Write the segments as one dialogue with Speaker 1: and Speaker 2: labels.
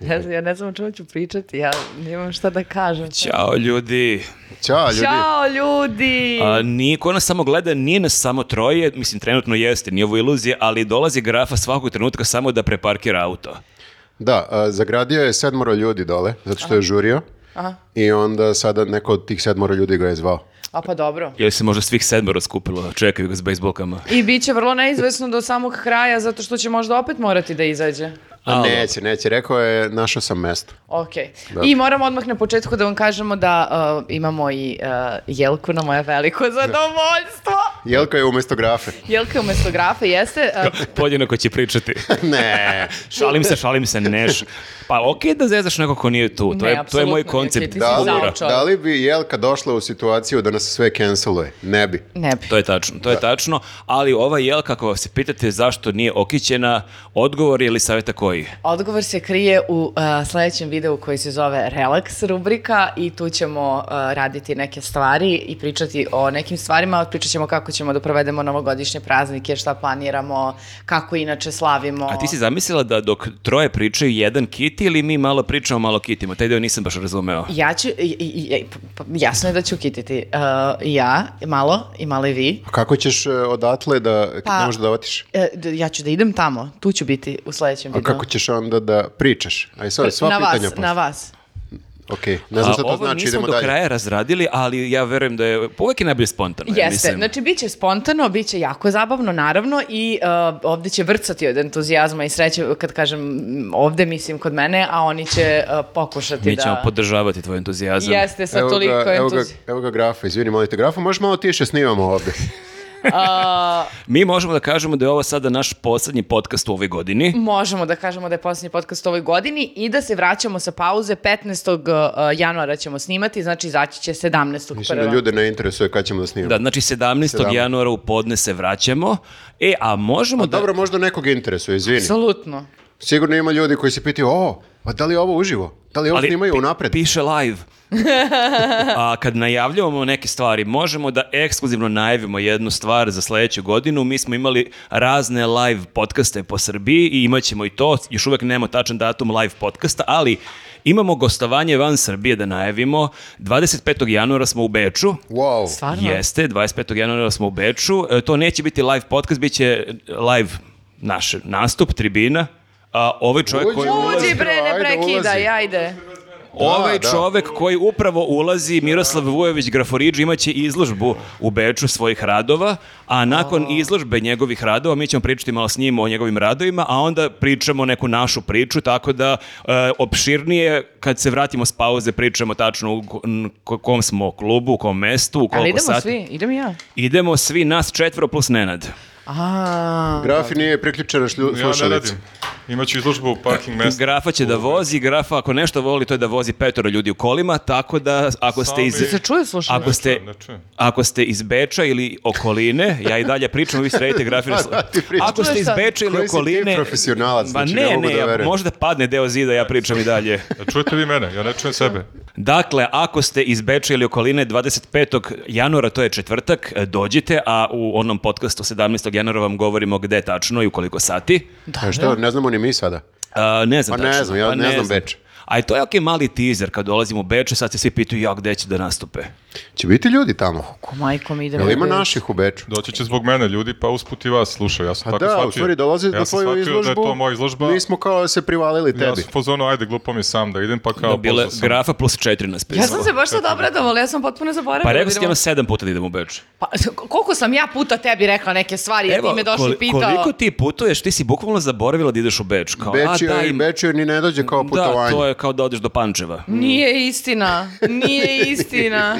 Speaker 1: Ne znam, ja ne znam o čemu ću pričati, ja nemam šta da kažem.
Speaker 2: Ćao ljudi.
Speaker 3: Ćao, ljudi.
Speaker 1: Ćao ljudi!
Speaker 2: A, nije ko nas samo gleda, nije nas samo troje, mislim trenutno jeste, nije ovo iluzija, ali dolazi grafa svakog trenutka samo da preparkira auto.
Speaker 3: Da, a, zagradio je sedmoro ljudi dole, zato što je žurio. I onda sada neko od tih sedmoro ljudi ga je zvao.
Speaker 1: A pa dobro.
Speaker 2: Ili se možda svih sedmero skupilo, čekaju ga s bejsbolkama.
Speaker 1: I bit će vrlo neizvesno do samog kraja, zato što će možda opet morati da izađe.
Speaker 3: A neće, neće, rekao je, našao sam mesto.
Speaker 1: Ok. I moram odmah na početku da vam kažemo da uh, imamo i uh, Jelku na moje veliko zadovoljstvo.
Speaker 3: Jelka je umjesto grafe.
Speaker 1: Jelka je umjesto grafe, jeste. uh,
Speaker 2: Podjednako će pričati.
Speaker 3: ne,
Speaker 2: šalim se, šalim se, neš. Pa okej da zezaš neko ko nije tu, to,
Speaker 1: Ne,
Speaker 2: je, to je moj
Speaker 1: apsolutno,
Speaker 2: koncept.
Speaker 1: Jaki, ti si
Speaker 3: da
Speaker 1: zao
Speaker 3: li,
Speaker 1: čovjek.
Speaker 3: da li bi Jelka došla u situaciju da nas sve canceluje? Ne bi.
Speaker 1: ne bi.
Speaker 2: To je tačno, to je tačno, ali ova jelka, ako se pitate zašto nije okićena, odgovor je li savjeta koji?
Speaker 1: Odgovor se krije u uh, sljedećem videu koji se zove Relax rubrika i tu ćemo uh, raditi neke stvari i pričati o nekim stvarima, pričat ćemo kako ćemo da provedemo novogodišnje praznike, šta planiramo, kako inače slavimo.
Speaker 2: A ti si zamislila da dok troje pričaju jedan kiti ili mi malo pričamo, malo kitimo? Taj deo nisam baš razumeo.
Speaker 1: Ja ću, i- i- i- i- pa- jasno je da ću kititi uh, i ja, i malo, i malo i vi.
Speaker 3: A kako ćeš e, odatle da, kad
Speaker 1: Pa-
Speaker 3: ne možeš da otiš?
Speaker 1: E, d- ja ću da idem tamo, tu ću biti u sljedećem
Speaker 3: A
Speaker 1: videu.
Speaker 3: kako ćeš onda da pričaš? Aj sad, sva
Speaker 1: na
Speaker 3: pitanja.
Speaker 1: vas,
Speaker 3: postoje.
Speaker 1: na vas.
Speaker 3: Ok, ne znam
Speaker 2: A
Speaker 3: šta to
Speaker 2: ovo
Speaker 3: znači,
Speaker 2: nismo
Speaker 3: idemo
Speaker 2: do
Speaker 3: dalje.
Speaker 2: kraja razradili, ali ja verujem da je uvek je najbolje spontano. Pa ja
Speaker 1: Jeste,
Speaker 2: mislim.
Speaker 1: znači bit će spontano, bit će jako zabavno, naravno, i uh, ovdje će vrcati od entuzijazma i sreće, kad kažem mm, ovdje, mislim kod mene, a oni će uh, pokušati
Speaker 2: Mi
Speaker 1: da...
Speaker 2: ćemo podržavati tvoj entuzijazam.
Speaker 1: Jeste, sa
Speaker 3: Evo ga-
Speaker 1: toliko
Speaker 3: evo, ga,
Speaker 1: entuzijazma.
Speaker 3: evo ga grafa, izvini, molim te, grafa, možeš malo tiše snimamo ovdje.
Speaker 1: Uh,
Speaker 2: Mi možemo da kažemo da je ovo sada naš posljednji podcast u ovoj godini.
Speaker 1: Možemo da kažemo da je posljednji podcast u ovoj godini i da se vraćamo sa pauze. 15. uh, januara ćemo snimati, znači izaći će 17.
Speaker 3: Više
Speaker 1: prva.
Speaker 3: da ljude ne interesuje kad ćemo da snimamo.
Speaker 2: Da, znači 17.
Speaker 3: 17.
Speaker 2: januara u podne se vraćamo. E, a možemo da...
Speaker 3: Dobro, možda nekog interesuje, izvini.
Speaker 1: Apsolutno.
Speaker 3: Sigurno ima ljudi koji se pitaju, o, a da li je ovo uživo? Da li ovo snimaju
Speaker 2: pi-
Speaker 3: unapred?
Speaker 2: Piše live. A kad najavljujemo neke stvari, možemo da ekskluzivno najavimo jednu stvar za sljedeću godinu. Mi smo imali razne live podcaste po Srbiji i imat ćemo i to. Još uvijek nemamo tačan datum live podcasta, ali imamo gostovanje van Srbije da najavimo. 25. januara smo u Beču.
Speaker 3: Wow.
Speaker 1: Stvarno?
Speaker 2: Jeste, 25. januara smo u Beču. E, To neće biti live podcast, bit će live naš nastup, tribina. A ovaj čovjek koji
Speaker 3: Uđi,
Speaker 2: ulazi-
Speaker 1: Uđi bre, ne
Speaker 3: Ajde, ulazi.
Speaker 1: prekidaj, ajde.
Speaker 2: Ovaj
Speaker 3: da.
Speaker 2: čovek koji upravo ulazi, Miroslav Vujović Graforiđ, imaće izložbu u Beču svojih radova, a nakon izložbe njegovih radova mi ćemo pričati malo s njim o njegovim radovima, a onda pričamo neku našu priču, tako da e, opširnije kad se vratimo s pauze pričamo tačno u ko- n- ko- kom smo klubu, u kom mestu, u koliko
Speaker 1: Ali idemo
Speaker 2: sati.
Speaker 1: svi, idem i ja.
Speaker 2: Idemo svi, nas četvro plus Nenad.
Speaker 1: A,
Speaker 3: Grafi nije priključen na šlju-
Speaker 4: Ja ne
Speaker 3: slušalicu.
Speaker 4: radim. Imaću izložbu u parking mestu.
Speaker 2: Grafa će da vozi, Grafa ako nešto voli to je da vozi petoro ljudi u kolima, tako da ako ste
Speaker 4: Samo
Speaker 2: iz...
Speaker 4: bi-
Speaker 1: se čuje slušanje?
Speaker 2: Ako ste,
Speaker 4: čujem, ne čujem.
Speaker 2: ako ste iz Beča ili okoline, ja i dalje pričam, vi sredite grafine.
Speaker 3: Da, ti pričaš.
Speaker 2: Ako ste iz Beča ili
Speaker 3: Koji si ti
Speaker 2: okoline...
Speaker 3: profesionalac,
Speaker 2: Ma
Speaker 3: znači, ne
Speaker 2: ne,
Speaker 3: mogu
Speaker 2: ne,
Speaker 3: da
Speaker 2: ja-
Speaker 3: verujem.
Speaker 2: možda padne deo zida, ja pričam i dalje.
Speaker 4: Da čujete vi mene, ja ne čujem sebe.
Speaker 2: Dakle, ako ste iz Beča ili okoline 25. januara, to je četvrtak, dođite, a u onom podcastu 17. januara vam govorimo gde tačno i u koliko sati.
Speaker 3: E, što, ne znamo ni mi sada.
Speaker 2: A, ne znam
Speaker 3: Pa ne
Speaker 2: tačno,
Speaker 3: znam, ja ne znam Beč.
Speaker 2: A i to je okej mali teaser, kad dolazimo u Beču, sad se svi pitaju, ja, gde će da nastupe?
Speaker 3: Će biti ljudi tamo.
Speaker 1: ko majkom idem.
Speaker 3: Jel ima
Speaker 1: u-
Speaker 3: naših u Beču?
Speaker 4: Doći će zbog mene ljudi, pa usput i vas slušaju. Ja sam
Speaker 3: A
Speaker 4: tako
Speaker 3: da,
Speaker 4: shvatio.
Speaker 3: u stvari dolazi na
Speaker 4: ja sam
Speaker 3: tvoju
Speaker 4: shvatio
Speaker 3: izložbu.
Speaker 4: da je to moja izložba.
Speaker 3: Mi smo kao se privalili
Speaker 4: Ja
Speaker 3: tebi.
Speaker 4: sam pozono, ajde, glupo mi je sam da idem, pa kao
Speaker 2: Da, bile
Speaker 4: pozvao sam.
Speaker 2: grafa plus četiri nas
Speaker 1: Ja sam se baš sad obradovala, ja sam potpuno zaboravila.
Speaker 2: Pa rekao sam ti
Speaker 1: da idemo-
Speaker 2: jedno sedam puta da idem u Beč.
Speaker 1: Pa, koliko sam ja puta tebi rekla neke stvari, jer ti me došli
Speaker 2: koli-
Speaker 1: pitao.
Speaker 2: koliko ti putuješ, ti si bukvalno zaboravila da ideš u Beč. Kao,
Speaker 3: Beč
Speaker 2: a, da,
Speaker 3: je,
Speaker 2: im-
Speaker 3: Beč je ni ne dođe kao
Speaker 2: Da,
Speaker 3: putovanje.
Speaker 2: to je kao da odeš do Pančeva.
Speaker 1: Nije istina, nije istina.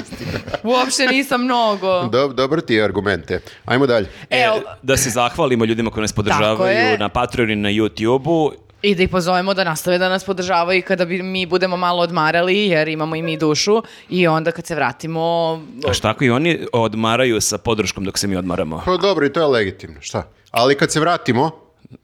Speaker 1: Uopšte nisam mnogo.
Speaker 3: Dob- dobar ti je argumente. Ajmo dalje.
Speaker 2: E,
Speaker 1: Evo,
Speaker 2: da se zahvalimo ljudima koji nas
Speaker 1: Tako
Speaker 2: podržavaju
Speaker 1: je.
Speaker 2: na Patreonu i na YouTubeu.
Speaker 1: i da ih pozovemo da nastave da nas podržavaju i kada bi mi budemo malo odmarali, jer imamo i mi dušu, i onda kad se vratimo...
Speaker 2: A šta ako i oni odmaraju sa podrškom dok se mi odmaramo?
Speaker 3: Pa dobro, i to je legitimno, šta? Ali kad se vratimo,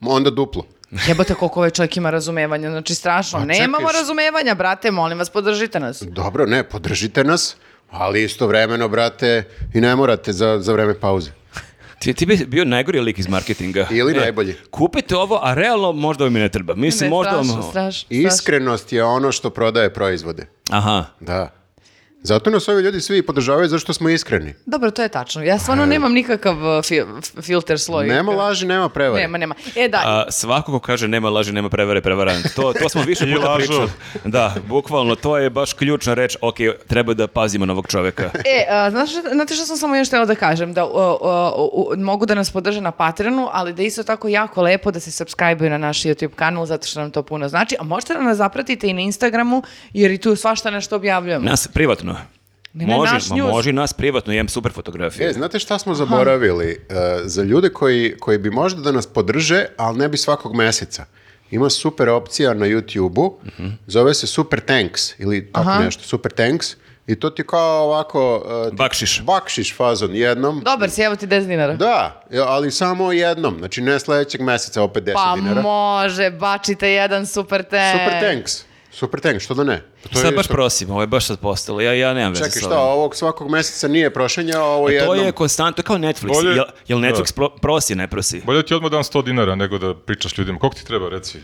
Speaker 3: onda duplo.
Speaker 1: Jebate koliko ovaj čovjek ima razumevanja, znači strašno.
Speaker 3: Ma, čekaj,
Speaker 1: Nemamo
Speaker 3: šta-
Speaker 1: razumevanja, brate, molim vas, podržite nas.
Speaker 3: Dobro, ne, podržite nas, ali istovremeno, brate, i ne morate za, za vreme pauze.
Speaker 2: Ti, ti bi bio najgori lik iz marketinga.
Speaker 3: Ili
Speaker 2: E,
Speaker 3: najbolji.
Speaker 2: Kupite ovo, a realno možda vam i ne treba. Mislim,
Speaker 1: Ne,
Speaker 2: možda ono vam...
Speaker 1: strašno, strašno, strašno.
Speaker 3: Iskrenost je ono što prodaje proizvode.
Speaker 2: Aha.
Speaker 3: Da. Zato nas ovi ljudi svi podržavaju zašto smo iskreni.
Speaker 1: Dobro, to je tačno. Ja stvarno nemam nikakav uh, fil- f- filter sloj.
Speaker 3: Nema laži, nema prevare.
Speaker 1: Nema, nema. E da,
Speaker 2: A, svako ko kaže nema laži, nema prevare, prevarant. To, to smo više
Speaker 4: I
Speaker 2: puta
Speaker 4: lažu.
Speaker 2: pričali. Da, bukvalno, to je baš ključna reč. Ok, treba da pazimo na ovog čoveka.
Speaker 1: E, a, znaš, znate što sam samo još htjela da kažem? Da o, o, o, mogu da nas podrže na Patreonu, ali da je isto tako jako lepo da se subscribe na naš YouTube kanal, zato što nam to puno znači. A možete da nas zapratite i na Instagramu, jer i tu svašta nešto objavljujemo.
Speaker 2: Nas privatno.
Speaker 1: Ne, ne,
Speaker 2: može,
Speaker 1: naš
Speaker 2: ma,
Speaker 1: news.
Speaker 2: može i nas privatno, imam super fotografije.
Speaker 3: E, znate šta smo zaboravili? E, za ljude koji, koji bi možda da nas podrže, ali ne bi svakog meseca. Ima super opcija na YouTube-u, zove se Super Tanks ili tako nešto, Super Tanks. I to ti kao ovako... e,
Speaker 2: Bakšiš.
Speaker 3: Bakšiš fazon jednom.
Speaker 1: Dobar si, evo ti 10 dinara.
Speaker 3: Da, e, ali samo jednom, znači ne sljedećeg meseca opet 10
Speaker 1: pa
Speaker 3: dinara.
Speaker 1: može, bačite jedan super tank.
Speaker 3: Super Tanks, Super Tanks, što da ne? Pa to
Speaker 2: sad
Speaker 3: je
Speaker 2: baš
Speaker 3: isto-
Speaker 2: prosim, ovo je baš sad postalo. Ja, ja nemam veze
Speaker 3: Čekaj,
Speaker 2: sa
Speaker 3: šta,
Speaker 2: ovim. E,
Speaker 3: ovog svakog meseca nije prošenja, a ovo
Speaker 2: To
Speaker 3: jednom...
Speaker 2: je konstantno, kao Netflix.
Speaker 4: Bolje-
Speaker 2: Jel, jel Netflix
Speaker 4: Da.
Speaker 2: pro- prosi, ne prosi?
Speaker 4: Bolje ti odmah dam 100 dinara nego da pričaš ljudima. Koliko ti treba reci?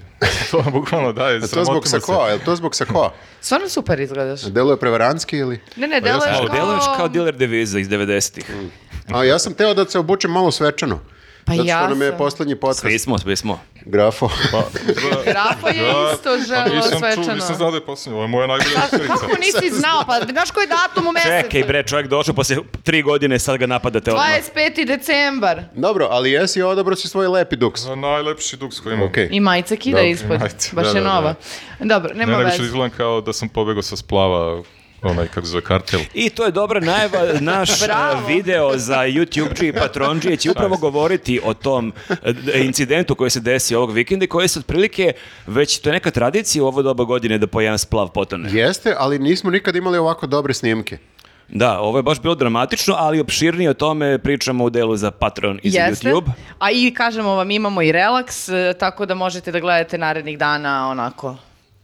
Speaker 4: to vam bukvalno daje,
Speaker 3: A E, to zbog
Speaker 4: sramotimo se.
Speaker 3: sakoa, je to zbog sakoa?
Speaker 1: Stvarno super izgledaš.
Speaker 3: Deluje prevaranski ili?
Speaker 1: Ne, ne, deluješ
Speaker 2: Evo,
Speaker 1: kao...
Speaker 2: deluješ kao dealer deviza iz 90-ih.
Speaker 3: Mm, A ja sam teo da se obučem malo svečano.
Speaker 1: Pa
Speaker 3: Zato što
Speaker 1: ja
Speaker 3: nam je
Speaker 1: sam.
Speaker 3: posljednji podcast
Speaker 2: Svi smo, svi smo.
Speaker 3: grafo.
Speaker 4: Pa, da-
Speaker 1: Grafa je
Speaker 4: da,
Speaker 1: isto
Speaker 4: pa
Speaker 1: želeo
Speaker 4: nisam čuo,
Speaker 1: svečano.
Speaker 4: Nisam znao da je posljednji, ovo je moja najbolja rečenica.
Speaker 1: Kako nisi znao? Pa znaš koji je datum u mesecu?
Speaker 2: Čekaj bre, čovjek došao poslije tri godine, sad ga napadate odmah.
Speaker 1: 25. decembar.
Speaker 3: Dobro, ali jesi odabro si svoj lepi duks.
Speaker 4: Za najlepši duks
Speaker 2: Mm.
Speaker 4: koji imam.
Speaker 3: Okej.
Speaker 1: I majica kida
Speaker 4: Dobro,
Speaker 1: ispod,
Speaker 4: majica,
Speaker 1: baš
Speaker 4: da,
Speaker 1: je
Speaker 4: da,
Speaker 1: nova. Dobro,
Speaker 4: Ne,
Speaker 1: nema
Speaker 4: nego što
Speaker 1: veze.
Speaker 4: izgledam kao da sam pobegao sa splava, onaj, kako se zove, kartel.
Speaker 2: I to je dobra najava, naš eh,
Speaker 1: Bravo.
Speaker 2: video za YouTube i Patronđije će upravo govoriti o tom eh, incidentu koji se desi ovog vikenda i koji se otprilike, već to je neka tradicija u ovo doba godine da po jedan splav potone.
Speaker 3: Jeste, ali nismo nikad imali ovako dobre snimke.
Speaker 2: Da, ovo je baš bilo dramatično, ali opširnije o tome pričamo u delu za Patron i za
Speaker 1: Jeste.
Speaker 2: YouTube.
Speaker 1: A i kažemo vam, imamo i relaks, e, tako da možete da gledate narednih dana onako.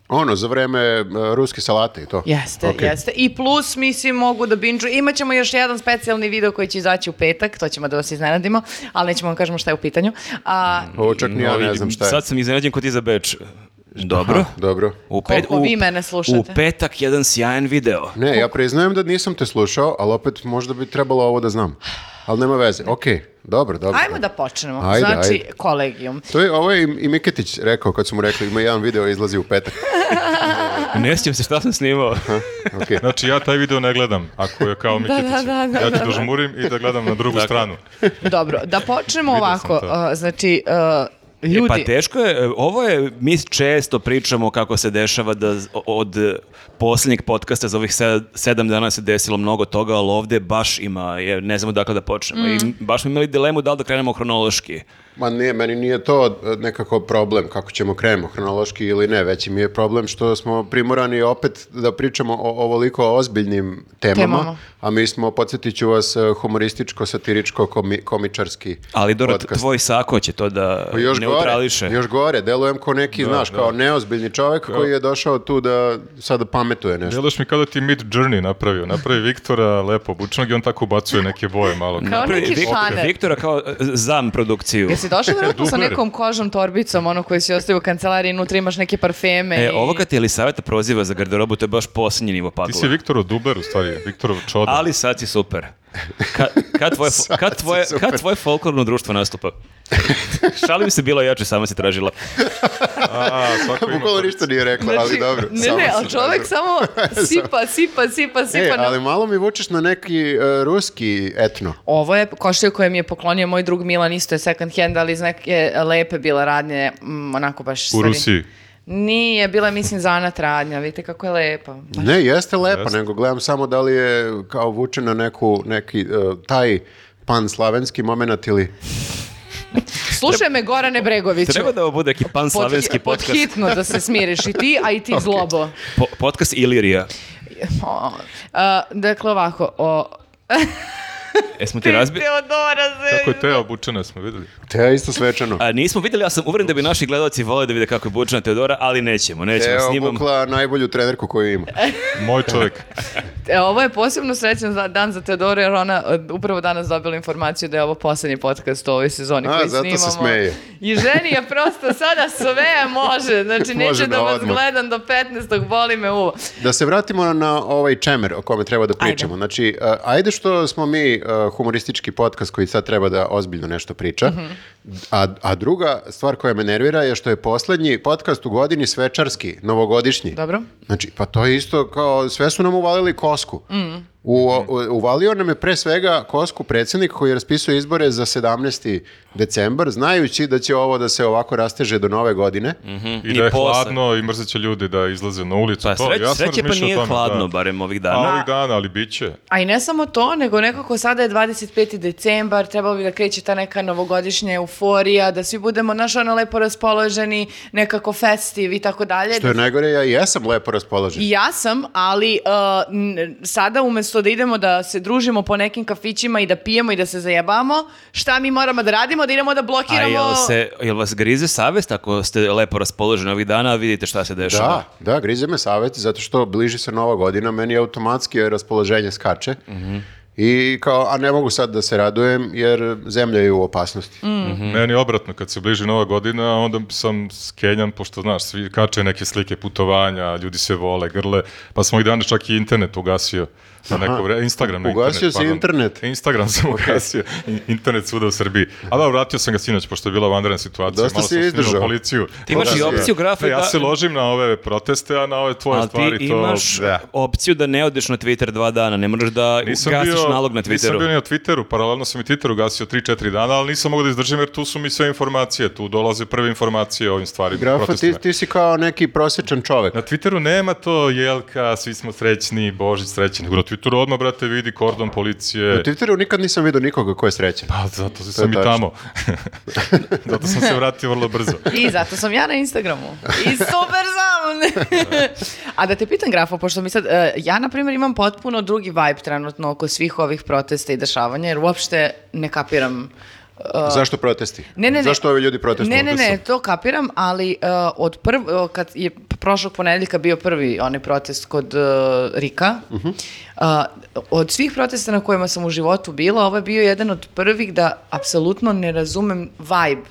Speaker 3: Ono, za vreme e, ruske salate i to.
Speaker 1: Jeste,
Speaker 3: Okej.
Speaker 1: jeste. I plus, mislim, mogu da binđu. Imaćemo još jedan specijalni video koji će izaći u petak, to ćemo da vas iznenadimo, ali nećemo vam kažemo šta je u pitanju. A,
Speaker 3: Ovo čak ni ja
Speaker 2: Novi-
Speaker 3: ne znam šta je.
Speaker 2: Sad sam iznenađen kod ti za Beč. Dobro.
Speaker 3: Dobro.
Speaker 2: U
Speaker 1: Koliko vi mene slušate?
Speaker 2: U petak jedan sjajan video.
Speaker 3: Ne, ja priznajem da nisam te slušao, ali opet možda bi trebalo ovo da znam. Ali nema veze. Okej, dobro, dobro.
Speaker 1: ajmo da počnemo.
Speaker 3: Ajde,
Speaker 1: znači,
Speaker 3: ajde.
Speaker 1: kolegijum.
Speaker 3: To je, ovo je i, i Miketić rekao kad su mu rekli ima jedan video izlazi u petak.
Speaker 2: Ne sjećam se šta sam snimao.
Speaker 3: Okej.
Speaker 4: Znači, ja taj video ne gledam, ako je kao Mikitić.
Speaker 1: da, da,
Speaker 4: ja
Speaker 1: da,
Speaker 4: ću
Speaker 1: da.
Speaker 4: dožmurim i da gledam na
Speaker 2: Dakle.
Speaker 4: drugu stranu.
Speaker 1: Dobro, da počnemo
Speaker 4: Vidio sam
Speaker 1: ovako.
Speaker 4: to.
Speaker 1: e, znači, e,
Speaker 2: E,
Speaker 1: ljudi...
Speaker 2: pa teško je, e, ovo je, mi često pričamo kako se dešava da z- o- od e, posljednjeg podcasta za ovih sed- sedam dana se desilo mnogo toga, ali ovdje baš ima, je, ne znamo dakle da počnemo.
Speaker 1: Mm.
Speaker 2: I baš smo imali dilemu da li da krenemo hronološki.
Speaker 3: Ma ne, meni nije to e, nekako problem kako ćemo krenemo, hronološki ili ne, veći mi je problem što smo primorani opet da pričamo o ovoliko ozbiljnim temama,
Speaker 1: Temama.
Speaker 3: a mi smo, podsjetit ću vas, e, humorističko, satiričko, komi- komičarski
Speaker 2: Ali Dora,
Speaker 3: podcast.
Speaker 2: tvoj sako će to da
Speaker 3: Pa još
Speaker 2: neutrališe.
Speaker 3: Gore, još gore, delujem ko neki, znaš, kao neozbiljni čovjek koji je došao tu da sada pametuje nešto.
Speaker 4: Djelaš mi kao da ti Mid Journey napravio. Napravi Viktora lepo obučenog i on tako ubacuje neke boje malo.
Speaker 1: Kao
Speaker 2: Napravi
Speaker 1: neki
Speaker 2: Vik-
Speaker 1: šaner.
Speaker 2: Viktora kao e, zam produkciju.
Speaker 1: Jesi došao vjerojatno sa
Speaker 4: Dubler.
Speaker 1: nekom kožom torbicom, ono koji si ostavio u kancelariji, unutra imaš neke parfeme.
Speaker 2: E,
Speaker 1: i-
Speaker 2: ovo kad te Elisaveta proziva za garderobu, to je baš posljednji nivo
Speaker 4: Ti
Speaker 2: pakla.
Speaker 4: si Viktorov duber u stvari, Viktorov čoda.
Speaker 2: Ali sad si super. Ka, kad, tvoje,
Speaker 3: Sad
Speaker 2: kad,
Speaker 3: si
Speaker 2: tvoje,
Speaker 3: super.
Speaker 2: kad tvoje folklorno društvo nastupa? Šalim se, bilo je jače, sama si tražila.
Speaker 4: A, svako ima
Speaker 3: Bukvalo
Speaker 4: to.
Speaker 3: ništa nije rekla, ali dobro.
Speaker 1: Znači, Ne,
Speaker 3: samo
Speaker 1: ne,
Speaker 3: se
Speaker 1: ali čovjek
Speaker 3: dobro.
Speaker 1: samo sipa, sipa, sipa, sipa.
Speaker 3: E,
Speaker 1: na-
Speaker 3: ali malo mi vučeš na neki e, ruski etno.
Speaker 1: Ovo je košulja koju mi je poklonio moj drug Milan, isto je second hand, ali iz neke lepe bila radnje, mm, onako baš...
Speaker 4: U
Speaker 1: stari.
Speaker 4: Rusiji.
Speaker 1: Nije, bila je, mislim, zanat radnja, vidite kako je lepa.
Speaker 3: Ne, jeste lepa,
Speaker 4: Jeste.
Speaker 3: nego gledam samo da li je kao vuče na neku, neki e, taj panslavenski moment ili...
Speaker 1: Slušaj me, Gorane Bregoviću.
Speaker 2: Treba da ovo bude neki panslavenski
Speaker 1: Pod-
Speaker 2: podcast.
Speaker 1: Podhitno da se smiriš i ti, a i ti zlobo.
Speaker 2: Po, podcast Ilirija.
Speaker 1: O, a, dakle, ovako, o...
Speaker 2: Jesmo E, ti razbili?
Speaker 1: Teodora se-
Speaker 4: Kako je te obučene smo vidjeli.
Speaker 3: Te je isto svečano.
Speaker 2: A, nismo vidjeli, ja sam uveren da bi naši gledalci vole da vide kako je bučena Teodora, ali nećemo, nećemo.
Speaker 3: Te je
Speaker 2: Snimam,
Speaker 3: obukla najbolju trenerku koju ima.
Speaker 4: Moj čovjek.
Speaker 1: E, Ovo je posebno srećan za- dan za Teodoru jer ona e, upravo danas dobila informaciju da je ovo poslednji podcast u ovoj sezoni
Speaker 3: A,
Speaker 1: koji
Speaker 3: zato se
Speaker 1: snimamo.
Speaker 3: smeje.
Speaker 1: I ženi je prosto sada sve može. Znači
Speaker 3: Može
Speaker 1: neće da,
Speaker 3: da
Speaker 1: vas
Speaker 3: odmah.
Speaker 1: gledam do 15. boli me uvo.
Speaker 3: Da se vratimo na ovaj čemer o kome treba da pričamo. Znači, uh, ajde što smo mi uh, humoristički podcast koji sad treba da ozbiljno nešto priča, a, a druga stvar koja me nervira je što je poslednji podcast u godini svečarski, novogodišnji.
Speaker 1: Dobro.
Speaker 3: Znači, pa to je isto kao, sve su nam uvalili kosku. U, u- uvalio nam je pre svega kosku predsjednik koji raspisuje izbore za 17. decembar, znajući da će ovo da se ovako rasteže do nove godine.
Speaker 4: I da je
Speaker 2: Mm. posle.
Speaker 4: hladno i mrzit će ljudi da izlaze na ulicu.
Speaker 2: Pa
Speaker 4: to,
Speaker 2: sreć,
Speaker 4: ja sam
Speaker 2: sreće pa
Speaker 4: razmišljao o
Speaker 2: nije
Speaker 4: tome,
Speaker 2: hladno,
Speaker 4: da.
Speaker 2: barem ovih
Speaker 4: A
Speaker 2: dana.
Speaker 4: ovih dana, ali bit će.
Speaker 1: A i ne samo to, nego nekako sada je 25. decembar, trebalo bi da kreće ta neka novogodišnja euforija, da svi budemo naš ono lepo raspoloženi, nekako festiv i tako dalje.
Speaker 3: Što je najgore, ja jesam lepo raspoložen.
Speaker 1: I ja sam, ali uh, n- sada umesto da idemo da se družimo po nekim kafićima i da pijemo i da se zajebamo, šta mi moramo da radimo? Da idemo da
Speaker 2: A
Speaker 1: blokiramo...
Speaker 2: jel, se, jel vas grize savest ako ste lepo raspoloženi ovih dana, a vidite šta se dešava?
Speaker 3: Da, da, grize me savjet, zato što bliži se nova godina, meni automatski raspoloženje skače. I kao, a ne mogu sad da se radujem, jer zemlja je u opasnosti.
Speaker 4: Meni je obratno, kad se bliži nova godina, onda sam skenjan, pošto, znaš, svi kače neke slike putovanja, ljudi se vole, grle, pa sam ovih dana čak i internet ugasio. Na neko vre, Instagram na
Speaker 3: Ugasio
Speaker 4: internet.
Speaker 3: si
Speaker 4: pardon.
Speaker 3: internet?
Speaker 4: Instagram sam ugasio. In- Internet svuda u Srbiji. A da, vratio sam ga sinoć, pošto je bila vanredna situacija.
Speaker 3: Dosta
Speaker 4: Malo
Speaker 3: si
Speaker 4: sam snimao
Speaker 3: izdržao.
Speaker 4: policiju.
Speaker 2: Ti imaš i
Speaker 4: Policiju.
Speaker 2: opciju grafe
Speaker 4: Ne, ja
Speaker 2: da-
Speaker 4: se ložim na ove proteste, a na ove tvoje
Speaker 2: Ali
Speaker 4: stvari
Speaker 2: ti
Speaker 4: to...
Speaker 2: imaš
Speaker 4: Da.
Speaker 2: opciju da ne odeš na Twitter dva dana, ne moraš da gasiš nalog na
Speaker 4: Nisam
Speaker 2: Twitteru.
Speaker 4: bio ni na Twitteru, paralelno sam i Twitter ugasio 3-4 dana, ali nisam mogao da izdržim jer tu su mi sve informacije, tu dolaze prve informacije o ovim stvarima,
Speaker 3: Grafa, ti,
Speaker 4: protestima.
Speaker 3: ti si kao neki prosječan čovek.
Speaker 4: Na Twitteru nema to jelka, svi smo srećni, Božić srećni. Nego na Twitteru odmah, brate, vidi kordon policije.
Speaker 3: Na Twitteru nikad nisam vidio nikoga ko je srećan.
Speaker 4: Pa, zato sam i
Speaker 3: tačno.
Speaker 4: tamo. zato sam se vratio vrlo brzo.
Speaker 1: I zato sam ja na Instagramu. I super sam! A da te pitam, Grafo, pošto mi sad... e, ja, na primjer, imam potpuno drugi vibe trenutno oko svih ovih protesta i dešavanja, jer uopšte ne kapiram... uh,
Speaker 3: Zašto protesti?
Speaker 1: Ne, ne, ne.
Speaker 3: Zašto ovi ljudi protestuju?
Speaker 1: Ne, ne, ne, to kapiram, ali e, od prv, e, kad je prošlog ponedeljka bio prvi onaj protest kod e, Rika,
Speaker 3: Mhm.
Speaker 1: a, od svih protesta na kojima sam u životu bila, ovo je bio jedan od prvih da apsolutno ne razumem vibe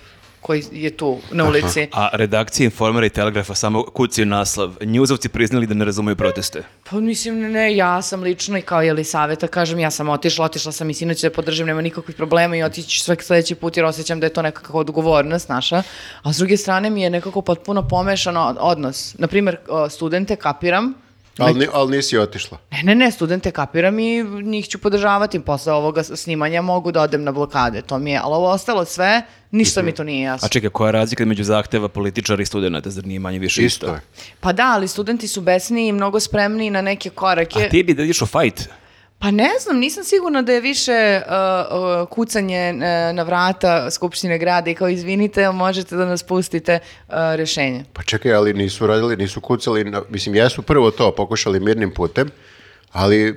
Speaker 1: koji je tu na ulici.
Speaker 2: A redakcija Informera i Telegrafa samo kucaju naslov. Njuzovci priznali da ne razumeju proteste.
Speaker 1: Pa mislim, ne, ne, ja sam lično i kao Jelisaveta, kažem, ja sam otišla, otišla sam i sinoć da podržim, nema nikakvih problema i otići ću svaki sledeći put jer osjećam da je to nekakva odgovornost naša. A s druge strane mi je nekako potpuno pomešan o- odnos. Naprimer, o, studente kapiram,
Speaker 3: Ali, ni- ali nisi otišla.
Speaker 1: Ne, ne, ne, studente kapiram i njih ću podržavati. Posle ovoga s- snimanja mogu da odem na blokade, to mi je. Ali ovo ostalo sve, ništa mi to nije jasno.
Speaker 2: A čekaj, koja je razlika između zahteva političara i studenta? Zar nije manje više isto?
Speaker 3: Isto je.
Speaker 1: Pa da, ali studenti su besniji i mnogo spremniji na neke korake.
Speaker 2: A ti bi da ideš u fajt?
Speaker 1: Pa ne znam, nisam sigurna da je više uh, uh, kucanje uh, na vrata Skupštine grada i kao izvinite, možete da nas pustite uh, rešenje.
Speaker 3: Pa čekaj, ali nisu radili, nisu kucali, na, mislim, jesu prvo to pokušali mirnim putem, ali e,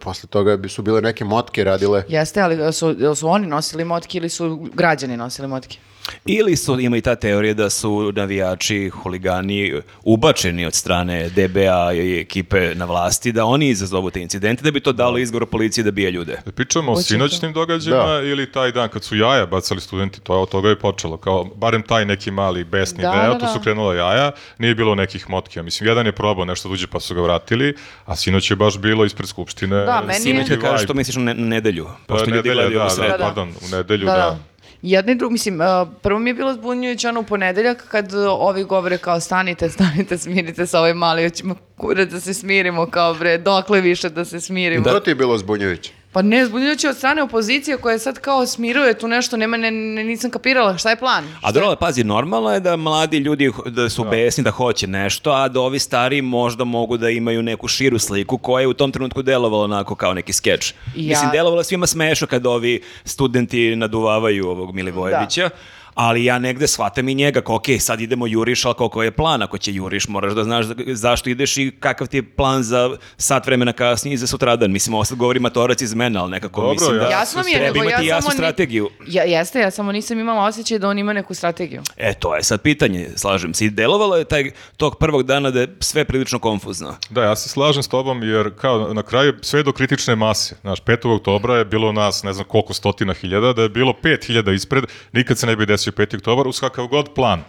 Speaker 3: posle toga bi- su bile neke motke radile.
Speaker 1: Jeste, ali uh, su, jel su oni nosili motke ili su građani nosili motke?
Speaker 2: Ili su, ima i ta teorija da su navijači, huligani ubačeni od strane DBA i ekipe na vlasti, da oni izazovu te incidente, da bi to dalo izgovor policiji da bije ljude.
Speaker 4: Da Pričamo o
Speaker 1: Hoćete?
Speaker 4: sinoćnim događajima
Speaker 3: Da.
Speaker 4: ili taj dan kad su jaja bacali studenti, to je od toga je počelo. Kao, barem taj neki mali besni
Speaker 1: Da,
Speaker 4: deo,
Speaker 1: da,
Speaker 4: tu su
Speaker 1: da.
Speaker 4: krenula jaja, nije bilo nekih motkija. Mislim, jedan je probao nešto duđe pa su ga vratili, a sinoć je baš bilo ispred skupštine.
Speaker 1: Da, meni je-
Speaker 4: neki
Speaker 2: Sinoć kad kažeš
Speaker 4: vibe.
Speaker 2: što misliš na na nedelju, pošto
Speaker 4: E,
Speaker 2: ljudi
Speaker 4: nedelja,
Speaker 2: gledaju
Speaker 4: da,
Speaker 2: u
Speaker 4: da,
Speaker 2: sredu.
Speaker 1: Da, da.
Speaker 4: pardon, u nedelju, da.
Speaker 1: Jedna i druga, mislim, uh, prvo mi je bilo zbunjujuće ono u ponedeljak kad uh, ovi govore kao stanite, stanite, smirite se, ovaj mali, hoćemo kurac da se smirimo, kao bre, dokle više da se smirimo.
Speaker 3: To ti je bilo zbunjujuće.
Speaker 1: Pa ne, zbunjujuće od strane opozicije koja sad kao smiruje tu nešto, nema, ne, ne- nisam kapirala, šta je plan?
Speaker 2: A dobro, ali pazi, normalno je da mladi ljudi ho- da su besni, da hoće nešto, a da ovi stari možda mogu da imaju neku širu sliku koja je u tom trenutku delovala onako kao neki skeč.
Speaker 1: Ja-
Speaker 2: Mislim, delovala je svima smešno kad ovi studenti naduvavaju ovog Milivojevića, ali ja negde shvatam i njega, kao, ok, sad idemo juriš, ali koliko je plan, ako će juriš, moraš da znaš zašto ideš i kakav ti je plan za sat vremena kasnije i za sutradan. Mislim, ovo sad govori matorac iz mene, ali nekako
Speaker 4: Dobro,
Speaker 2: mislim da
Speaker 4: jasno
Speaker 1: Jasno mi je,
Speaker 2: treba
Speaker 1: nego ja
Speaker 2: imati
Speaker 1: samo
Speaker 2: jasnu
Speaker 1: ni-
Speaker 2: strategiju.
Speaker 1: Ja, jeste, ja samo nisam imala osjećaj da on ima neku strategiju.
Speaker 2: E, to je sad pitanje, slažem se. I delovalo je taj, tog prvog dana da je sve prilično konfuzno.
Speaker 4: Da, ja se slažem s tobom jer kao na kraju sve do kritične mase. Znaš, 5. oktobra je bilo nas ne znam koliko stotina hiljada, da je bilo 5 hiljada ispred, nikad se ne bi desio 5. oktobar uz kakav god plan.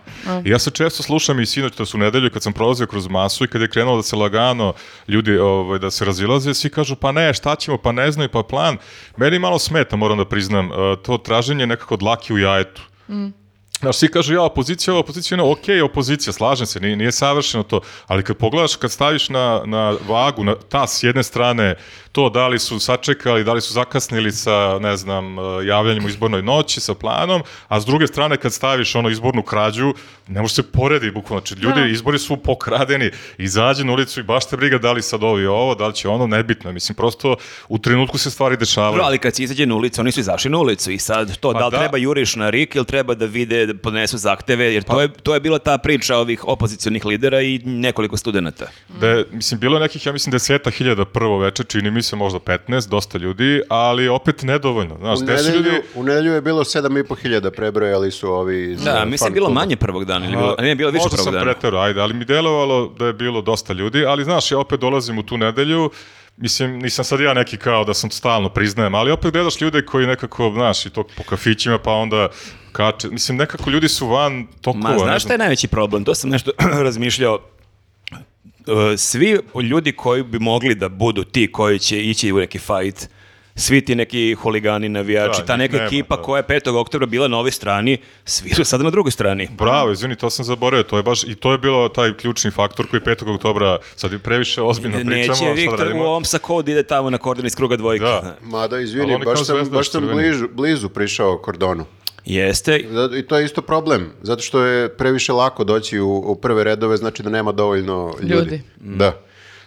Speaker 4: I ja se često slušam i sinoć, to su u nedelju, kad sam prolazio kroz masu i kad je krenulo da se lagano ljudi ovaj, da se razilaze, svi kažu pa ne, šta ćemo, pa ne znaju, pa plan. Meni malo smeta, moram da priznam, eh, to traženje nekako dlaki u jajetu. Znaš, svi kažu, ja, opozicija, ova opozicija, ono, ok, opozicija, slažem se, nije, nije savršeno to, ali kad pogledaš, kad staviš na, na vagu, na ta s jedne strane, to da li su sačekali, da li su zakasnili sa, ne znam, eh, javljanjem u izbornoj noći, sa planom, a s druge strane, kad staviš ono izbornu krađu, ne može se poredi, bukvalno, znači, ljudi,
Speaker 1: Da.
Speaker 4: izbori su pokradeni, izađe na ulicu i baš te briga da li sad ovi ovo, da li će ono, nebitno, je. mislim, prosto u trenutku se stvari dešavaju.
Speaker 2: Dobro, ali kad si izađe na ulicu, oni su izašli na ulicu i sad to,
Speaker 4: Pa
Speaker 2: da li
Speaker 4: da.
Speaker 2: treba juriš na rik ili treba da vide, da podnesu zahteve, jer
Speaker 4: Pa-
Speaker 2: to, je, to je bila ta priča ovih opozicionih lidera i nekoliko studenta.
Speaker 4: Da je, mislim, bilo je nekih, ja mislim, deseta hiljada prvo veče, čini mi se možda 15, dosta ljudi, ali opet nedovoljno. Znaš,
Speaker 3: U
Speaker 4: gde su
Speaker 3: nedelju,
Speaker 4: ljudi...
Speaker 3: u nedelju je bilo 7.500 prebrojali su ovi iz
Speaker 2: Da,
Speaker 3: eh,
Speaker 2: mislim
Speaker 3: fan
Speaker 2: bilo
Speaker 3: kluba.
Speaker 2: manje prvog dana, ili bilo, ne, bilo više
Speaker 4: Možda
Speaker 2: prvog
Speaker 4: sam
Speaker 2: dana.
Speaker 4: preterao, ajde, ali mi delovalo da je bilo dosta ljudi, ali znaš, ja opet dolazim u tu nedelju, mislim, nisam sad ja neki kao da sam stalno priznajem, ali opet gledaš ljude koji nekako, znaš, i to po kafićima, pa onda kače, mislim, nekako ljudi su van tokova.
Speaker 2: Ma,
Speaker 4: ne
Speaker 2: znaš
Speaker 4: znam.
Speaker 2: šta je najveći problem? To sam nešto razmišljao. E, Svi ljudi koji bi mogli da budu ti koji će ići u neki fajt, svi ti neki huligani, navijači,
Speaker 4: Da,
Speaker 2: ta
Speaker 4: njih
Speaker 2: neka
Speaker 4: nema,
Speaker 2: ekipa
Speaker 4: da.
Speaker 2: koja je 5. oktobra bila na ovoj strani, svi su sada na drugoj strani.
Speaker 4: Bravo, izvini, to sam zaboravio, to je baš, i to je bilo taj ključni faktor koji 5. oktobra, sad je previše ozbiljno pričamo,
Speaker 2: Neće
Speaker 4: šta da
Speaker 2: Viktor u
Speaker 4: radimo.
Speaker 2: ovom sakodu da ide tamo na kordon iz kruga dvojke.
Speaker 4: Da.
Speaker 3: Mada,
Speaker 4: Ali
Speaker 3: izvini,
Speaker 4: oni kao
Speaker 3: baš sam,
Speaker 4: zvezda
Speaker 3: baš sam
Speaker 4: crveni.
Speaker 3: bližu, blizu prišao kordonu.
Speaker 2: Jeste.
Speaker 3: Zato- I to je isto problem, zato što je previše lako doći u, u prve redove, znači da nema dovoljno ljudi.
Speaker 1: Ljudi.
Speaker 4: Mm.
Speaker 3: Da.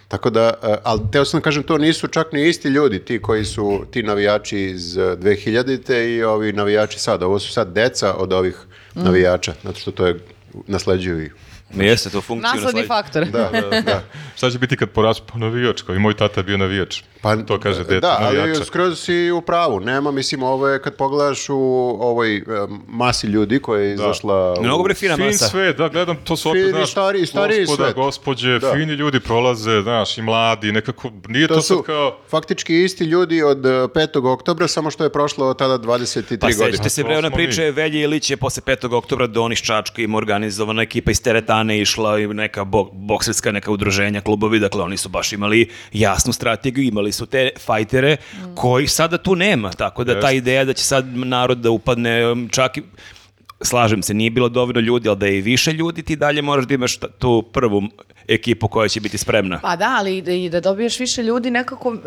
Speaker 3: Tako da, e, ali teo sam da kažem, to nisu čak ni isti ljudi, ti koji su, ti navijači iz e, 2000-te i ovi navijači sad. Ovo su sad deca od ovih navijača, zato što to je nasleđuju i...
Speaker 2: Jeste, to funkciju
Speaker 1: Nasledni
Speaker 2: nasledi-
Speaker 1: faktor.
Speaker 3: Da, da.
Speaker 4: Šta će biti kad porastu? Pa navijač, kao i moj tata je bio navijač. Pa, to kaže dete,
Speaker 3: Da, ali
Speaker 4: navijača.
Speaker 3: skroz si u pravu. Nema, mislim, ovo je kad pogledaš u ovoj e, masi ljudi koja je izašla... u-
Speaker 2: Mnogo bre fina
Speaker 4: Fin
Speaker 2: masa.
Speaker 4: sve, da, gledam, to su opet,
Speaker 3: Fini,
Speaker 4: znaš,
Speaker 3: stariji- stariji
Speaker 4: gospoda,
Speaker 3: svet.
Speaker 4: gospođe,
Speaker 3: Da.
Speaker 4: fini ljudi prolaze, znaš, i mladi, nekako, nije to,
Speaker 3: To
Speaker 4: sad
Speaker 3: su
Speaker 4: kao...
Speaker 3: faktički isti ljudi od e, 5. oktobra, samo što je prošlo od tada 23
Speaker 2: Pa
Speaker 3: godine.
Speaker 2: sećate se
Speaker 4: Pa,
Speaker 2: bre
Speaker 4: to
Speaker 2: ona
Speaker 4: smo mi.
Speaker 2: priče Velje Ilić je posle 5. oktobra do onih Čačka im organizovana ekipa iz teretane išla i neka bok, bokserska neka udruženja klubovi dakle oni su baš imali jasnu strategiju imali su te fajtere kojih sada tu nema tako da ta
Speaker 4: Jeste.
Speaker 2: ideja da će sad narod da upadne um, čak i slažem se nije bilo dovoljno ljudi ali da je i više ljudi ti dalje moraš da imaš ta- tu prvu ekipu koja će biti spremna
Speaker 1: Pa da, ali i da, i da dobiješ više ljudi nekako e,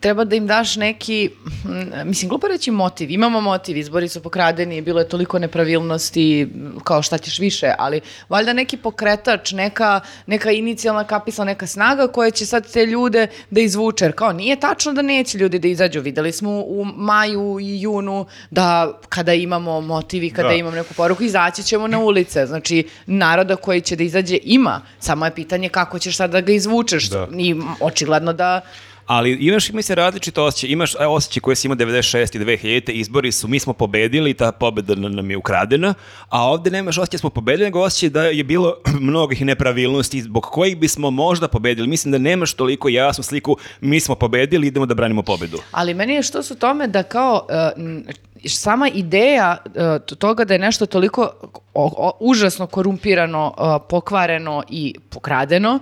Speaker 1: treba da im daš neki, mm, mislim glupo reći motiv, imamo motiv, izbori su pokradeni, bilo je toliko nepravilnosti, m, kao šta ćeš više, ali valjda neki pokretač, neka, neka inicijalna kapisla, neka snaga koja će sad te ljude da izvuče, jer kao nije tačno da neće ljudi da izađu, videli smo u maju i junu da kada imamo motivi, kada
Speaker 4: Da.
Speaker 1: imamo neku poruku, izaći ćemo na ulice. Znači, naroda koji će da izađe ima. Samo je pitanje kako ćeš sad da ga izvučeš.
Speaker 4: Da.
Speaker 1: I m, očigledno da...
Speaker 2: Ali imaš mi se različito osjećaj, imaš e, osjećaj koje si imao 96. i 2000. izbori su, mi smo pobedili, ta pobeda na- nam je ukradena, a ovde nemaš osjećaj da smo pobedili, nego osjećaj da je bilo mnogih nepravilnosti zbog kojih bismo možda pobedili. Mislim da nemaš toliko jasnu sliku, mi smo pobedili, idemo da branimo pobedu.
Speaker 1: Ali meni je što su tome da kao... e, m, sama ideja e, t- toga da je nešto toliko o- o- užasno korumpirano, e, pokvareno i pokradeno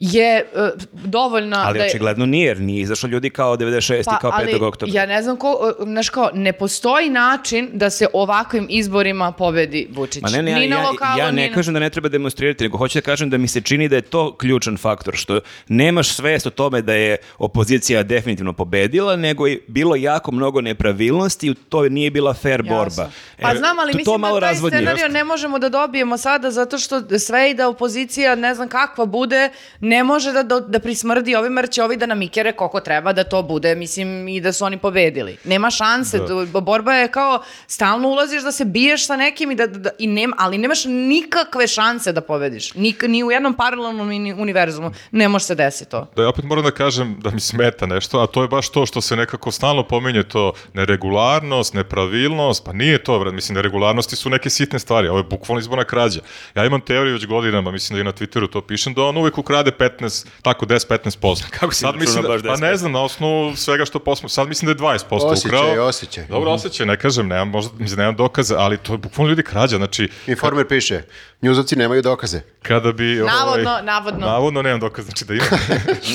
Speaker 1: je e, dovoljna
Speaker 2: Ali
Speaker 1: da je- Pa,
Speaker 2: očigledno nije, jer nije izašlo ljudi kao 96. i kao 5. oktobra.
Speaker 1: ja ne znam ko, e, znaš kao, ne postoji način da se ovakvim izborima pobedi Vučić.
Speaker 2: Ma ne, ne,
Speaker 1: Znači, ni
Speaker 2: ja,
Speaker 1: na
Speaker 2: ja-
Speaker 1: lokalu,
Speaker 2: ja
Speaker 1: ni
Speaker 2: ne
Speaker 1: na-
Speaker 2: kažem da ne treba demonstrirati, nego hoću da kažem da mi se čini da je to ključan faktor, što nemaš svest o tome da je opozicija definitivno pobedila, nego je bilo jako mnogo nepravilnosti i to nije bila fair borba.
Speaker 1: Jasno. Pa
Speaker 2: E,
Speaker 1: znam, ali
Speaker 2: to- to
Speaker 1: mislim
Speaker 2: malo
Speaker 1: da taj
Speaker 2: razvodnjuje.
Speaker 1: scenario ne možemo da dobijemo sada zato što sve i da opozicija ne znam kakva bude, ne može da, da, da prismrdi ovima jer će ovi da namikere koliko treba da to bude, mislim, i da su oni pobedili. Nema šanse, tu- borba je kao stalno ulaziš da se biješ sa nekim i da, da- da- i nema, ali nemaš nikakve šanse da pobediš. Nik, ni u jednom paralelnom ni- univerzumu ne može se desiti to.
Speaker 4: Da, ja opet moram da kažem da mi smeta nešto, a to je baš to što se nekako stalno pominje to neregularnost, nepravilnost, pa nije to, vrat, mislim, neregularnosti su neke sitne stvari, ovo je bukvalno izborna krađa. Ja imam teoriju već godinama, mislim da i na Twitteru to pišem, da on uvek ukrade 15, tako 10-15%.
Speaker 2: Kako si izračunao
Speaker 4: mislim, da-
Speaker 2: baš
Speaker 4: Pa
Speaker 2: 10%?
Speaker 4: ne znam, na osnovu svega što posmo, sad mislim da je 20%
Speaker 3: Osjećaj,
Speaker 4: ukrao.
Speaker 3: osjećaj. Mhm.
Speaker 4: Dobro, osjećaj, ne kažem, nemam, možda, mislim, nemam dokaza, ali to je bukvalno ljudi krađa, znači,
Speaker 3: Informer piše, njuzovci nemaju dokaze.
Speaker 4: kada bi... ovaj,
Speaker 1: Navodno, navodno.
Speaker 4: Navodno nemam dokaza, znači da imam.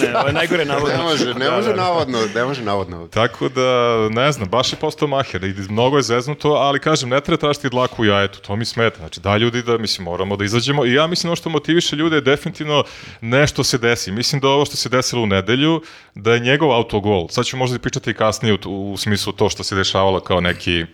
Speaker 2: Ne, ovo je najgore navodno.
Speaker 3: Ne može, ne
Speaker 2: Da,
Speaker 3: može
Speaker 2: da, da.
Speaker 3: navodno, ne može navodno.
Speaker 4: Tako da, ne znam, baš je postao maher i mnogo je zeznuto, ali kažem, ne treba tražiti dlaku u jajetu, to mi smeta. Znači, da ljudi da, mislim, moramo da izađemo i ja mislim ono što motiviše ljude je definitivno nešto se desi. Mislim da ovo što se desilo u nedelju, da je njegov autogol, sad ću možda i pričati kasnije u, u smislu to što se dešavalo kao neki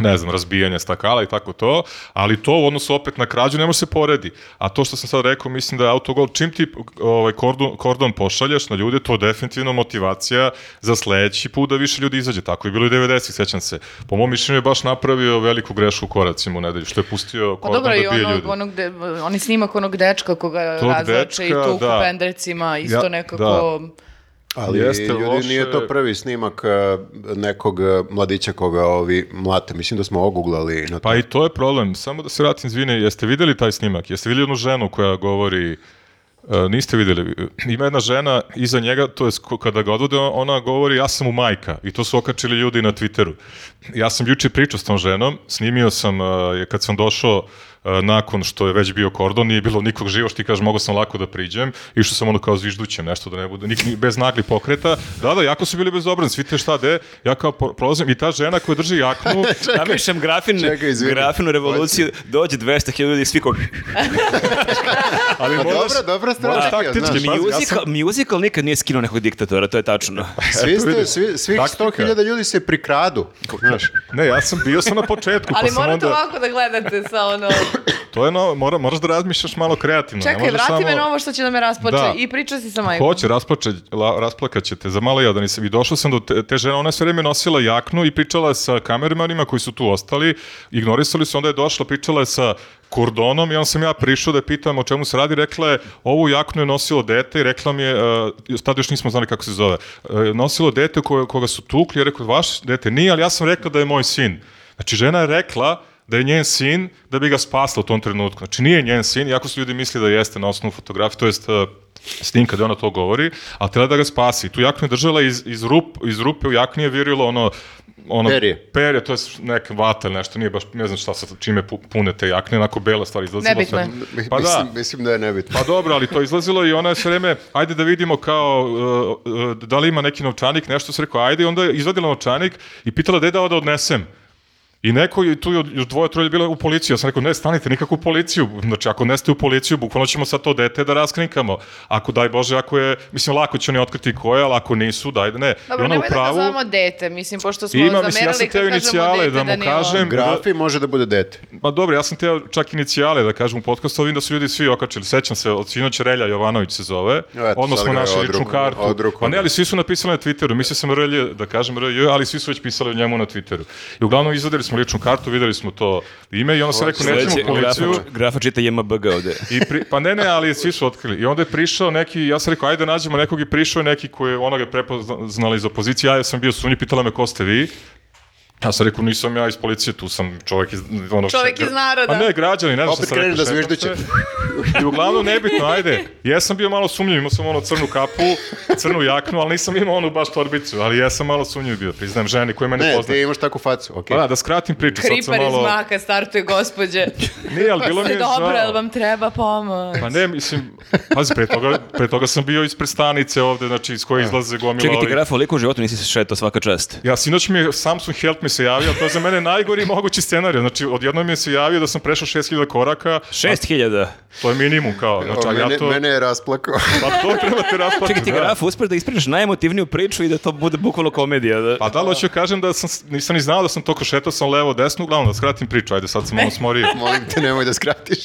Speaker 4: ne znam, razbijanje stakala i tako to, ali to u odnosu opet na krađu ne može se poredi. A to što sam sad rekao, mislim da je autogol, čim ti ovaj, kordon, kordon pošalješ na ljude, to je definitivno motivacija za sledeći put da više ljudi izađe. Tako je bilo i 90-ih, sećam se. Po mom mišljenju je baš napravio veliku grešku u koracima u nedelju, što je pustio
Speaker 1: Pa
Speaker 4: kordon
Speaker 1: dobro, i
Speaker 4: da bije
Speaker 1: onog,
Speaker 4: ljude.
Speaker 1: onog de, oni snimak onog dečka koga
Speaker 4: Tog
Speaker 1: razlače i
Speaker 4: dečka,
Speaker 1: tu
Speaker 4: da.
Speaker 1: u pendrecima, isto
Speaker 4: Ja,
Speaker 1: nekako...
Speaker 3: Ali
Speaker 4: Jeste
Speaker 3: ljudi
Speaker 4: loše.
Speaker 3: nije to prvi snimak eh, nekog eh, mladića koga ovi mlate. Mislim da smo oguglali na to.
Speaker 4: Pa i to je problem. Samo da se vratim, izvine, jeste videli taj snimak? Jeste videli onu ženu koja govori... e, niste videli. Ima jedna žena iza njega, to je sko- kada ga odvode, ona govori ja sam mu majka i to su okačili ljudi na Twitteru. Ja sam juče pričao s tom ženom, snimio sam, e, kad sam došao e, nakon što je već bio kordon, nije bilo nikog živo, što ti kažeš, mogao sam lako da priđem, išao sam ono kao zviždućem, nešto da ne bude, nik, ni- bez nagli pokreta. Da, da, jako su bili bezobrazni, svi te šta de, ja kao po- prolazim i ta žena koja drži jaknu,
Speaker 2: Namišljam grafin,
Speaker 3: Čekaj, izvini.
Speaker 2: grafinu revoluciju, dođe 200.000 ljudi i svi ko...
Speaker 4: ali
Speaker 3: Pa
Speaker 4: moraš-
Speaker 3: dobra, dobra
Speaker 4: moraš
Speaker 3: strategija,
Speaker 4: taktički,
Speaker 3: znaš.
Speaker 4: pazi, ja sam-
Speaker 2: Musical, musical nikad nije skinuo nekog diktatora, to je tačno.
Speaker 3: Svi ste,
Speaker 4: vidiš.
Speaker 3: svi, svih
Speaker 4: Taktika.
Speaker 3: 100.000 ljudi se prikradu. Znaš,
Speaker 4: Ne, ja sam bio sam na početku,
Speaker 1: Ali
Speaker 4: pa sam
Speaker 1: morate
Speaker 4: onda...
Speaker 1: ovako da gledate sa ono...
Speaker 4: To je no, mora, moraš da razmišljaš malo kreativno. ne
Speaker 1: Čekaj,
Speaker 4: možeš
Speaker 1: vrati
Speaker 4: samo...
Speaker 1: me na ovo što će da me raspoče
Speaker 4: Da.
Speaker 1: i priča si sa majkom.
Speaker 4: Hoće, rasplače, la, rasplakat ćete. Za malo jadan nisam. I došao sam do te, te žene, ona je sve vreme nosila jaknu i pričala je sa kamermanima koji su tu ostali. Ignorisali su, onda je došla, pričala je sa kordonom i onda sam ja prišao da je pitam o čemu se radi. Rekla je, ovu jaknu je nosilo dete i rekla mi je, uh, tad još nismo znali kako se zove, uh, nosilo dete ko, koga su tukli. Ja rekao, vaš dete nije, ali ja sam rekla da je moj sin. Znači, žena je rekla da je njen sin, da bi ga spasla u tom trenutku. Znači, nije njen sin, iako su ljudi mislili da jeste na osnovu fotografije, to jest uh, snimka gde ona to govori, a treba da ga spasi. Tu jaknu je držala iz, iz, rup, iz rupe, u jakni je virilo ono... ono
Speaker 3: Perje.
Speaker 4: Perje, to je neka vata ili nešto, nije baš, ne znam šta sa čime pu- pune te jakne, onako bela stvar izlazila.
Speaker 1: Nebitno
Speaker 4: sve.
Speaker 3: mi-
Speaker 4: Pa da,
Speaker 3: mislim, mislim da je nebitno.
Speaker 4: pa dobro, ali to je izlazilo i ona je sve vreme, ajde da vidimo kao, uh, uh, da li ima neki novčanik, nešto se rekao, ajde, i onda je izvadila novčanik i pitala gde da ovo da odnesem. I neko je tu još dvoje troje bilo u policiju. Ja sam rekao, ne, stanite nikako u policiju. Znači, ako ne ste u policiju, bukvalno ćemo sad to dete da raskrinkamo. Ako, daj Bože, ako je, mislim, lako će oni otkriti ko je, ali ako nisu, daj da ne. I
Speaker 1: Dobro,
Speaker 4: ona u
Speaker 1: nemoj da
Speaker 4: pravu.
Speaker 1: ga zovemo dete, mislim, pošto smo
Speaker 4: Ima,
Speaker 1: zamerali
Speaker 4: mislim, ja sam
Speaker 1: kad
Speaker 4: teo
Speaker 1: kažemo
Speaker 4: inicijale
Speaker 1: dete
Speaker 4: da mu
Speaker 1: nije on.
Speaker 4: kažem.
Speaker 3: Grafi može da bude dete.
Speaker 4: Ma dobro, ja sam teo čak inicijale da kažem u podcastu, ali vidim da su ljudi svi okačili. Sećam se, od sinoć Relja Jovanović se zove.
Speaker 3: Eto,
Speaker 4: Odmah
Speaker 3: sad
Speaker 4: smo
Speaker 3: ga je
Speaker 4: našli
Speaker 3: odrukao,
Speaker 4: ličnu kartu.
Speaker 3: odrukao.
Speaker 4: Pa ne, ali svi su napisali na Twitteru. Mislio sam Relje, da kažem Relje, ali svi su već pisali o njemu na Twitteru. I uglavnom izvadili smo ličnu kartu, videli smo to ime i onda sam rekao, nećemo
Speaker 2: Sledeće,
Speaker 4: u policiju.
Speaker 2: grafa, grafa čita JMBG ovde.
Speaker 4: I pri, pa ne, ne, ali svi su otkrili. I onda je prišao neki, ja sam rekao, ajde da nađemo nekog i prišao je neki koji je onoga prepoznali iz opozicije. Ja sam bio sumnji, pitala me ko ste vi. Ja sam rekao, nisam ja iz policije, tu sam čovjek iz... Ono,
Speaker 1: Čovjek iz naroda.
Speaker 4: A ne, građani, ne znam šta
Speaker 3: Opet
Speaker 4: sam rekao.
Speaker 3: kreneš da
Speaker 4: šetam
Speaker 3: zviždiće.
Speaker 4: se. I uglavnom, nebitno, ajde. Jesam bio malo sumnjiv, imao sam ono crnu kapu, crnu jaknu, ali nisam imao onu baš torbicu, ali jesam malo sumnjiv bio, priznajem ženi koja mene
Speaker 3: Ne,
Speaker 4: poznaje.
Speaker 3: ti imaš takvu facu, okej.
Speaker 4: Pa da, da skratim priču, sad sam
Speaker 1: Kripar iz
Speaker 4: malo...
Speaker 1: maka startuje gospođe.
Speaker 4: Nije, ali bilo mi
Speaker 1: Sve
Speaker 4: je
Speaker 1: dobro,
Speaker 4: žao.
Speaker 1: jel vam treba pomoć?
Speaker 4: Pa ne, mislim, pazi, pre toga, pre toga sam bio ispred stanice ovde, znači iz koje izlaze gomila
Speaker 2: Čekajte,
Speaker 4: ovih.
Speaker 2: grafa, liko u životu nisi se šetao svaka čast.
Speaker 4: Ja, sinoć mi je Samsung Health me mi se javio, to je za mene najgori mogući scenarij. Znači, odjedno mi se javio da sam prešao 6000 koraka,
Speaker 2: Šest hiljada.
Speaker 4: to je minimum kao.
Speaker 3: O,
Speaker 4: Znači, a
Speaker 3: mene,
Speaker 4: ja to,
Speaker 3: mene je rasplakao.
Speaker 4: Pa to treba te rasplati,
Speaker 2: Čekaj ti
Speaker 4: da.
Speaker 2: graf, uspeš da ispričaš najmotivniju priču i da to bude bukvalno komedija. Da...
Speaker 4: Pa da, ali hoću kažem da sam, s- nisam ni znao da sam toliko šetao sam levo, desno, uglavnom da skratim priču, ajde sad sam malo smorio.
Speaker 3: Molim te, nemoj da skratiš.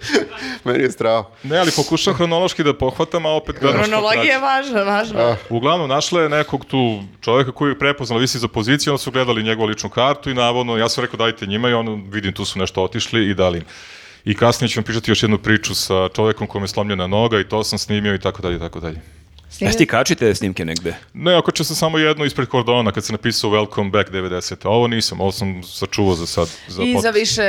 Speaker 3: Meni je strava.
Speaker 4: Ne, ali pokušam hronološki da pohvatam, a opet gledam što Ah.
Speaker 1: Kronologija je
Speaker 4: tražim.
Speaker 1: važna, važna.
Speaker 4: Uglavnom, našla je nekog tu čoveka koji je prepoznala visi za poziciju, onda su gledali njegovu ličnu kartu i navodno, ja sam rekao dajte njima i on vidim tu su nešto otišli i dali im. I kasnije ću vam pričati još jednu priču sa čovekom kome je slomljena noga i to sam snimio i tako dalje i tako dalje.
Speaker 2: Jesi ti kačite snimke negde?
Speaker 4: Ne, okačio sam samo jedno ispred kordona kad sam napisao Welcome Back 90. A Ovo nisam, ovo sam sačuvao za sad. Za
Speaker 1: I za
Speaker 4: podcast.
Speaker 1: više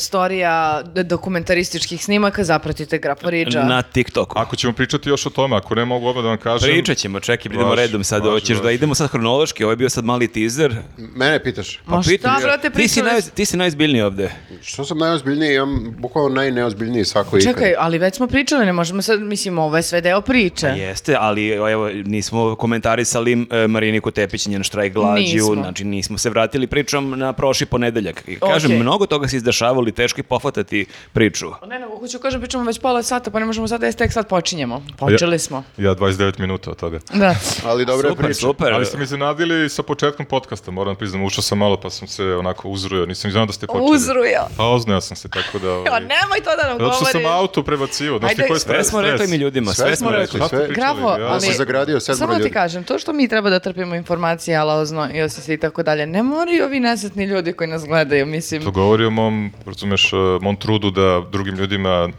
Speaker 1: storija d- dokumentarističkih snimaka zapratite Graporiđa.
Speaker 2: Na TikToku.
Speaker 4: Ako ćemo pričati još o tome, ako ne mogu odmah da vam kažem...
Speaker 2: Pričat ćemo, čekaj, idemo
Speaker 4: Važi,
Speaker 2: redom sad,
Speaker 4: važi,
Speaker 2: hoćeš da
Speaker 4: važi.
Speaker 2: idemo sad hronološki, ovo je bio sad mali teaser.
Speaker 3: Mene pitaš.
Speaker 1: Ma
Speaker 2: pitam
Speaker 1: Pa šta,
Speaker 2: te.
Speaker 1: brate,
Speaker 2: ti, si
Speaker 1: pričali
Speaker 2: naj, ti si najozbiljniji ovde.
Speaker 3: Što sam najozbiljniji, imam bukvalo najneozbiljniji svako ikad.
Speaker 1: Čekaj, ali već smo pričali, ne možemo sad, mislim, ovo je sve deo priče.
Speaker 4: Pa
Speaker 2: Jeste, ali evo, nismo komentarisali e, Mariniku Tepić, njen štrajk glađu,
Speaker 1: Nismo.
Speaker 2: znači nismo se vratili pričom na prošli ponedeljak. I Kažem,
Speaker 1: Okej.
Speaker 2: mnogo toga se izdešavalo i teško je pohvatati priču.
Speaker 1: Pa Ne, ne, hoću kažem, pričamo već pola sata, pa ne možemo sad da tek sad počinjemo. Počeli smo.
Speaker 4: Ja 29 minuta od toga.
Speaker 1: Da.
Speaker 3: Ali dobra je
Speaker 2: super,
Speaker 3: priča.
Speaker 2: super.
Speaker 4: Ali ste mi iznenadili sa početkom podcasta, moram priznam, ušao sam malo pa sam se onako uzrujao, nisam znao da ste počeli.
Speaker 1: Uzruja.
Speaker 4: Pa oznao sam se, tako da...
Speaker 1: Jo,
Speaker 4: Ovaj,
Speaker 1: nemoj to da nam
Speaker 4: zato što
Speaker 1: govoriš.
Speaker 4: sam auto prebacio, znaš ti
Speaker 1: Ajde,
Speaker 4: koji je
Speaker 1: sve
Speaker 2: Sve
Speaker 4: stres?
Speaker 2: smo rekli mi ljudima, sve, smo rekli.
Speaker 3: sve.
Speaker 1: Grafo, ali...
Speaker 3: sam zagradio sedmoro
Speaker 1: Samo ti
Speaker 3: ljudi.
Speaker 1: kažem, to što mi treba da trpimo informacije, alaozno, i osvijesti i tako dalje, ne moraju ovi nesretni ljudi koji nas gledaju, mislim.
Speaker 4: To govori o mom, razumeš, eh, mom trudu da drugim ljudima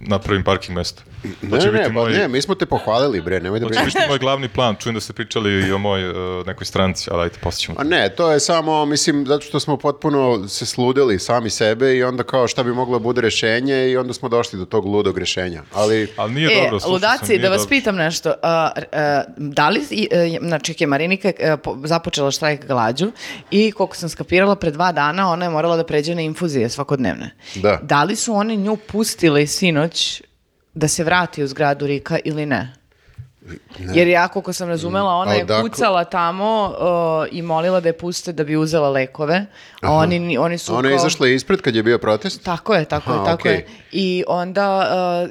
Speaker 4: napravim parking mesto. To
Speaker 3: Ne,
Speaker 4: će
Speaker 3: ne, ne,
Speaker 4: biti
Speaker 3: pa
Speaker 4: moj-
Speaker 3: ne, mi smo te pohvalili, bre, nemoj da
Speaker 4: To će
Speaker 3: brineš.
Speaker 4: biti moj glavni plan, čujem da ste pričali i o moj eh, nekoj stranci, ali ajde, poslije ćemo.
Speaker 3: A ne, to je samo, mislim, zato što smo potpuno se sludili sami sebe i onda kao šta bi moglo da bude rešenje i onda smo došli do tog ludog rešenja. Ali
Speaker 4: Ali nije
Speaker 1: e,
Speaker 4: dobro, slušao sam,
Speaker 1: ludaci,
Speaker 4: nije
Speaker 1: da vas
Speaker 4: dobro.
Speaker 1: pitam nešto. A, r- e, da li, i, e, znači, ok, Marinika e, po- započela štrajk glađu i koliko sam skapirala, pre dva dana ona je morala da pređe na infuzije svakodnevne.
Speaker 3: Da.
Speaker 1: Da li su oni nju pustili sinoć da se vrati u zgradu Rika ili ne? Jer ja, koliko sam razumela, ona
Speaker 3: a
Speaker 1: je
Speaker 3: odakle-
Speaker 1: kucala tamo e, i molila da je puste da bi uzela lekove, a oni, ni- oni su
Speaker 3: ona ono
Speaker 1: kao-
Speaker 3: je izašla ispred kad je bio protest.
Speaker 1: tako je, tako
Speaker 3: Aha,
Speaker 1: je, tako je.
Speaker 3: okej.
Speaker 1: I onda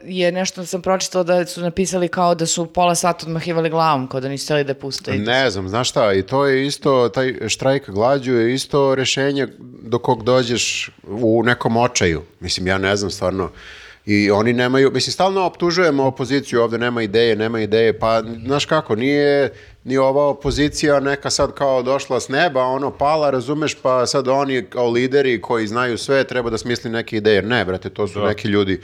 Speaker 1: uh, je nešto sam pročitala da su napisali kao da su pola sata odmahivali glavom, kao da nisu htjeli da je puste. i to.
Speaker 3: Ne znam, znaš šta, i to je isto, taj štrajk glađu je isto rešenje do kog dođeš u nekom očaju. Mislim, ja ne znam stvarno. I oni nemaju, mislim, stalno optužujemo opoziciju, ovde nema ideje, nema ideje, pa znaš kako, nije ni ova opozicija neka sad kao došla s neba, ono pala, razumeš, pa sad oni kao lideri koji znaju sve treba da smisli neke ideje. Ne, brate, to su neki ljudi,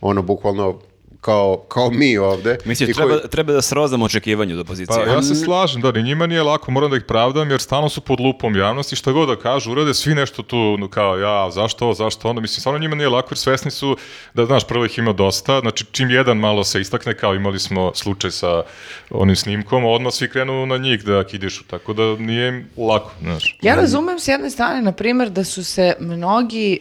Speaker 3: ono, bukvalno kao, kao mi ovde.
Speaker 2: Mislim,
Speaker 3: i koji-
Speaker 2: treba, treba da srozamo očekivanje od
Speaker 4: Pa
Speaker 2: opozicije.
Speaker 4: ja se slažem, da, ni njima nije lako, moram da ih pravdam, jer stalno su pod lupom javnosti, šta god da kažu, urade svi nešto tu, no, kao ja, zašto ovo, zašto ono, mislim, stvarno njima nije lako, jer svesni su da, znaš, prvo ih ima dosta, znači, čim jedan malo se istakne, kao imali smo slučaj sa onim snimkom, odmah svi krenu na njih da kidišu, tako da nije im lako, znaš.
Speaker 1: Ja razumem s jedne strane, na primjer, da su se mnogi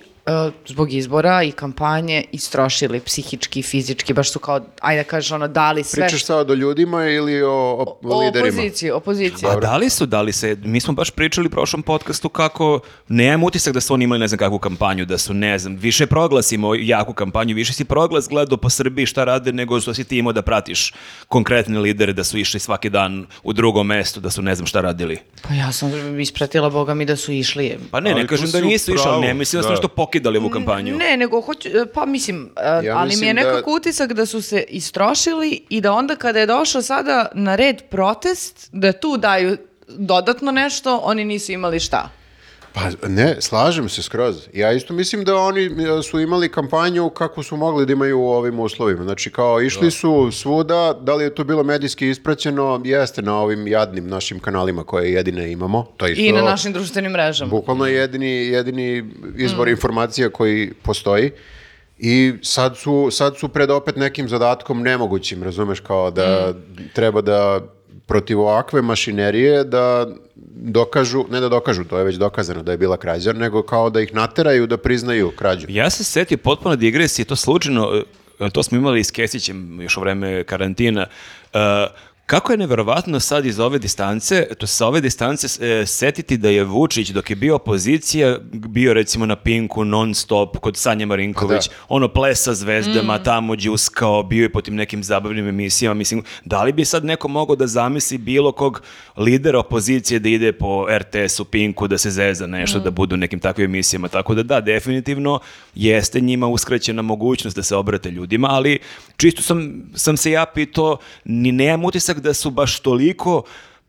Speaker 1: uh, zbog izbora i kampanje istrošili psihički, fizički, baš su kao, ajde da kažeš, ono, dali sve.
Speaker 3: Pričaš sad o ljudima ili o, o,
Speaker 1: o
Speaker 3: liderima?
Speaker 1: opoziciji, opoziciji.
Speaker 2: A da li su, da li se, mi smo baš pričali u prošlom podcastu kako, nemam utisak da su oni imali ne znam kakvu kampanju, da su ne znam, više proglasimo jaku kampanju, više si proglas gledao po Srbiji šta rade nego što si ti imao da pratiš konkretne lidere da su išli svaki dan u drugo mesto, da su ne znam šta radili.
Speaker 1: Pa ja sam ispratila, boga mi, da su išli.
Speaker 2: Pa ne,
Speaker 4: Ali
Speaker 2: ne
Speaker 4: tu
Speaker 2: kažem da
Speaker 4: si u
Speaker 2: nisu išli, ali ne
Speaker 4: pravu,
Speaker 2: mislim da su
Speaker 4: da.
Speaker 2: nešto pokidali ovu kampanju.
Speaker 1: Ne, nego hoću, e, pa mislim, e,
Speaker 3: Ja
Speaker 1: ali mi je
Speaker 3: mislim da-
Speaker 1: nekako utisak da su se istrošili i da onda kada je došao sada na red protest, da tu daju dodatno nešto, oni nisu imali šta.
Speaker 3: Pa ne, slažem se skroz. Ja isto mislim da oni e, su imali kampanju kako su mogli da imaju u ovim uslovima. Znači kao išli su svuda, da li je to bilo medijski ispraćeno, jeste na ovim jadnim našim kanalima koje jedine imamo. To je isto,
Speaker 1: I na našim društvenim mrežama.
Speaker 3: Bukvalno jedini, jedini izvor informacija koji postoji. I sad su, sad su pred opet nekim zadatkom nemogućim, razumeš, kao da treba da protiv ovakve mašinerije da dokažu, ne da dokažu, to je već dokazano da je bila krađa, nego kao da ih nateraju da priznaju krađu.
Speaker 2: Ja se setio potpuno digresije, to slučajno, e, to smo imali i s Kesićem još u vreme karantina, e, Kako je neverovatno sad iz ove distance, to sa ove distance e, setiti da je Vučić dok je bio opozicija, bio recimo na Pinku non stop kod Sanje Marinković,
Speaker 3: Pa da.
Speaker 2: ono plesa zvezdama, tamo đuskao, bio je po tim nekim zabavnim emisijama, mislim, da li bi sad neko mogao da zamisli bilo kog lidera opozicije da ide po RTS-u, Pinku, da se zeza nešto, da budu u nekim takvim emisijama, tako da da, definitivno jeste njima uskraćena mogućnost da se obrate ljudima, ali čisto sam, sam se ja pitao, ni nemam utisak da su baš toliko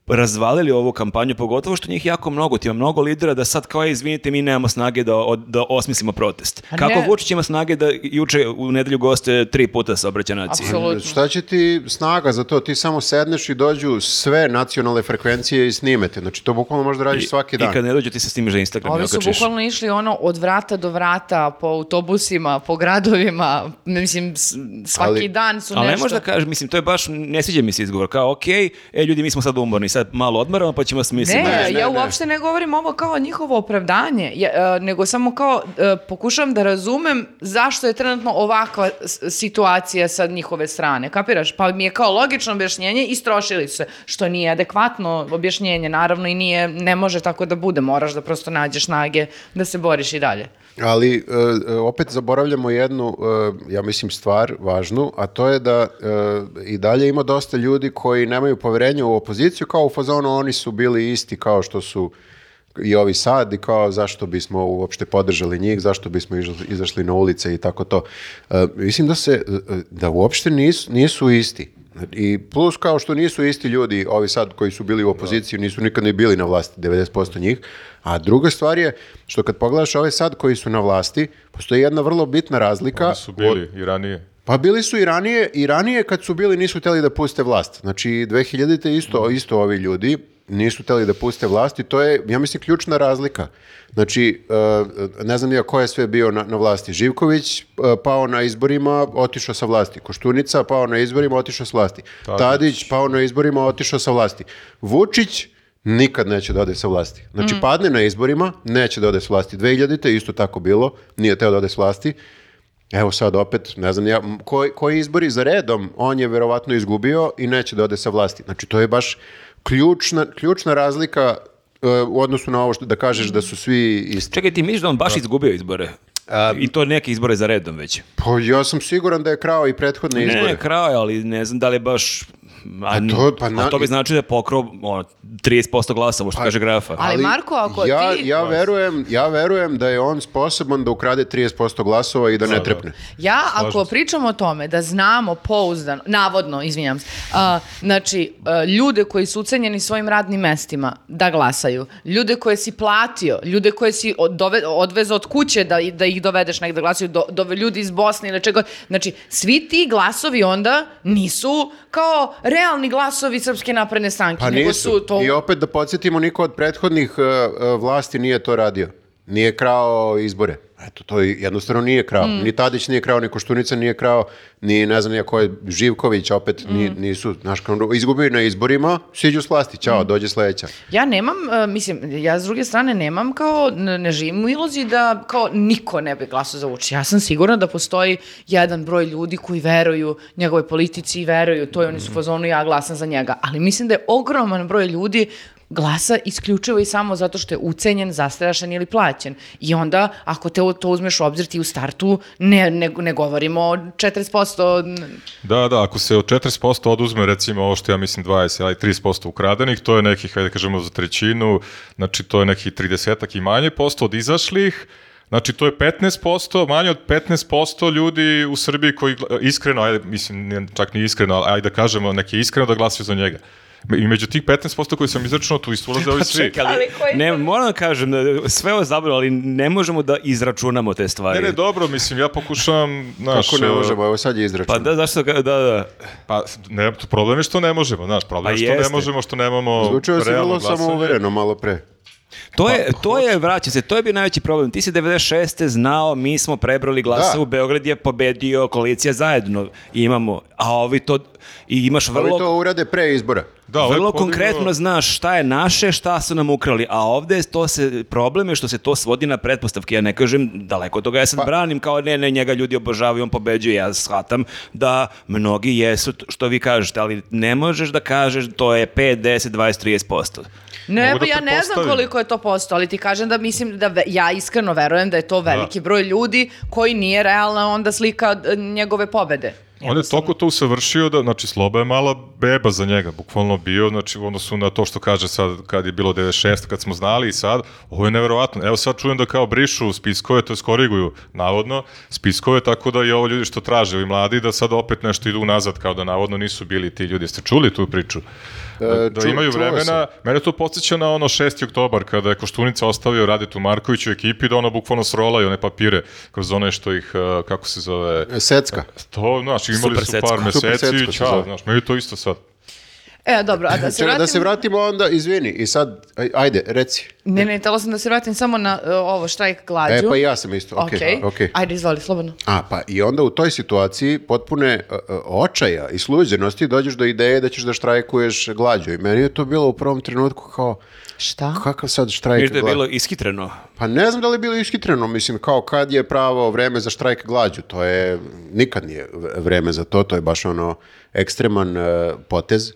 Speaker 2: razvalili ovu kampanju, pogotovo što njih jako mnogo, ti ima mnogo lidera da sad kao je, izvinite, mi nemamo snage da, od- da osmislimo protest.
Speaker 1: Pa
Speaker 2: Kako
Speaker 1: ne.
Speaker 2: Vučić ima snage da juče u nedelju goste tri puta saobraća naciji?
Speaker 1: Apsolutno.
Speaker 3: Šta će ti snaga za to? Ti samo sedneš i dođu sve nacionalne frekvencije i snimete. Znači, to bukvalno možeš da radiš svaki dan.
Speaker 2: I kad ne dođe ti se snimiš za Instagram i
Speaker 1: Ovi su
Speaker 2: okačiš.
Speaker 1: bukvalno išli ono od vrata do vrata, po autobusima, po gradovima, mislim s- svaki
Speaker 3: Ali-
Speaker 1: dan su
Speaker 2: Ali ne
Speaker 1: nešto.
Speaker 2: možeš da kažeš, mislim, to je baš, ne sviđa mi se izgovor, kao, ok, e, ljudi, mi smo sad umorni, sad malo odmaramo, pa ćemo smisliti.
Speaker 1: Ne,
Speaker 3: Ne, ne,
Speaker 1: ja
Speaker 3: ne.
Speaker 1: uopšte ne govorim ovo kao njihovo opravdanje, ja, e, nego samo kao e, pokušavam da razumem zašto je trenutno ovakva s- situacija sa njihove strane, kapiraš? Pa mi je kao logično objašnjenje i strošili su se, što nije adekvatno objašnjenje, naravno, i nije, ne može tako da bude, moraš da prosto nađeš snage da se boriš i dalje.
Speaker 3: Ali e, e, opet zaboravljamo jednu, e, ja mislim, stvar važnu, a to je da e, i dalje ima dosta ljudi koji nemaju poverenja u opoziciju, kao u fazonu oni su bili isti kao što su i ovi sad i kao zašto bismo uopšte podržali njih, zašto bismo iž- izašli na ulice i tako to. E, mislim da se, e, e, da uopšte nisu, nisu isti. I plus kao što nisu isti ljudi, ovi sad koji su bili u opoziciji, nisu nikad ni bili na vlasti, 90% njih. A druga stvar je što kad pogledaš ove sad koji su na vlasti, postoji jedna vrlo bitna razlika.
Speaker 4: Oni su bili i ranije.
Speaker 3: Pa bili su i ranije, i ranije kad su bili nisu hteli da puste vlast. Znači 2000-te isto, isto ovi ljudi nisu hteli da puste vlast i to je, ja mislim, ključna razlika. Znači, e, ne znam ja ko je sve bio na, na vlasti. Živković e, pao na izborima, otišao sa vlasti. Koštunica pao na izborima, otišao sa vlasti. Tadić,
Speaker 4: Tadić.
Speaker 3: pao na izborima, otišao sa vlasti. Vučić nikad neće da ode sa vlasti. Znači, padne na izborima, neće da ode sa vlasti. 2000-te isto tako bilo, nije teo da ode sa vlasti. Evo sad opet, ne znam ja, m, koji, koji izbori za redom, on je verovatno izgubio i neće da ode sa vlasti. Znači, to je baš ključna, ključna razlika e, u odnosu na ovo što da kažeš da su svi isti.
Speaker 2: Čekaj, ti misliš da on baš izgubio izbore? I to neke izbore za redom već.
Speaker 3: Pa ja sam siguran da je krao i prethodne
Speaker 2: Ne,
Speaker 3: izbore.
Speaker 2: ne, krao je, ali ne znam da li je baš... A,
Speaker 3: to- pa
Speaker 2: a
Speaker 3: na- Pa-
Speaker 2: to bi znači da je pokrao ono, 30% glasa, ovo što kaže grafa.
Speaker 1: Ali, Marko, ako
Speaker 3: ja,
Speaker 1: ti...
Speaker 3: Ja verujem, ja verujem da je on sposoban da ukrade 30% glasova i da ne trepne.
Speaker 1: Ja, ako
Speaker 4: Slažem se.
Speaker 1: pričamo o tome da znamo pouzdano, navodno, izvinjam se, a, znači, a, ljude koji su ucenjeni svojim radnim mestima da glasaju, ljude koje si platio, ljude koje si od- dove, odvezao od kuće da, da ih dovedeš negde da glasaju, do, dove ljudi iz Bosne ili čega, znači, svi ti glasovi onda nisu kao realni glasovi Srpske napredne stranke,
Speaker 3: Pa
Speaker 1: nego
Speaker 3: nisu.
Speaker 1: su to...
Speaker 3: I opet da podsjetimo, niko od prethodnih e, e, vlasti nije to radio. Nije krao izbore. Eto, to i- jednostavno nije krao.
Speaker 1: Mm.
Speaker 3: Ni Tadić nije krao, ni Koštunica nije krao, ni ne znam ni ja ko je Živković opet ni,
Speaker 1: Mm.
Speaker 3: nisu, znaš, kao, izgubili na izborima, siđu s vlasti, čao,
Speaker 1: Mm.
Speaker 3: dođe sledeća.
Speaker 1: Ja nemam, e, mislim, ja s druge strane nemam kao, n- ne živim u iluziji da kao niko ne bi glasao za Vučića. Ja sam sigurna da postoji jedan broj ljudi koji veruju njegovoj politici i veruju to i oni su u fazonu ja glasam za njega. Ali mislim da je ogroman broj ljudi glasa isključivo i samo zato što je ucenjen, zastrašen ili plaćen. I onda, ako te u- to uzmeš u obzir, ti u startu ne, ne, ne govorimo o 40%. n-
Speaker 4: Da, da, ako se od 40% oduzme recimo ovo što ja mislim 20, ali 30% ukradenih, to je nekih, ajde kažemo za trećinu, znači to je nekih 30 i manje posto od izašlih, znači to je 15%, manje od 15% ljudi u Srbiji koji gla- iskreno, ajde, mislim ne- čak ni iskreno, ali ajde da kažemo neki iskreno da glasaju za njega. I među tih 15% koji sam izračunao, tu isto ulaze ovi svi.
Speaker 2: Čekaj, ali-
Speaker 1: Ali koji-
Speaker 2: ne, moram da kažem, da sve ovo je zabavno, ali ne možemo da izračunamo te stvari.
Speaker 4: Ne, ne, dobro, mislim, ja pokušavam, znaš...
Speaker 3: Kako ne
Speaker 4: uh,
Speaker 3: možemo, evo sad je
Speaker 2: Pa
Speaker 3: izračun.
Speaker 2: da, zašto, ga- da, da.
Speaker 4: Pa, ne, problem je što ne možemo, znaš, problem je
Speaker 2: Pa
Speaker 4: što ne
Speaker 2: jeste.
Speaker 4: možemo, što nemamo
Speaker 3: Zvučao si
Speaker 4: realno
Speaker 3: vrlo
Speaker 4: glasanje.
Speaker 3: samouvereno malo pre.
Speaker 2: To je, to je, vraća se, to je bio najveći problem. Ti si 96. znao, mi smo prebrali glasa
Speaker 3: Da.
Speaker 2: u Beograd je pobedio koalicija zajedno. Imamo, a ovi to i imaš
Speaker 3: Ali
Speaker 2: vrlo
Speaker 3: to urade pre izbora.
Speaker 4: Da, ovo je
Speaker 2: Vrlo
Speaker 4: podiglo-
Speaker 2: konkretno znaš šta je naše, šta su nam ukrali, a ovde to se, problem je što se to svodi na pretpostavke, ja ne kažem, daleko od toga ja sad branim, kao ne, ne, njega ljudi obožavaju, on pobeđuje, ja shvatam da mnogi jesu, t- što vi kažete, ali ne možeš da kažeš to je 5, 10, 20, 30%.
Speaker 1: Ne,
Speaker 4: Mogu
Speaker 1: pa
Speaker 4: da
Speaker 1: ja ne znam
Speaker 4: pretpostavim.
Speaker 1: koliko je to posto, ali ti kažem da mislim da ve- ja iskreno verujem da je to veliki broj ljudi koji nije realna onda slika d- njegove pobede.
Speaker 4: On je toliko to usavršio da, znači, Sloba je mala beba za njega, bukvalno bio, znači, u odnosu na to što kaže sad, kad je bilo 96, kad smo znali i sad, ovo je neverovatno. Evo sad čujem da kao brišu spiskove, to je skoriguju, navodno, spiskove, tako da i ovo ljudi što traže, ovi mladi, da sad opet nešto idu nazad, kao da navodno nisu bili ti ljudi. Ste čuli tu priču? Da, da
Speaker 3: E, ču-
Speaker 4: imaju
Speaker 3: čuo
Speaker 4: vremena,
Speaker 3: sam.
Speaker 4: Mene to podsjeća na ono 6. oktobar kada je Koštunica ostavio Radetu Markoviću u ekipi da ono bukvalno srolaju one papire kroz one što ih, eh, kako se zove,
Speaker 3: E, Secka.
Speaker 4: to, znaš, imali
Speaker 2: Super
Speaker 4: su
Speaker 2: secko.
Speaker 4: par meseci
Speaker 3: secko
Speaker 4: i
Speaker 3: se zove.
Speaker 4: čao, znaš, meni je to isto sad.
Speaker 1: E, dobro, a da se
Speaker 3: Čekaj,
Speaker 1: vratim...
Speaker 3: da se vratimo onda, izvini, i sad, aj- ajde, reci.
Speaker 1: Ne, ne, htjela sam da se vratim samo na e, ovo, štrajk glađu.
Speaker 3: E, pa i ja sam isto, okej,
Speaker 1: Okej.
Speaker 3: okej.
Speaker 1: Ajde, izvoli, slobodno.
Speaker 3: A, pa i onda u toj situaciji potpune uh, uh, očaja i sluđenosti dođeš do ideje da ćeš da štrajkuješ glađu. I meni je to bilo u prvom trenutku kao,
Speaker 1: Šta?
Speaker 3: kakav sad štrajk
Speaker 2: Viš da je
Speaker 3: glađu?
Speaker 2: bilo ishitreno.
Speaker 3: Pa ne znam da li je bilo ishitreno, mislim, kao kad je pravo vreme za štrajk glađu, to je, nikad nije v- vreme za to, to je baš ono ekstreman e, potez,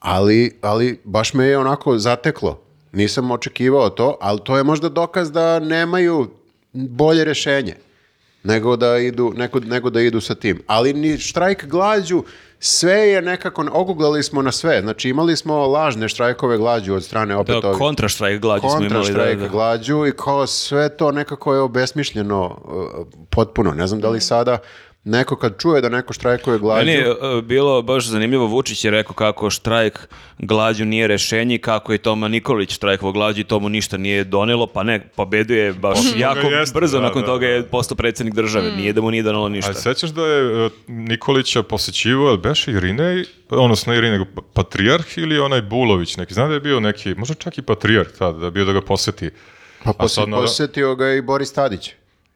Speaker 3: ali, ali baš me je onako zateklo. Nisam očekivao to, ali to je možda dokaz da nemaju bolje rešenje nego da idu, neko, nego da idu sa tim. Ali ni štrajk glađu, sve je nekako, oguglali smo na sve. Znači imali smo lažne štrajkove glađu od strane opet
Speaker 2: Da,
Speaker 3: ovih-
Speaker 2: kontraštrajk glađu smo
Speaker 3: kontra
Speaker 2: imali. Da,
Speaker 3: štrajk
Speaker 2: da.
Speaker 3: glađu i kao sve to nekako je obesmišljeno uh, potpuno. Ne znam da li
Speaker 2: Mm.
Speaker 3: sada neko kad čuje da neko štrajkuje glađu,
Speaker 2: Meni je e, bilo baš zanimljivo, Vučić je rekao kako štrajk glađu nije rešenje, i kako je Toma Nikolić štrajkovo glađu i to mu ništa nije donelo, pa ne, pobedio je baš
Speaker 4: Posle toga
Speaker 2: jako
Speaker 4: jeste,
Speaker 2: brzo,
Speaker 4: da,
Speaker 2: nakon
Speaker 4: da,
Speaker 2: toga
Speaker 4: da.
Speaker 2: je postao predsjednik države, nije da mu nije donelo ništa.
Speaker 4: A sećaš da je e, Nikolića posećivao, jel beše Irinej, odnosno ne Irinej, nego pa- Patrijarh ili onaj Bulović neki, znam da je bio neki, možda čak i Patrijarh tada, da je bio da ga poseti.
Speaker 3: pa
Speaker 4: A
Speaker 3: posje-
Speaker 4: sad, ono- naravno-
Speaker 3: posjetio ga je i Boris Tadić.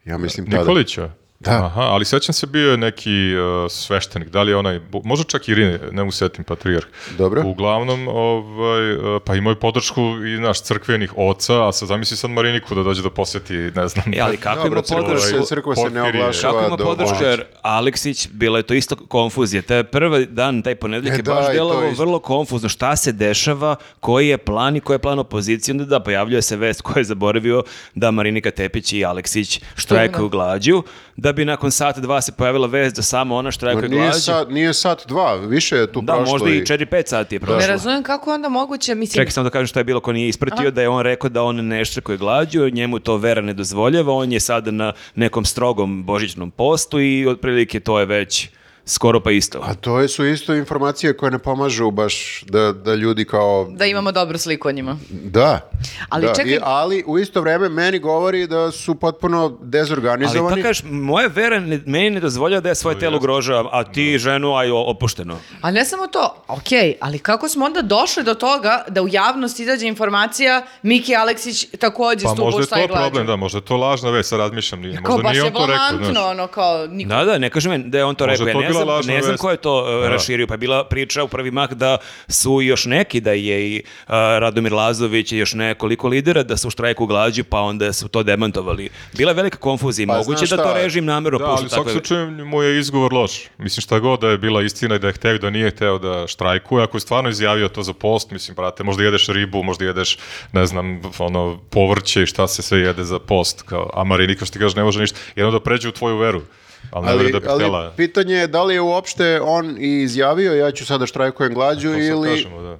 Speaker 3: Ja mislim tada.
Speaker 4: Nikolića?
Speaker 3: Da.
Speaker 4: Aha, ali sećam se bio je neki e, sveštenik, da li je onaj, bu- možda čak i Irine, ne mu setim, patrijarh.
Speaker 3: Dobro.
Speaker 4: Uglavnom, ovaj, e, pa imao je podršku i naš crkvenih oca, a sad zamisli sad Mariniku da dođe da poseti, ne znam.
Speaker 2: E, ali kako
Speaker 3: Dobro,
Speaker 2: ima
Speaker 3: crkva
Speaker 2: podršku?
Speaker 3: se- crkva se ne
Speaker 4: Porfirije.
Speaker 3: oglašava.
Speaker 2: Kako ima
Speaker 3: do
Speaker 2: podršku,
Speaker 3: Božića.
Speaker 2: jer Aleksić, bila je to isto konfuzija. Taj prvi dan, taj ponedeljak
Speaker 3: E,
Speaker 2: je
Speaker 3: da, i
Speaker 2: baš
Speaker 3: to
Speaker 2: djelovo
Speaker 3: isto.
Speaker 2: vrlo konfuzno. Šta se dešava, koji je plan i koji je plan opozicije. Onda da, pojavljuje se vest koja je zaboravio da Marinika Tepić i Aleksić štrajkaju glađu, da bi nakon sata dva se pojavila vest da samo ona
Speaker 3: Ma
Speaker 2: štrajkuje
Speaker 3: Nije
Speaker 2: glađu.
Speaker 3: sat, nije sat dva, više je tu
Speaker 2: Da,
Speaker 3: prošlo.
Speaker 2: možda i 4-5 sati je
Speaker 1: Ne
Speaker 2: prošlo.
Speaker 1: razumijem kako je onda moguće, mislim...
Speaker 2: Čekaj samo da kažem šta je bilo ko nije ispratio, da je on rekao da on ne štrkuje glađu, njemu to vera ne dozvoljava, on je sada na nekom strogom božićnom postu i otprilike to je već skoro pa isto.
Speaker 3: A to je- su isto informacije koje ne pomažu baš da, da ljudi kao...
Speaker 1: Da imamo dobru sliku o njima.
Speaker 3: Da.
Speaker 1: Ali
Speaker 3: Da,
Speaker 1: čekaj-
Speaker 3: i- ali u isto vreme meni govori da su potpuno
Speaker 2: Ali
Speaker 3: dezorganizovani.
Speaker 2: pa kažeš, moja vera ne, meni ne dozvoljava da ja svoje telo ugrožavam, a ti ženu, aj o- opušteno.
Speaker 1: A ne samo to, okej, ali kako smo onda došli do toga da u javnost izađe informacija Miki Aleksić također
Speaker 4: Pa
Speaker 1: stupa
Speaker 4: možda
Speaker 1: u
Speaker 4: je
Speaker 1: štrajk
Speaker 4: to
Speaker 1: glađu?
Speaker 4: problem, da, možda je to lažna vest, sad razmišljam, nije,
Speaker 1: Kao
Speaker 4: možda
Speaker 1: baš
Speaker 4: nije
Speaker 1: je
Speaker 4: on to rekao.
Speaker 1: blamantno,
Speaker 4: znaš.
Speaker 1: ono kao niko...
Speaker 2: Da, da, ne kažem ja da je on to
Speaker 4: Možda je
Speaker 2: rekao,
Speaker 4: to
Speaker 2: ja ne
Speaker 4: bila
Speaker 2: znam,
Speaker 4: lažna
Speaker 2: ne znam
Speaker 4: vest.
Speaker 2: ko je to e,
Speaker 4: Da.
Speaker 2: raširio, pa je bila priča u prvi mah da su još neki, da je i e, Radomir Lazović i još nekoliko lidera da su u štrajku glađu, pa onda su to demantovali. Bila je velika konfuzija,
Speaker 3: Pa,
Speaker 2: moguće
Speaker 3: znaš
Speaker 2: da to
Speaker 3: šta?
Speaker 2: režim namjerno
Speaker 4: Da,
Speaker 2: pušta
Speaker 4: ali u svakom
Speaker 2: takve-
Speaker 4: slučaju mu je izgovor loš. Mislim šta god da je bila istina i da je hteo i da nije hteo da štrajkuje, ako je stvarno izjavio to za post, mislim, brate, možda jedeš ribu, možda jedeš, ne znam, ono, povrće i šta se sve jede za post, kao, a Marinika što ti kaže ne može ništa, jedno da pređe u tvoju veru, ali, ne
Speaker 3: Ali,
Speaker 4: veruje da bi
Speaker 3: ali
Speaker 4: htela.
Speaker 3: pitanje je da li je uopšte on i izjavio ja ću sada štrajkujem glađu
Speaker 4: To sad
Speaker 3: ili...
Speaker 4: kažemo, da.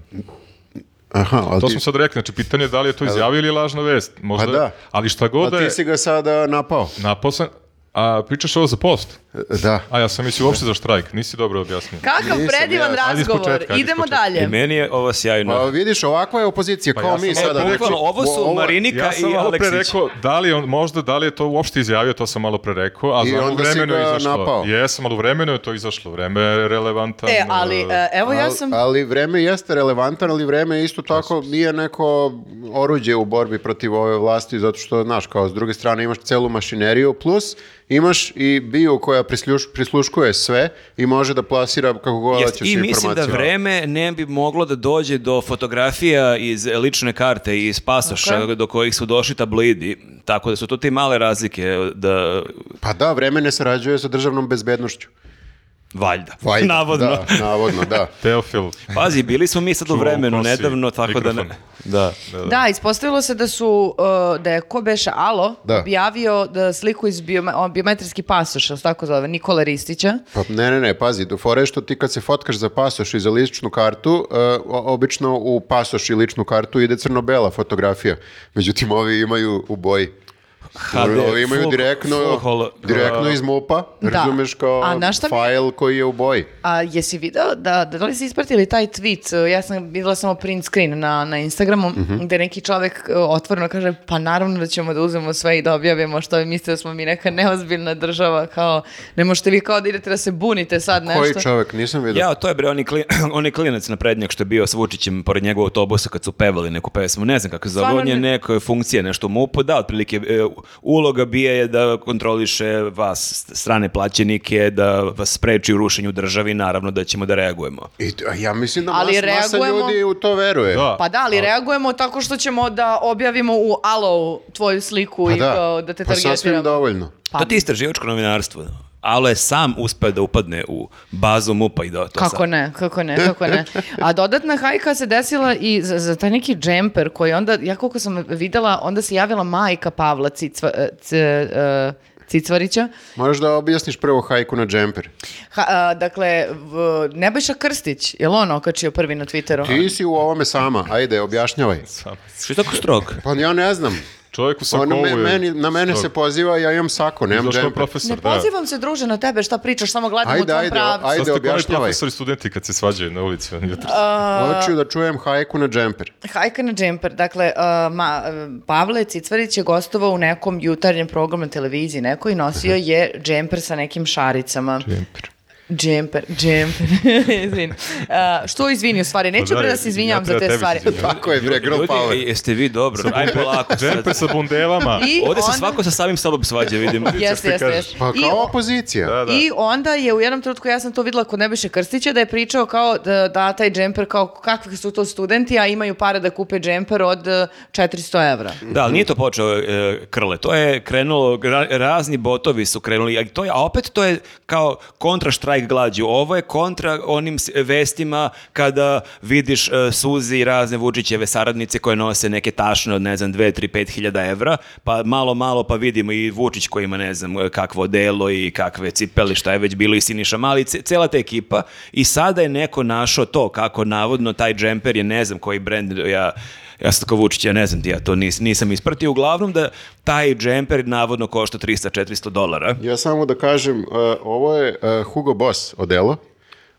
Speaker 3: Aha, ali
Speaker 4: To
Speaker 3: ti,
Speaker 4: smo sad rekli, znači pitanje je da li je to izjavio ili je lažna vest. Možda,
Speaker 3: Pa da.
Speaker 4: Ali šta
Speaker 3: a
Speaker 4: god da
Speaker 3: ti
Speaker 4: je
Speaker 3: si ga sada napao.
Speaker 4: naposlen, a pričaš ovo za post?
Speaker 3: Da.
Speaker 4: A ja sam mislio uopšte za štrajk, nisi dobro objasnio.
Speaker 1: Kakav
Speaker 3: Nisam,
Speaker 1: predivan
Speaker 3: ja-
Speaker 4: ajde
Speaker 1: razgovor,
Speaker 4: ispočetka, ajde
Speaker 1: idemo
Speaker 4: ispočetka.
Speaker 2: I
Speaker 1: dalje.
Speaker 2: meni je ovo sjajno.
Speaker 3: Pa vidiš, ovakva je opozicija, kao
Speaker 4: ja sam-
Speaker 3: mi
Speaker 4: E,
Speaker 3: sada.
Speaker 2: E, bukvalno,
Speaker 3: Znači,
Speaker 2: ovo su
Speaker 3: ovo-
Speaker 2: Marinika
Speaker 4: Ja sam
Speaker 2: i
Speaker 4: malo pre
Speaker 2: Aleksić.
Speaker 4: rekao, da li on, možda, da li je to uopšte izjavio, to sam malo pre rekao, a
Speaker 3: I
Speaker 4: znam u
Speaker 3: onda si
Speaker 4: vremenu je
Speaker 3: ga
Speaker 4: izašlo.
Speaker 3: napao.
Speaker 4: Jesam, ali u vremenu je to izašlo, vreme je relevantan.
Speaker 1: E, ali
Speaker 4: e,
Speaker 1: e, evo ja
Speaker 3: al-
Speaker 1: sam...
Speaker 3: Ali vreme jeste relevantan, ali vreme isto tako nije neko oruđe u borbi protiv ove vlasti, zato što, znaš, kao s druge strane imaš celu mašineriju, plus imaš i bio koja prisljuš- prisluškuje sve i može da plasira kako god
Speaker 2: Jest,
Speaker 3: hoćeš ono.
Speaker 2: I mislim da
Speaker 3: informaciju.
Speaker 2: vreme ne bi moglo da dođe do fotografija iz lične karte i iz pasoša
Speaker 1: Tako
Speaker 2: do kojih su došli tablidi, tako da su to te male razlike e, da
Speaker 3: Pa da, vreme ne sarađuje sa državnom bezbednošću.
Speaker 2: valjda,
Speaker 3: Valjda,
Speaker 2: navodno.
Speaker 3: Pa Da, navodno, da.
Speaker 4: Teofil.
Speaker 2: Pazi, bili smo mi sad u
Speaker 4: Čuvao
Speaker 2: vremenu
Speaker 4: kosi
Speaker 2: nedavno, tako da... Ne,
Speaker 4: mikrofon.
Speaker 2: da.
Speaker 1: Da, ispostavilo se da su, uh, da je ko beše Alo
Speaker 3: Da.
Speaker 1: objavio da sliku iz biome- o, biometrijski pasoš, jel se tako zove, Nikola Ristića.
Speaker 3: Pa, ne, ne, ne, pazi, do fore je što ti kad se fotkaš za pasoš i za ličnu kartu, e, o- obično u pasoš i ličnu kartu ide crno-bela fotografija. Međutim, ovi imaju u boji.
Speaker 2: HD,
Speaker 3: ovi imaju
Speaker 2: full-
Speaker 3: direktno,
Speaker 2: full holo-
Speaker 3: direktno iz mopa,
Speaker 1: Da.
Speaker 3: razumeš kao
Speaker 1: A znaš šta mi-
Speaker 3: fajl koji je u boji.
Speaker 1: A jesi video da, da li si ispratili taj tweet, e, ja sam videla samo print screen na, na Instagramu, gde neki čovek e, otvoreno kaže, pa naravno da ćemo da uzmemo sve i da objavimo što vi mislite da smo mi neka neozbiljna država, kao, ne možete vi kao da idete da se bunite sad nešto.
Speaker 3: Koji čovjek, nisam vidio.
Speaker 2: Ja, to je bre onaj klin, onaj klinac na prednjak što je bio s Vučićem pored njegovog autobusa kad su pevali neku pesmu, ne znam kako se zove,
Speaker 1: Stvarno
Speaker 2: on je
Speaker 1: ne-
Speaker 2: neka funkcija, nešto mu upo, da, otprilike e, uloga bija je da kontroliše vas, strane plaćenike, da vas spreči u rušenju državi, naravno da ćemo da reagujemo.
Speaker 3: I, t- a ja mislim da
Speaker 1: Ali
Speaker 3: mas, masa
Speaker 1: reagujemo-
Speaker 3: ljudi u to veruje.
Speaker 4: Da.
Speaker 1: Pa da, ali reagujemo tako što ćemo da objavimo u Alo tvoju sliku
Speaker 3: Pa
Speaker 1: i kao da te
Speaker 3: pa
Speaker 1: targetiramo.
Speaker 3: sasvim dovoljno.
Speaker 1: Pa-
Speaker 2: to ti je istraživačko novinarstvo. Alo je sam uspeo da upadne u bazu MUPA i da to
Speaker 1: Kako
Speaker 2: sad-
Speaker 1: ne, kako ne, kako ne. A dodatna hajka se desila i za, za taj neki džemper koji onda, ja koliko sam videla, onda se javila majka Pavla Cicva, c, e, Cicvarića.
Speaker 3: Možeš da objasniš prvo hajku na džemper.
Speaker 1: Ha, a, dakle, v, Nebojša Krstić, je li on okačio prvi na Twitteru?
Speaker 3: Ti si u ovome sama, ajde, objašnjavaj.
Speaker 2: Što je tako strog?
Speaker 3: Pa ja ne znam.
Speaker 4: Čovjek u
Speaker 3: Ono
Speaker 4: sakovu
Speaker 3: me-
Speaker 4: je...
Speaker 3: meni, na mene se poziva, ja imam sako, nemam
Speaker 4: Zašto je
Speaker 3: džemper.
Speaker 1: Ne
Speaker 4: profesor, da.
Speaker 1: pozivam se, druže, na tebe, šta pričaš, samo gledam
Speaker 3: Ajde,
Speaker 1: u tvom
Speaker 3: ajde,
Speaker 1: pravcu.
Speaker 3: ajde.
Speaker 4: Sad ste kao oni
Speaker 3: objašnjavaj.
Speaker 4: profesori i studenti kad se svađaju na ulici. on jutros.
Speaker 3: Hoću da čujem hajku na džemper.
Speaker 1: Hajka na džemper, dakle, uh, ma, uh, Pavle Cicvarić je gostovao u nekom jutarnjem programu na televiziji neko i nosio je džemper sa nekim šaricama. Džemper. Džemper, džemper, izvini. Uh, što izvini u stvari, neću
Speaker 4: Pa da,
Speaker 1: bre da se izvinjam
Speaker 4: ja
Speaker 1: za
Speaker 4: treba
Speaker 1: te
Speaker 4: tebi se
Speaker 1: stvari.
Speaker 4: izvinjavam.
Speaker 3: Tako je, bre, girl
Speaker 2: Ljudi, e,
Speaker 3: power.
Speaker 2: jeste vi dobro, aj polako sad.
Speaker 4: Džemper sa bundelama.
Speaker 1: I
Speaker 2: Ovde se
Speaker 1: on-
Speaker 2: svako sa samim sobom svađa, vidim.
Speaker 1: Jeste,
Speaker 4: ti
Speaker 1: jeste,
Speaker 4: kažeš.
Speaker 1: jeste.
Speaker 3: Pa
Speaker 1: I
Speaker 3: kao
Speaker 1: o-
Speaker 3: opozicija.
Speaker 4: Da, da.
Speaker 1: I onda je u jednom trenutku, ja sam to videla kod Nebojše Krstića, da je pričao kao da, da taj džemper, kao kakvi su to studenti, a imaju pare da kupe džemper od e, 400 evra.
Speaker 2: Da, ali nije to počeo e, krle. To je krenulo, ra- razni botovi su krenuli, a, to je, a opet to je kao kontra štrajk glađu. Ovo je kontra onim s- vestima kada vidiš e, Suzi i razne Vučićeve saradnice koje nose neke tašne od, ne znam, 2, 3, 5 hiljada evra, pa malo, malo pa vidimo i Vučić koji ima, ne znam, e, kakvo delo i kakve cipeli, šta je već bilo i Siniša Mali, ce- cela ta ekipa i sada je neko našao to kako navodno taj džemper je, ne znam koji brend, ja ja sam tako Vučić, ja ne znam ti, ja to nis, nisam ispratio. Uglavnom da taj džemper navodno košta 300-400 dolara.
Speaker 3: Ja samo da kažem, uh, ovo je uh, Hugo Boss odelo,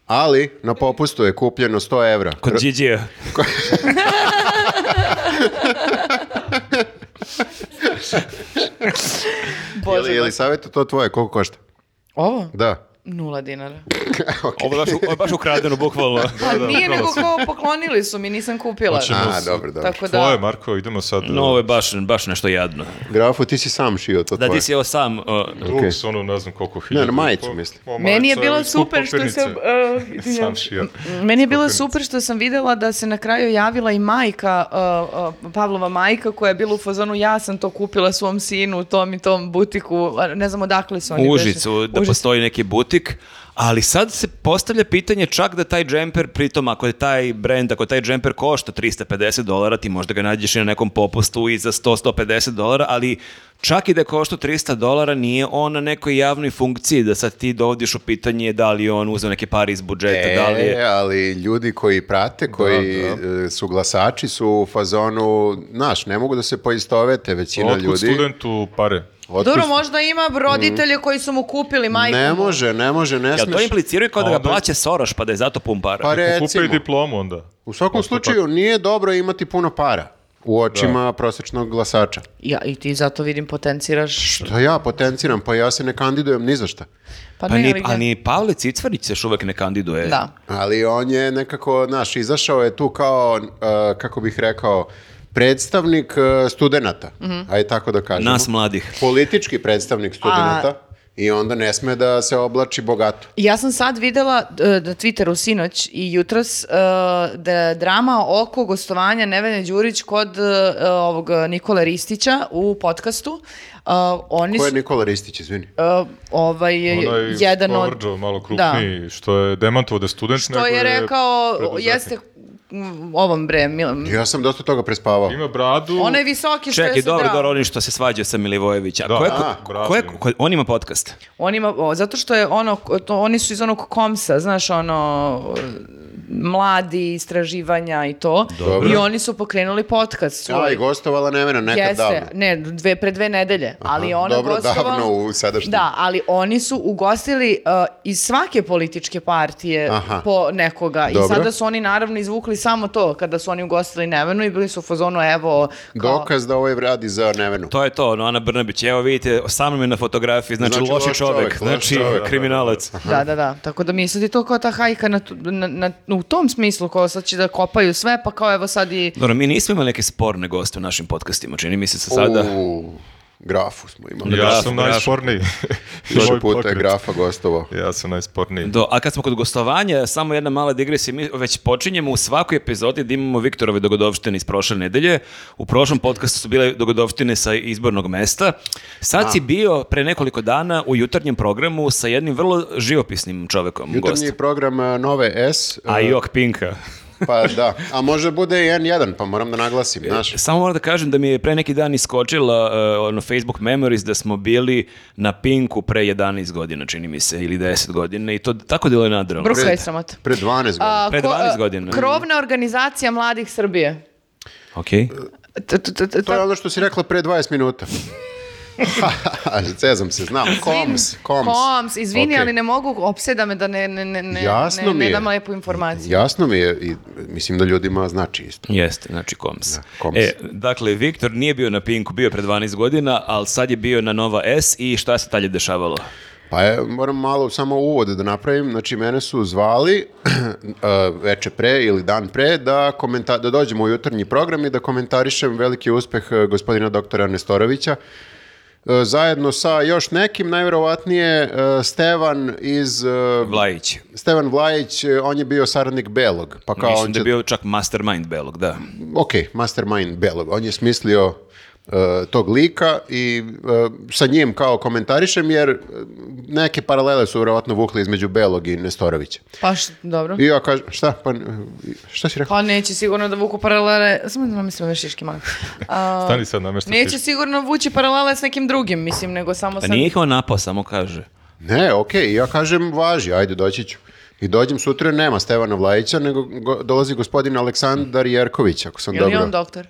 Speaker 3: ali na popustu je kupljeno 100 evra.
Speaker 2: Kod Điđija.
Speaker 3: Je li, je li savjetu to tvoje, koliko košta?
Speaker 1: Ovo?
Speaker 3: Da.
Speaker 1: Nula dinara.
Speaker 2: Ovo je baš, ovo je baš ukradeno, bukvalno.
Speaker 1: Pa nije nego
Speaker 4: upravo sam.
Speaker 1: kao poklonili su mi, nisam kupila.
Speaker 4: Hoćemo
Speaker 3: A, dobro, dobro.
Speaker 1: Tako pa da,
Speaker 4: Tvoje, Marko, idemo sad.
Speaker 2: No, ovo je baš, baš nešto jadno.
Speaker 3: Grafu, ti si sam šio to
Speaker 2: Da
Speaker 3: tvoje.
Speaker 2: ti si ovo sam... o,
Speaker 4: Drugs,
Speaker 3: Ok.
Speaker 4: ono, ne znam koliko hiljada.
Speaker 3: na majicu
Speaker 4: Po-
Speaker 3: mislim.
Speaker 4: po
Speaker 1: meni je
Speaker 4: majicu,
Speaker 1: bilo
Speaker 4: ali skup
Speaker 1: super što
Speaker 4: papirnice.
Speaker 1: sam... e, izvinjavam
Speaker 4: Sam
Speaker 1: se.
Speaker 4: šija.
Speaker 1: Meni je bilo
Speaker 4: Kopirnice.
Speaker 1: super što sam videla da se na kraju javila i majka, e, e, Pavlova majka koja je bila u fazonu ja sam to kupila svom sinu u tom i tom butiku, a ne znam odakle su oni.
Speaker 2: u
Speaker 1: beše.
Speaker 2: Užicu, da
Speaker 1: Užice.
Speaker 2: postoji neki butik, ali sad se postavlja pitanje čak da taj džemper, pritom ako je taj brend, ako taj džemper košta 350 dolara, ti možda ga nađeš i na nekom popustu i za 100-150 dolara, ali čak i da košta 300 dolara nije on na nekoj javnoj funkciji, da sad ti dovodiš u pitanje da li je on uzeo neke pare iz budžeta, da li
Speaker 3: E,
Speaker 2: je...
Speaker 3: ali ljudi koji prate, koji e, su glasači, su u fazonu, znaš, ne mogu da se poistovete većina
Speaker 4: Otkud
Speaker 3: ljudi.
Speaker 4: studentu pare?
Speaker 3: Otkud-
Speaker 1: Dobro, možda ima roditelje koji su mu kupili majku.
Speaker 3: Ne
Speaker 1: mu.
Speaker 3: može, ne može, E, ne
Speaker 2: Jel to
Speaker 3: smeš.
Speaker 2: impliciraju kao da ga
Speaker 4: Onda-
Speaker 2: plaća Soroš pa da je zato pun para?
Speaker 3: Pa
Speaker 4: Kupe i
Speaker 3: recimo,
Speaker 4: diplomu onda.
Speaker 3: u svakom slučaju nije dobro imati puno para u očima prosječnog glasača.
Speaker 1: Ja, I ti zato vidim potenciraš...
Speaker 3: To ja potenciram, pa ja se ne kandidujem ni za šta.
Speaker 1: Pa,
Speaker 2: Pa
Speaker 1: ne,
Speaker 2: ni,
Speaker 1: ali
Speaker 2: a
Speaker 1: gde-
Speaker 2: ni Pavle Cicvarić se još uvek ne kandiduje.
Speaker 1: Da.
Speaker 3: Ali on je nekako, znaš, izašao je tu kao, e, kako bih rekao, predstavnik e, studenata. Ajde tako da kažemo.
Speaker 2: Nas mladih.
Speaker 3: Politički predstavnik studenata. i onda ne sme da se oblači bogato.
Speaker 1: Ja sam sad videla e, na Twitteru sinoć i jutros e, da je drama oko gostovanja Nevene Đurić kod e, ovog Nikole Ristića u podcastu. E, Oni
Speaker 3: Ko
Speaker 1: su,
Speaker 3: je Nikola Ristić, izvini?
Speaker 1: e, ovaj,
Speaker 4: Onaj
Speaker 1: jedan od...
Speaker 4: Kovrđov, malo krupniji, što je demantovo da je student,
Speaker 1: Što
Speaker 4: nego
Speaker 1: je rekao,
Speaker 4: preduzetnik.
Speaker 1: jeste mm, ovom bre, Mil-
Speaker 3: Ja sam dosta toga prespavao.
Speaker 4: Ima bradu,
Speaker 1: Onaj visoki što
Speaker 2: Čekaj,
Speaker 1: je se
Speaker 2: dobro,
Speaker 1: drao.
Speaker 2: dobro, oni što se svađaju sa Milivojevića. A
Speaker 4: Da.
Speaker 2: ko je,
Speaker 4: A,
Speaker 2: ko,
Speaker 4: bravo.
Speaker 2: ko je- ko- on ima podcast.
Speaker 1: On ima, o, zato što je ono, to, oni su iz onog komsa, znaš, ono, mladi, istraživanja i to.
Speaker 3: Dobro.
Speaker 1: I oni su pokrenuli podcast svoj.
Speaker 3: Ja, i gostovala Nevena nekad
Speaker 1: Jeste,
Speaker 3: davno.
Speaker 1: ne, dve, pre dve nedelje, ali ona
Speaker 3: dobro,
Speaker 1: gostovala-
Speaker 3: davno u sadašnji.
Speaker 1: Da, ali oni su ugostili uh, iz svake političke partije
Speaker 3: Aha.
Speaker 1: po nekoga i
Speaker 3: Dobro.
Speaker 1: sada su oni naravno izvukli samo to kada su oni ugostili Nevenu i bili su u fazonu evo kao,
Speaker 3: Dokaz da ovaj radi za Nevenu.
Speaker 2: To je to, ono, Ana Brnabić. Evo vidite, sa mnom je na fotografiji, znači,
Speaker 3: Znači,
Speaker 2: loši
Speaker 3: loš
Speaker 2: čovek,
Speaker 3: čovek, loš
Speaker 2: znači
Speaker 3: čovek.
Speaker 2: kriminalac.
Speaker 1: Da,
Speaker 3: Hm.
Speaker 1: da, da. Tako da mi sad je to kao ta hajka na, tu- na, na, u tom smislu kao sad će da kopaju sve, pa kao evo sad i...
Speaker 2: Dobro, mi nismo imali neke sporne goste u našim podcastima, čini mi se sa sada.
Speaker 3: U, grafu smo imali.
Speaker 4: ja
Speaker 2: Graf,
Speaker 4: sam
Speaker 2: graf.
Speaker 4: najsporniji.
Speaker 3: Više
Speaker 4: Moj
Speaker 3: puta je
Speaker 4: pokret.
Speaker 3: grafa gostovao.
Speaker 4: Ja sam najsporniji.
Speaker 2: Do, a kad smo kod gostovanja, samo jedna mala digresija, mi već počinjemo u svakoj epizodi da imamo Viktorove dogodovštine iz prošle nedelje. U prošlom podcastu su bile dogodovštine sa izbornog mesta. Sad si bio pre nekoliko dana u jutarnjem programu sa jednim vrlo živopisnim čovekom,
Speaker 3: Jutarnji
Speaker 2: gostom.
Speaker 3: program e, Nove S. e,
Speaker 2: A i Ok Pinka.
Speaker 3: Pa da, a može bude i N1, pa moram da naglasim, znaš.
Speaker 2: Samo moram da kažem da mi je pre neki dan iskočila e, ono Facebook Memories da smo bili na Pinku pre 11 godina, čini mi se, ili 10 godina i to tako delo je nadralo.
Speaker 1: Bruha je sramota.
Speaker 3: Pre 12 godina.
Speaker 1: A,
Speaker 2: Pre
Speaker 1: ko-
Speaker 2: 12
Speaker 1: a,
Speaker 2: godina.
Speaker 1: Krovna organizacija mladih Srbije.
Speaker 2: Okej.
Speaker 1: T- t- t- t-
Speaker 3: To je ono što si rekla pre 20 minuta. Cezam se, znam. Koms, koms.
Speaker 1: Koms, izvini,
Speaker 3: Okej.
Speaker 1: ali ne mogu, opseda me da ne, ne, ne, ne,
Speaker 3: Jasno
Speaker 1: ne,
Speaker 3: mi
Speaker 1: ne
Speaker 3: je.
Speaker 1: dam lepu informaciju.
Speaker 3: Jasno mi je i mislim da ljudima znači isto.
Speaker 2: Jeste, znači Koms.
Speaker 3: Koms.
Speaker 2: E, dakle, Viktor nije bio na Pinku, bio je pre 12 godina, ali sad je bio na Nova S i šta se talje dešavalo?
Speaker 3: Pa je, moram malo samo uvod da napravim. Znači, mene su zvali e, veče pre ili dan pre da, komenta da dođem u jutarnji program i da komentarišem veliki uspeh e, gospodina doktora Nestorovića. E, zajedno sa još nekim, najverovatnije e, Stevan iz... e,
Speaker 2: Vlajić.
Speaker 3: Stevan Vlajić, e, on je bio saradnik Belog, pa kao
Speaker 2: Mislim
Speaker 3: on
Speaker 2: da
Speaker 3: će
Speaker 2: je bio čak mastermind Belog, da.
Speaker 3: ok, mastermind Belog, on je smislio e, tog lika i e, sa njim kao komentarišem jer e, neke paralele su vjerojatno vukli između Belog i Nestorovića.
Speaker 1: Pa š- dobro.
Speaker 3: I ja kažem, šta, pa, e, šta si rekao?
Speaker 1: Pa neće sigurno da vuku paralele, samo da namislim još šiški malo. A,
Speaker 4: Stani sad na mesto.
Speaker 1: neće sigurno vući paralele s nekim drugim, mislim, nego samo
Speaker 2: A
Speaker 1: sa...
Speaker 2: Pa nije ih on napao, samo kaže.
Speaker 3: Ne, ok, ja kažem, važi, ajde, doći ću. I dođem sutra, nema Stevana Vlajića, nego go- dolazi gospodin Aleksandar Jerković, ako sam
Speaker 1: Je li
Speaker 3: dobro.
Speaker 1: on doktor?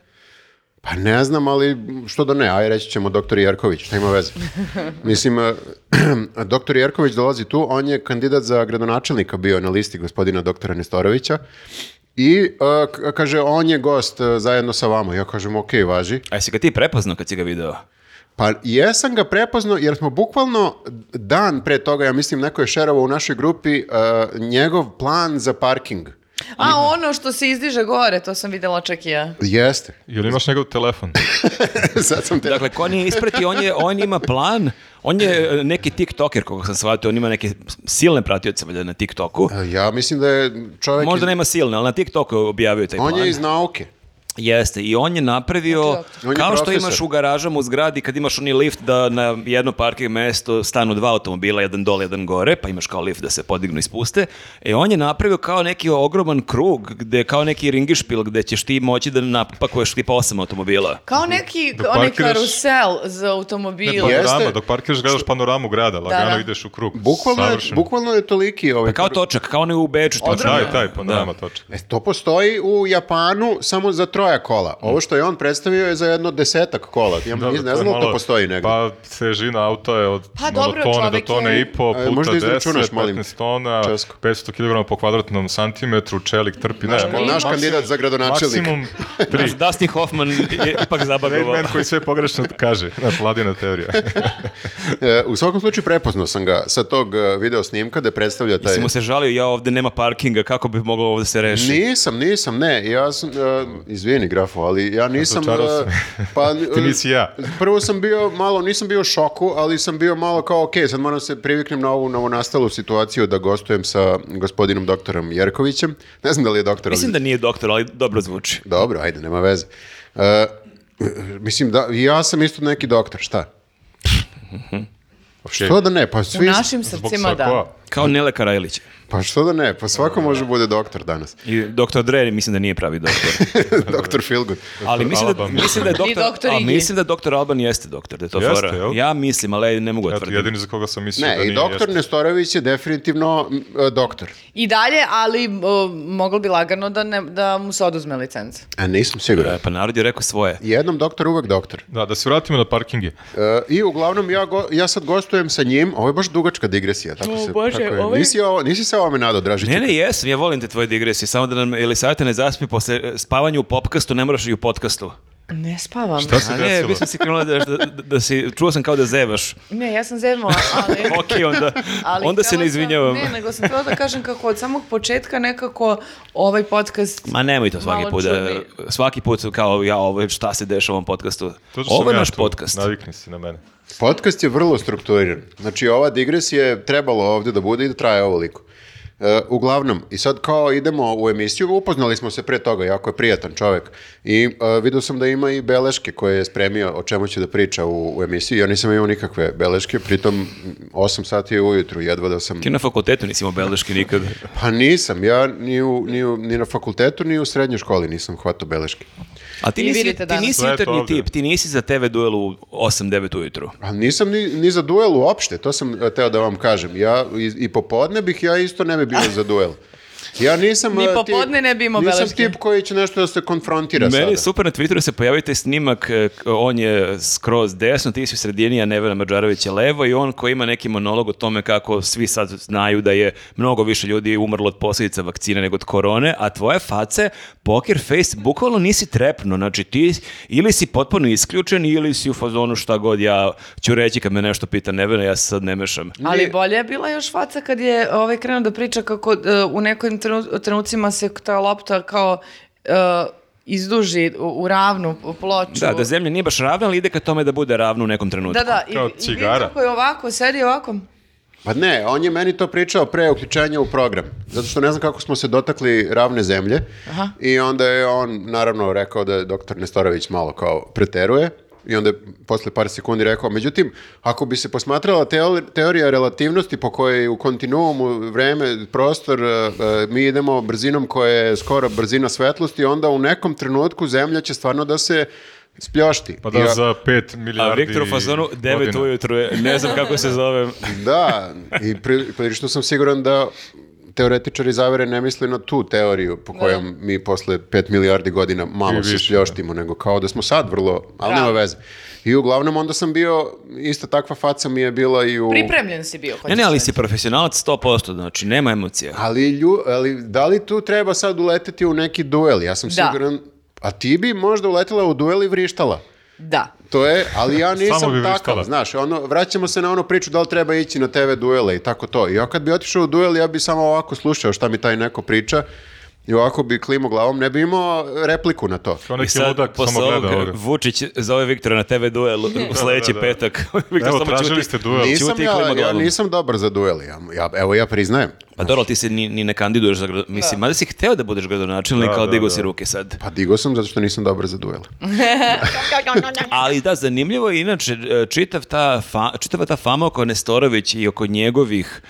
Speaker 3: Pa ne znam, ali što da ne, aj reći ćemo doktor Jerković, šta ima veze. Mislim, eh, doktor Jerković dolazi tu, on je kandidat za gradonačelnika bio na listi gospodina doktora Nestorovića i eh, k- kaže, on je gost eh, zajedno sa vama. Ja kažem, ok, važi.
Speaker 2: A jesi ga ti prepoznao kad si ga video?
Speaker 3: Pa jesam ga prepoznao, jer smo bukvalno dan pre toga, ja mislim, neko je šerovao u našoj grupi eh, njegov plan za parking.
Speaker 1: A ono što se izdiže gore, to sam videla čak i ja.
Speaker 3: Jeste.
Speaker 4: Jel imaš njegov telefon?
Speaker 3: Sad sam te...
Speaker 2: Dakle, ko nije isprati, on, je, on ima plan, on je e, neki tiktoker, koga sam shvatio, on ima neke silne pratioce valjda na tiktoku.
Speaker 3: Eh, Ja mislim da je čovjek...
Speaker 2: Možda
Speaker 3: iz-
Speaker 2: nema silne, ali na tiktoku je objavio taj plan.
Speaker 3: On je iz nauke.
Speaker 2: Jeste, i on je napravio,
Speaker 1: Znači,
Speaker 3: On je
Speaker 2: kao što
Speaker 3: profesor.
Speaker 2: imaš u garažama u zgradi, kad imaš onaj lift da na jedno parking mesto stanu dva automobila, jedan dole, jedan gore, pa imaš kao lift da se podignu i spuste, e on je napravio kao neki ogroman krug, gde kao neki ringišpil, gde ćeš ti moći da napakuješ tipa osam automobila.
Speaker 1: Kao neki,
Speaker 4: Da
Speaker 1: onaj
Speaker 4: parkiraš-
Speaker 1: karusel za
Speaker 4: Ne,
Speaker 2: pa
Speaker 1: automobile.
Speaker 3: Jeste.
Speaker 4: panorama, dok parkiraš gledaš panoramu grada, lagano
Speaker 1: da.
Speaker 4: ideš u krug.
Speaker 3: Bukvalno je,
Speaker 4: Savršeno.
Speaker 3: bukvalno je toliki ovaj...
Speaker 2: Pa kao točak, kao onaj u Beču točak.
Speaker 1: Odrobno.
Speaker 4: Pa Taj, taj panorama točak.
Speaker 3: E, to postoji u Japanu samo za troja kola. Ovo što je on predstavio je za jedno desetak kola. Ja
Speaker 4: Dobro,
Speaker 3: ne znam
Speaker 4: je
Speaker 3: da li to
Speaker 4: malo-
Speaker 3: postoji negdje.
Speaker 4: Pa težina auta je od
Speaker 1: Pa
Speaker 4: ono,
Speaker 1: dobro,
Speaker 4: tone do
Speaker 1: čovek
Speaker 4: tone
Speaker 1: je-
Speaker 4: i po
Speaker 3: E,
Speaker 4: puta
Speaker 3: možda
Speaker 4: 10,
Speaker 3: izračunaš, molim te.
Speaker 4: 15 tona,
Speaker 3: Česko.
Speaker 4: 500 kg po kvadratnom santimetru, čelik trpi. Ne,
Speaker 3: Naš- naš kandidat za gradonačelnika.
Speaker 4: e, Maksimum 3.
Speaker 2: Da. Dustin Hoffman je ipak zabavljava.
Speaker 4: Man koji sve pogrešno kaže, znaš, vladina teorija.
Speaker 3: E, u svakom slučaju prepoznao sam ga sa tog e, video snimka da predstavlja taj...
Speaker 2: Jesi mu se
Speaker 4: Znači-
Speaker 2: žalio, ja ovde nema parkinga, kako bi moglo ovde se reši?
Speaker 3: Nisam, nisam, ne. Ja sam, e, izvini, izvini grafo, ali ja nisam...
Speaker 4: Razočarao
Speaker 3: e,
Speaker 4: si me.
Speaker 3: pa,
Speaker 4: Ti nisi ja.
Speaker 3: Prvo sam bio malo, nisam bio u šoku, ali sam bio malo kao, ok, sad moram se priviknem na ovu novonastalu situaciju da gostujem sa gospodinom doktorom Jerkovićem. Ne znam da li je doktor, ali-
Speaker 2: Mislim da nije doktor, ali dobro zvuči.
Speaker 3: Dobro, ajde, nema veze. E, mislim, da, ja sam isto neki doktor, šta? Što da ne, pa
Speaker 1: U
Speaker 3: svi...
Speaker 1: našim
Speaker 4: Zbog
Speaker 1: srcima da.
Speaker 4: sakoa.
Speaker 2: Kao Nele Karajlić.
Speaker 3: Pa što da ne, pa svako može bude doktor danas.
Speaker 2: I doktor Dre mislim da nije pravi doktor.
Speaker 3: doktor Feelgood.
Speaker 2: Ali mislim da,
Speaker 4: Alban.
Speaker 2: mislim da je
Speaker 1: I
Speaker 2: doktor,
Speaker 1: doktor
Speaker 2: a
Speaker 1: Igi.
Speaker 2: mislim da doktor Alban jeste doktor, da je to
Speaker 4: Jeste,
Speaker 2: fora.
Speaker 4: jel?
Speaker 2: Ja mislim, ali ne mogu
Speaker 4: Eto,
Speaker 2: tvrditi.
Speaker 4: jedini za koga sam mislio da
Speaker 3: Ne,
Speaker 4: nije.
Speaker 3: i doktor
Speaker 4: jeste.
Speaker 3: Nestorović je definitivno m, e, doktor.
Speaker 1: I dalje, ali o, moglo bi lagano da, ne, da mu se oduzme licenca.
Speaker 3: A nisam siguran.
Speaker 2: E, Pa narod je rekao svoje.
Speaker 3: Jednom doktor, uvek doktor.
Speaker 4: Da, da se vratimo na parkinge.
Speaker 3: E, I uglavnom, ja, go- ja sad gostujem sa njim, ovo je baš dugačka digresija. Tako
Speaker 1: O,
Speaker 3: se,
Speaker 1: Bože,
Speaker 3: tako je.
Speaker 1: ovo je-
Speaker 3: Nisi, ovo, nisi se ovome nadao, Dražiću.
Speaker 2: Ne, ne, jesam, ja volim te tvoje digresije, samo da nam Elisaveta ne zaspi posle e, spavanja u popkastu, ne moraš i u podcastu.
Speaker 1: Ne spavam.
Speaker 4: Šta se
Speaker 2: A ne,
Speaker 4: desilo?
Speaker 2: mislim si krenula da, da, da si, čuo sam kao da zevaš.
Speaker 1: Ne, ja sam zemla, ali...
Speaker 2: Ok, onda,
Speaker 1: Ali
Speaker 2: onda se
Speaker 1: htela
Speaker 2: ne
Speaker 1: sam-
Speaker 2: izvinjavam.
Speaker 1: ne, nego sam htjela da kažem kako od samog početka nekako ovaj podcast...
Speaker 2: Ma nemoj to svaki
Speaker 1: Malo
Speaker 2: put. da-
Speaker 1: čudni.
Speaker 2: Svaki put kao ja ovo šta se dešava u ovom podcastu.
Speaker 4: To što
Speaker 2: Ovo
Speaker 4: sam
Speaker 2: je
Speaker 4: ja
Speaker 2: naš
Speaker 4: tu,
Speaker 2: podcast.
Speaker 4: Navikni se na mene.
Speaker 3: Podcast je vrlo strukturiran. Znači, ova digresija je trebalo ovdje da bude i da traje ovoliko. E, uglavnom, i sad kao idemo u emisiju, upoznali smo se pre toga, jako je prijatan čovjek. I e, vidio sam da ima i beleške koje je spremio o čemu će da priča u, u emisiji. Ja nisam imao nikakve beleške, pritom m, 8 sati je ujutru, jedva da sam...
Speaker 2: Ti na fakultetu nisi imao beleške nikad.
Speaker 3: Pa nisam, ja ni, u, ni, u- ni na fakultetu, ni u srednjoj školi nisam hvatao beleške.
Speaker 2: A ti
Speaker 1: I
Speaker 2: nisi,
Speaker 1: vidite
Speaker 2: ti
Speaker 1: danas.
Speaker 2: nisi
Speaker 4: Sve je to
Speaker 2: jutarnji
Speaker 4: ovdje.
Speaker 2: tip, ti nisi za TV duel u 8-9 ujutru.
Speaker 3: A nisam ni, ni za duel uopšte, to sam e, teo da vam kažem. Ja i, i popodne bih ja isto ne bi bio za duel. Ja nisam
Speaker 1: Ni
Speaker 3: e,
Speaker 1: popodne ne bi imao
Speaker 3: nisam
Speaker 1: beleške.
Speaker 3: tip koji će nešto da se konfrontira
Speaker 2: Meni je
Speaker 3: sada.
Speaker 2: super na Twitteru se pojavio taj snimak, e, k- on je skroz desno, ti si u sredini, a Nevena Mađarović je levo i on koji ima neki monolog o tome kako svi sad znaju da je mnogo više ljudi umrlo od posljedica vakcine nego od korone, a tvoje face, poker face, bukvalno nisi trepno, znači ti ili si potpuno isključen ili si u fazonu šta god ja ću reći kad me nešto pita Nevena, ja se sad ne mešam.
Speaker 1: Ali bolje je bila još faca kad je ovaj krenuo da priča kako e, u nekim trenu- trenucima se ta lopta kao e, izduži u, u ravnu ploču.
Speaker 2: Da, da zemlja nije baš ravna, ali ide ka tome da bude ravna u nekom trenutku.
Speaker 1: Da, da, i,
Speaker 4: Kao
Speaker 1: i
Speaker 4: cigara.
Speaker 1: vidim kako je ovako, sedi ovako.
Speaker 3: Pa ne, on je meni to pričao pre uključenja u program. Zato što ne znam kako smo se dotakli ravne zemlje.
Speaker 1: Aha.
Speaker 3: I onda je on naravno rekao da je doktor Nestorović malo kao preteruje. I onda je posle par sekundi rekao, međutim, ako bi se posmatrala teori- teorija relativnosti po kojoj u kontinuumu vreme, prostor, e, e, mi idemo brzinom koja je skoro brzina svetlosti, onda u nekom trenutku zemlja će stvarno da se spljošti.
Speaker 4: Pa da,
Speaker 3: I ja-
Speaker 4: za 5
Speaker 2: A
Speaker 4: milijardi
Speaker 2: Viktor u fazonu 9
Speaker 4: godina.
Speaker 2: ujutru, je, ne znam kako se zovem.
Speaker 3: Da, i pri, pri- što sam siguran da teoretičari zavere ne misle na tu teoriju po kojom mi posle 5 milijardi godina malo
Speaker 4: I
Speaker 3: se
Speaker 4: više,
Speaker 3: šljoštimo, nego kao da smo sad vrlo, ali nema
Speaker 1: Bravo.
Speaker 3: veze. I uglavnom onda sam bio, ista takva faca mi je bila i u...
Speaker 1: Pripremljen si bio. hoćeš
Speaker 2: Ne, ne, ali
Speaker 1: reći.
Speaker 2: si profesionalac 100%, znači nema emocija.
Speaker 3: Ali, lju- ali da li tu treba sad uleteti u neki duel? Ja sam
Speaker 1: Da.
Speaker 3: siguran... A ti bi možda uletela u duel i vrištala.
Speaker 1: Da.
Speaker 3: To je, ali ja
Speaker 4: Samo
Speaker 3: nisam
Speaker 4: bi
Speaker 3: takav,
Speaker 4: vrištala.
Speaker 3: znaš, ono, vraćamo se na onu priču da li treba ići na TV duele i tako to. Ja kad bi otišao u duel, ja bi samo ovako slušao šta mi taj neko priča i ovako bi klimo glavom, ne bi imao repliku na to.
Speaker 4: Kao
Speaker 2: I
Speaker 4: neki
Speaker 2: sad,
Speaker 4: ludak
Speaker 2: posle
Speaker 4: samo gleda
Speaker 2: ovog,
Speaker 4: ovdje.
Speaker 2: Vučić zove Viktora na TV duel u sljedeći
Speaker 4: da, da.
Speaker 2: petak. Viktor
Speaker 4: Evo,
Speaker 2: samo
Speaker 4: tražili
Speaker 2: ćuti.
Speaker 4: ste duel.
Speaker 3: Nisam
Speaker 2: Ćuti i klima
Speaker 3: ja, ja
Speaker 2: glavom.
Speaker 3: nisam dobar za duel, ja, ja- evo ja priznajem.
Speaker 2: Pa dobro, ali ti se ni, ni ne kandiduješ za grad... Mislim, mada si hteo da budeš gradonačelnik,
Speaker 4: Da,
Speaker 2: ali
Speaker 4: da,
Speaker 2: digo
Speaker 4: da.
Speaker 2: si ruke sad.
Speaker 3: Pa digo sam zato što nisam dobar za duel.
Speaker 2: Ali da, zanimljivo je inače e, čitav ta fa- čitava ta fama oko Nestorović i oko njegovih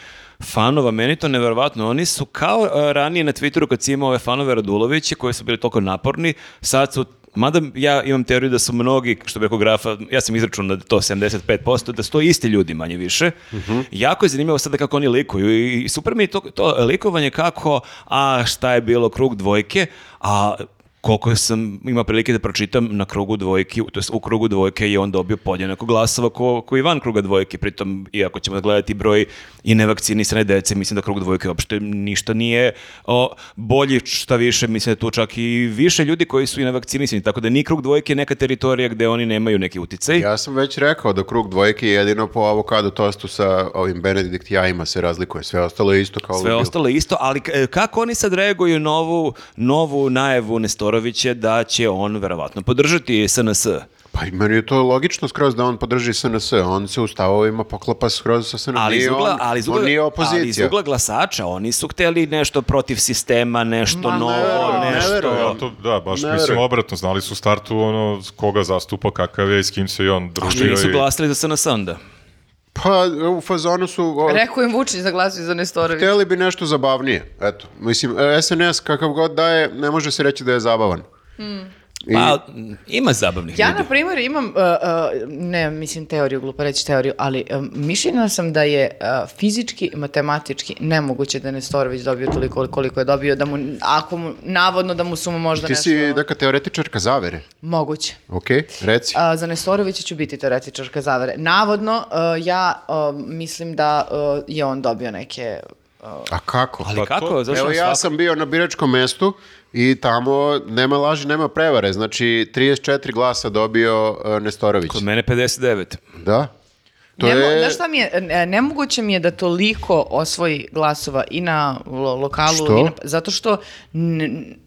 Speaker 2: fanova, meni to nevjerovatno. Oni su kao e, ranije na Twitteru kad si imao ove fanove Radulovića koji su bili toliko naporni, sad su Mada ja imam teoriju da su mnogi, što bi rekao grafa, ja sam izračunao da je to 75%, da su to isti ljudi manje više. Jako je zanimljivo sada kako oni likuju i i super mi je to, to likovanje kako, a šta je bilo krug dvojke, a koliko sam ima prilike da pročitam na krugu dvojke, to jest u krugu dvojke je on dobio podjednako glasova ko, ko i van kruga dvojke, pritom iako ćemo gledati broj i nevakcinisane dece, mislim da krug dvojke uopšte ništa nije o, bolji šta više, mislim da je tu čak i više ljudi koji su i nevakcinisani, tako da ni krug dvojke je neka teritorija gde oni nemaju neki uticaj.
Speaker 3: Ja sam već rekao da krug dvojke je jedino po avokado tostu sa ovim Benedikt jajima se razlikuje, sve ostalo je isto kao
Speaker 2: Sve
Speaker 3: uvijek.
Speaker 2: ostalo je isto, ali k- e, kako oni sad reaguju na ovu novu najavu Todorović je da će on verovatno podržati SNS.
Speaker 3: Pa i meni je to logično skroz da on podrži SNS, on se u stavovima poklapa skroz sa SNS,
Speaker 2: Ali iz ugla,
Speaker 3: on,
Speaker 2: ali iz ugla,
Speaker 3: on nije
Speaker 2: ali iz
Speaker 3: opozicija.
Speaker 2: ugla glasača, oni su hteli nešto protiv sistema, nešto
Speaker 3: Ma, ne
Speaker 2: novo,
Speaker 3: verujem, ne
Speaker 2: nešto...
Speaker 3: verujem.
Speaker 4: Ja to, da, baš
Speaker 3: Ne
Speaker 4: mislim
Speaker 3: verujem.
Speaker 4: obratno, znali su u startu ono, koga zastupa, kakav je i s kim se i on
Speaker 2: A što
Speaker 4: družio.
Speaker 2: nisu
Speaker 4: i-
Speaker 2: glasili za SNS onda?
Speaker 3: Pa u fazonu su... o,
Speaker 1: Rekao im Vučić da glasuju za Nestorović.
Speaker 3: Hteli bi nešto zabavnije, eto. Mislim, e, SNS kakav god da je, ne može se reći da je zabavan. I-
Speaker 2: Pa, m, ima zabavnih
Speaker 1: Ja,
Speaker 2: ljudi.
Speaker 1: na primjer, imam, uh, uh, ne, mislim, teoriju, glupo reći teoriju, ali um, mišljena sam da je uh, fizički i matematički nemoguće da je Nestorović dobio toliko koliko je dobio, da mu, ako mu, navodno da mu su mu možda
Speaker 3: Ti
Speaker 1: nešto...
Speaker 3: si, dakle, teoretičarka zavere.
Speaker 1: Moguće.
Speaker 3: Ok, reci.
Speaker 1: A, za Nestorovića ću biti teoretičarka zavere. Navodno, uh, ja uh, mislim da uh, je on dobio neke...
Speaker 3: A kako?
Speaker 2: Ali
Speaker 4: Pa
Speaker 2: kako?
Speaker 4: to-
Speaker 2: Zašto
Speaker 3: Evo ja
Speaker 2: svako-
Speaker 3: sam bio na biračkom mestu i tamo nema laži, nema prevare. Znači, 34 glasa dobio e, Nestorović.
Speaker 2: Kod mene 59.
Speaker 3: Da. To
Speaker 1: Nemo-
Speaker 3: je...
Speaker 1: Znaš šta mi je, e, nemoguće mi je da toliko osvoji glasova i na lo- lokalu,
Speaker 3: Što?
Speaker 1: i na- zato što n-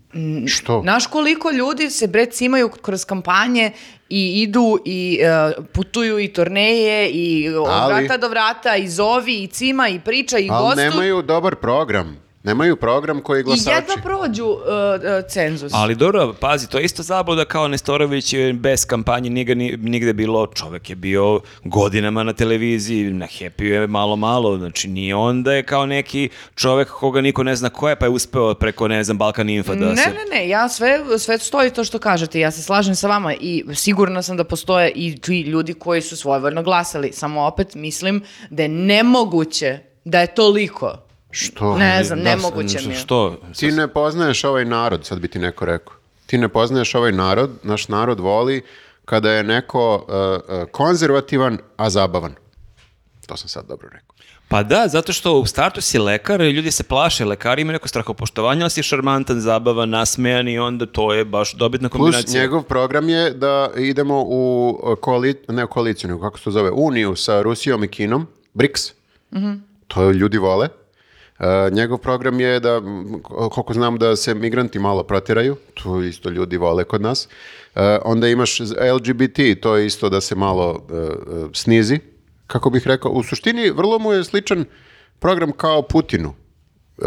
Speaker 3: Što?
Speaker 1: Znaš koliko ljudi se bre cimaju kroz kampanje i idu i e, putuju i turneje i od
Speaker 3: Ali-
Speaker 1: vrata do vrata i zovi i cima i priča i
Speaker 3: Ali
Speaker 1: gostu
Speaker 3: nemaju dobar program. Nemaju program koji
Speaker 1: i
Speaker 3: glasači.
Speaker 1: jedva prođu e, e, cenzus.
Speaker 2: Ali dobro, pazi, to je isto zabluda kao Nestorović je bez kampanje nije ga ni- nigde bilo, čovek je bio godinama na televiziji, na happy je malo malo, znači ni onda je kao neki čovek koga niko ne zna ko je, pa je uspeo preko, ne znam, Balkan Infa da
Speaker 1: ne,
Speaker 2: se...
Speaker 1: ne, ne, ja sve, sve stoji to što kažete, ja se slažem sa vama i sigurno sam da postoje i ti ljudi koji su svojevoljno glasali, samo opet mislim da je nemoguće da je toliko.
Speaker 3: Što?
Speaker 1: Ne znam,
Speaker 2: Da,
Speaker 1: nemoguće
Speaker 2: s-
Speaker 1: mi je.
Speaker 2: Što?
Speaker 3: Ti ne poznaješ ovaj narod, sad bi ti neko rekao. Ti ne poznaješ ovaj narod, naš narod voli kada je neko uh, uh, konzervativan, a zabavan. To sam sad dobro rekao.
Speaker 2: Pa da, zato što u startu si lekar, ljudi se plaše, lekari imaju neko strahopoštovanje, ali si šarmantan, zabavan, nasmejan i onda to je baš dobitna
Speaker 3: Plus,
Speaker 2: kombinacija.
Speaker 3: njegov program je da idemo u uh, koali, ne u koaliciju, nego kako se to zove, uniju sa Rusijom i Kinom, BRICS. To ljudi vole. Uh, njegov program je da, m, koliko znam, da se migranti malo protiraju, to isto ljudi vole kod nas. Uh, onda imaš LGBT, to je isto da se malo uh, uh, snizi, kako bih rekao. U suštini, vrlo mu je sličan program kao Putinu, uh,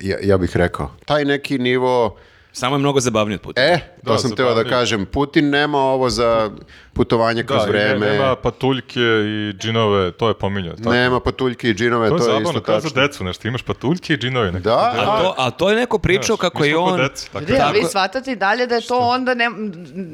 Speaker 3: ja, ja bih rekao. Taj neki nivo...
Speaker 2: Samo je mnogo zabavniji od Putina.
Speaker 3: E, to
Speaker 4: Da,
Speaker 3: sam teo da
Speaker 4: zabavljivo.
Speaker 3: kažem. Putin nema ovo za putovanje kroz
Speaker 4: Da, i ne-
Speaker 3: vreme.
Speaker 4: nema
Speaker 3: nema,
Speaker 4: patuljke i džinove, to je pominjao. tako.
Speaker 3: patuljke i džinove, to,
Speaker 4: to je
Speaker 3: je isto
Speaker 4: zabavno, kao za
Speaker 3: tačno.
Speaker 4: decu nešto, imaš patuljke i džinove. nekako.
Speaker 3: Da,
Speaker 2: A
Speaker 3: a-
Speaker 2: to, a to je neko pričao
Speaker 4: Znaš,
Speaker 2: kako
Speaker 4: mi
Speaker 2: je
Speaker 4: smo ko
Speaker 2: on...
Speaker 4: deca, tako
Speaker 1: Ljudi, a vi
Speaker 2: Tako-
Speaker 1: shvatate i dalje da je to onda ne,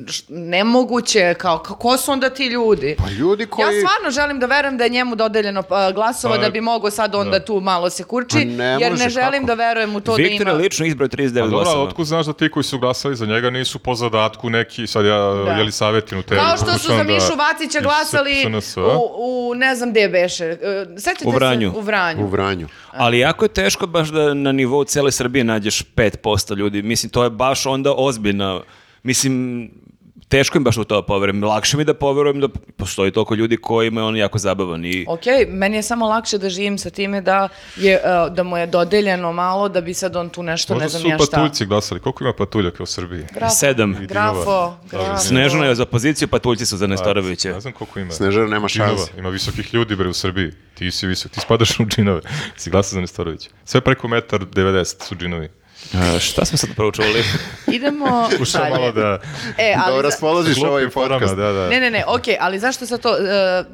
Speaker 1: š- nemoguće, kao ka- ko su onda ti ljudi?
Speaker 3: Pa ljudi koji...
Speaker 1: Ja stvarno želim da verujem da je njemu dodeljeno pa, glasova
Speaker 4: Pa,
Speaker 1: da bi mogao sad onda tu malo se kurči,
Speaker 3: Pa ne
Speaker 1: jer ne
Speaker 3: možeš,
Speaker 1: želim
Speaker 3: kako?
Speaker 1: da verujem u to da
Speaker 2: Viktor
Speaker 1: ima...
Speaker 2: je lično izbrao 39
Speaker 4: A Pa dobro, ali
Speaker 2: glasova.
Speaker 4: otkud znaš da ti koji su glasali za njega nisu po zadatku neki, sad ja da. jeli savjetinu te...
Speaker 1: Kao što su za Mišu Vacića glasali
Speaker 4: u...
Speaker 1: u, u ne znam gde beše. E, Sećate
Speaker 2: U Vranju.
Speaker 1: se? U Vranju.
Speaker 3: U Vranju.
Speaker 2: Ali jako je teško baš da na nivou cele Srbije nađeš 5% ljudi. Mislim, to je baš onda ozbiljna... Mislim, teško im baš u to da poverujem. Lakše mi da poverujem da postoji toliko ljudi kojima je on jako zabavan. I...
Speaker 1: Ok, meni je samo lakše da živim sa time da, je, e, da mu je dodeljeno malo, da bi sad on tu nešto,
Speaker 4: Možda
Speaker 1: ne znam
Speaker 4: su pa
Speaker 1: ja šta.
Speaker 4: patuljci glasali, koliko ima patuljaka u Srbiji?
Speaker 1: Grafo.
Speaker 2: Sedam.
Speaker 1: Grafo,
Speaker 4: Dobro,
Speaker 1: grafo.
Speaker 2: Snežana je za opoziciju, pa tuljci su za
Speaker 4: Ne
Speaker 2: Nestorovića.
Speaker 4: znam koliko ima.
Speaker 3: Snežana nema
Speaker 4: Džinova.
Speaker 3: šanse.
Speaker 4: Ima visokih ljudi bre u Srbiji. Ti si visok, ti spadaš u džinove. Si glasa za Nestorovića. Sve preko metar 90 su džinovi.
Speaker 2: A, šta smo sad proučavali?
Speaker 1: Idemo
Speaker 4: Slušam
Speaker 1: dalje.
Speaker 4: malo da...
Speaker 1: E, ali
Speaker 3: Da
Speaker 1: za-
Speaker 3: raspoložiš ovaj
Speaker 4: Klopim parama,
Speaker 3: podcast.
Speaker 4: Da, da.
Speaker 1: Ne, ne, ne, ok, ali zašto sad to?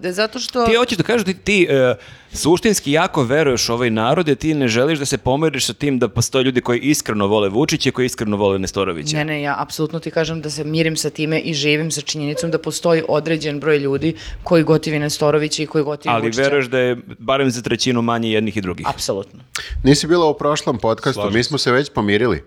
Speaker 1: E, zato što...
Speaker 2: Ti hoćeš da kažeš da ti e, suštinski jako veruješ u ovaj narod, jer ti ne želiš da se pomeriš sa tim da postoje ljudi koji iskreno vole Vučića i koji iskreno vole Nestorovića.
Speaker 1: Ne, ne, ja apsolutno ti kažem da se mirim sa time i živim sa činjenicom da postoji određen broj ljudi koji gotivi Nestorovića i koji gotivi
Speaker 2: Ali
Speaker 1: Vučića.
Speaker 2: veruješ da je barem za trećinu manje jednih i drugih.
Speaker 1: Apsolutno.
Speaker 3: Nisi bila u prošlom podcastu,
Speaker 4: Slažem
Speaker 3: mi smo se već pomirili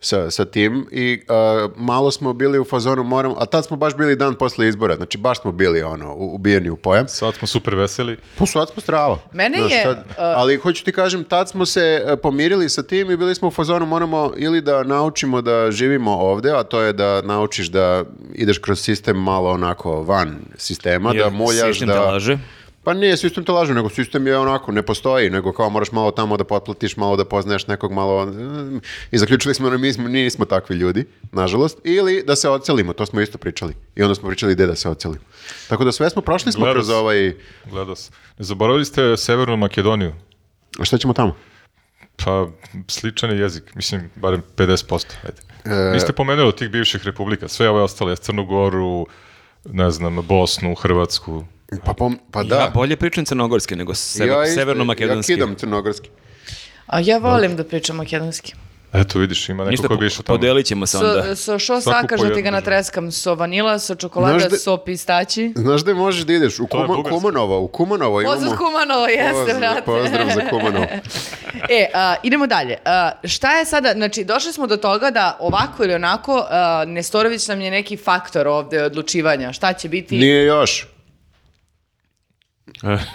Speaker 3: sa, sa tim i uh, malo smo bili u fazonu moram, a tad smo baš bili dan posle izbora, znači baš smo bili ono, u- ubijeni u pojam.
Speaker 4: Sad smo super veseli.
Speaker 3: Pa sad smo strava.
Speaker 1: Mene
Speaker 3: Znaš,
Speaker 1: je,
Speaker 3: sad-
Speaker 1: uh,
Speaker 3: ali hoću ti kažem, tad smo se uh, pomirili sa tim i bili smo u fazonu moramo ili da naučimo da živimo ovde, a to je da naučiš da ideš kroz sistem malo onako van sistema,
Speaker 2: Jer
Speaker 3: da muljaš,
Speaker 2: sistem te
Speaker 3: da...
Speaker 2: laže.
Speaker 3: Pa nije, sistem te laže, nego sistem je onako, ne postoji, nego kao moraš malo tamo da potplatiš, malo da poznaješ nekog, malo... I zaključili smo da mi smo, nismo takvi ljudi, nažalost, ili da se ocelimo, to smo isto pričali. I onda smo pričali gde da se ocelimo. Tako da sve smo prošli smo
Speaker 4: Gledao
Speaker 3: kroz
Speaker 4: sam.
Speaker 3: ovaj...
Speaker 4: Gledao sam. Zaboravili ste Severnu Makedoniju.
Speaker 3: A šta ćemo tamo?
Speaker 4: Pa, sličan je jezik. Mislim, barem 50%. Ajde.
Speaker 3: E-
Speaker 4: Niste pomenuli od tih bivših republika. Sve ovo je ostalo. je Crnu Goru, ne znam, Bosnu, Hrvatsku.
Speaker 3: Pa, pom- pa da.
Speaker 2: Ja bolje pričam crnogorski nego sever,
Speaker 3: Ja isto-
Speaker 2: severno-makedonski.
Speaker 3: Ja kidam crnogorski.
Speaker 1: A ja volim da pričam makedonski.
Speaker 4: Eto, vidiš, ima neko
Speaker 2: Ništa,
Speaker 4: ko
Speaker 2: po-
Speaker 4: bi išao tamo.
Speaker 2: podelit ćemo se onda.
Speaker 1: So, so što
Speaker 4: Svako
Speaker 1: sakaš
Speaker 4: po
Speaker 1: da ti ga
Speaker 4: jednom.
Speaker 1: natreskam? So vanila, so čokolada,
Speaker 3: Znaš da-
Speaker 1: so pistaći?
Speaker 3: Znaš da možeš da ideš? U
Speaker 4: je
Speaker 3: Kuma-
Speaker 4: bugarski.
Speaker 3: Kumanovo, u Kumanovo imamo...
Speaker 1: Pozdrav Kumanovo, jeste,
Speaker 3: Pozdrav-
Speaker 1: brate.
Speaker 3: Pozdrav za Kumanovo.
Speaker 1: E, a, idemo dalje. A, šta je sada, znači, došli smo do toga da ovako ili onako, a, Nestorović nam je neki faktor ovde odlučivanja. Šta će biti?
Speaker 3: Nije još.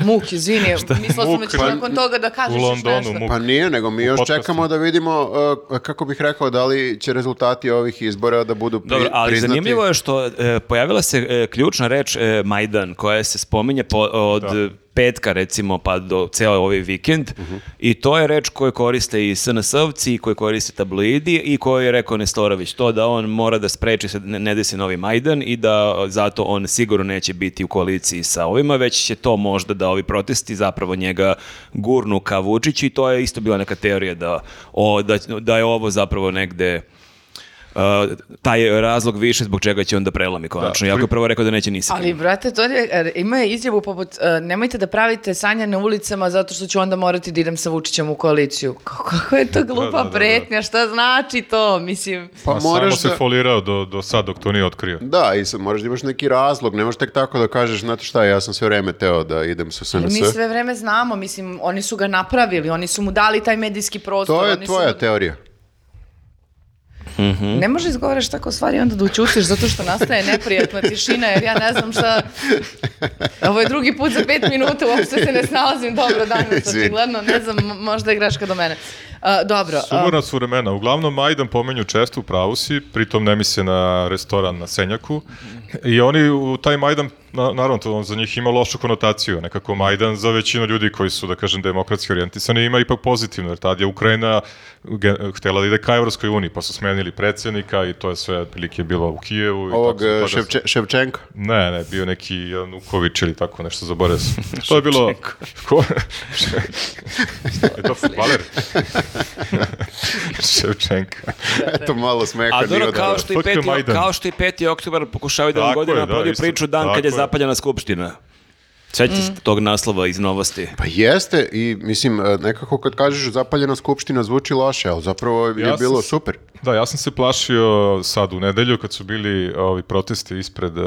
Speaker 1: Muk, izvini, mislila sam da
Speaker 4: Muk,
Speaker 1: ćeš
Speaker 4: pa-
Speaker 1: nakon toga da kažeš
Speaker 4: u
Speaker 1: još
Speaker 4: Londonu
Speaker 1: nešto.
Speaker 4: muk.
Speaker 3: Pa nije, nego mi još
Speaker 4: podcastu.
Speaker 3: čekamo da vidimo, uh, kako bih rekao, da li će rezultati ovih izbora da budu pri,
Speaker 2: Dobro, ali
Speaker 3: priznati.
Speaker 2: zanimljivo je što e, pojavila se e, ključna reč e, Majdan koja se spominje po- od e, petka recimo pa do ceo ovaj vikend
Speaker 3: Mhm.
Speaker 2: i to je reč koju koriste i SNS-ovci i koju koriste tabloidi i koju je rekao Nestorović to da on mora da spreči se da ne, ne desi novi Majdan i da e, zato on sigurno neće biti u koaliciji sa ovima već će to možda da ovi protesti zapravo njega gurnu ka Vučiću i to je isto bila neka teorija da, o, da, da je ovo zapravo negde Uh, taj razlog više zbog čega će onda prelami konačno. Jako je prvo rekao da neće nisi.
Speaker 1: Ali, brate, to je, er, ima je izjavu poput e, nemojte da pravite sanja na ulicama zato što ću onda morati da idem sa Vučićem u koaliciju. Kako, kako je to glupa
Speaker 4: da, da, da.
Speaker 1: pretnja, šta znači to? Mislim,
Speaker 3: Pa
Speaker 4: A samo
Speaker 3: moraš
Speaker 4: se
Speaker 3: da...
Speaker 4: folirao do, do sad dok to nije otkrio.
Speaker 3: Da, i sad moraš da imaš neki razlog, ne možeš tek tako da kažeš, znate šta, ja sam sve vreme teo da idem sa SNS.
Speaker 1: mi sve vreme znamo, mislim, oni su ga napravili, oni su mu dali taj medijski prostor.
Speaker 3: To je
Speaker 1: oni su
Speaker 3: tvoja
Speaker 1: mu-
Speaker 3: teorija.
Speaker 1: Ne može izgovaraš tako stvari onda da učutiš zato što nastaje neprijatna tišina jer ja ne znam šta... Ovo je drugi put za pet minuta, uopšte se ne snalazim dobro danas,
Speaker 3: Izvini.
Speaker 1: očigledno, ne znam, mo- možda je greška do mene. A, dobro, a,
Speaker 4: Sumorna su vremena. Uglavnom, Majdan pomenju često u pravu si, pritom ne misle na restoran na Senjaku. I oni u taj Majdan, na, naravno, to on za njih ima lošu konotaciju. Nekako Majdan za većinu ljudi koji su, da kažem, demokratski orijentisani ima ipak pozitivno, jer tad je Ukrajina ge- htela da ide ka Evropskoj uniji, pa su smenili predsjednika i to je sve prilike bilo u Kijevu. I
Speaker 3: Ovog
Speaker 4: tako su
Speaker 3: eh,
Speaker 4: tada-
Speaker 3: Ševče- Ševčenka.
Speaker 4: Ne, ne, bio neki Januković ili tako nešto, zaboravio sam. To je bilo... Ko? je to futbaler? Ševčenka.
Speaker 3: Eto malo smeka.
Speaker 2: A dobro,
Speaker 3: nije
Speaker 2: kao
Speaker 3: dobro.
Speaker 2: što, i
Speaker 4: Fuck you,
Speaker 2: peti,
Speaker 4: Majdan.
Speaker 2: kao što i 5. oktobar pokušavaju da vam
Speaker 4: Tako je,
Speaker 2: godina
Speaker 4: da,
Speaker 2: prodaju
Speaker 4: isto,
Speaker 2: priču dan kad
Speaker 4: tako
Speaker 2: je
Speaker 4: je.
Speaker 2: zapaljena skupština. Sjetite se tog naslova iz novosti.
Speaker 3: Pa jeste i mislim eh, nekako kad kažeš zapaljena skupština zvuči loše, ali zapravo je
Speaker 4: Ja sam
Speaker 3: bilo
Speaker 4: s-
Speaker 3: super.
Speaker 4: Da, ja sam se plašio sad u nedelju kad su bili ovi protesti ispred e,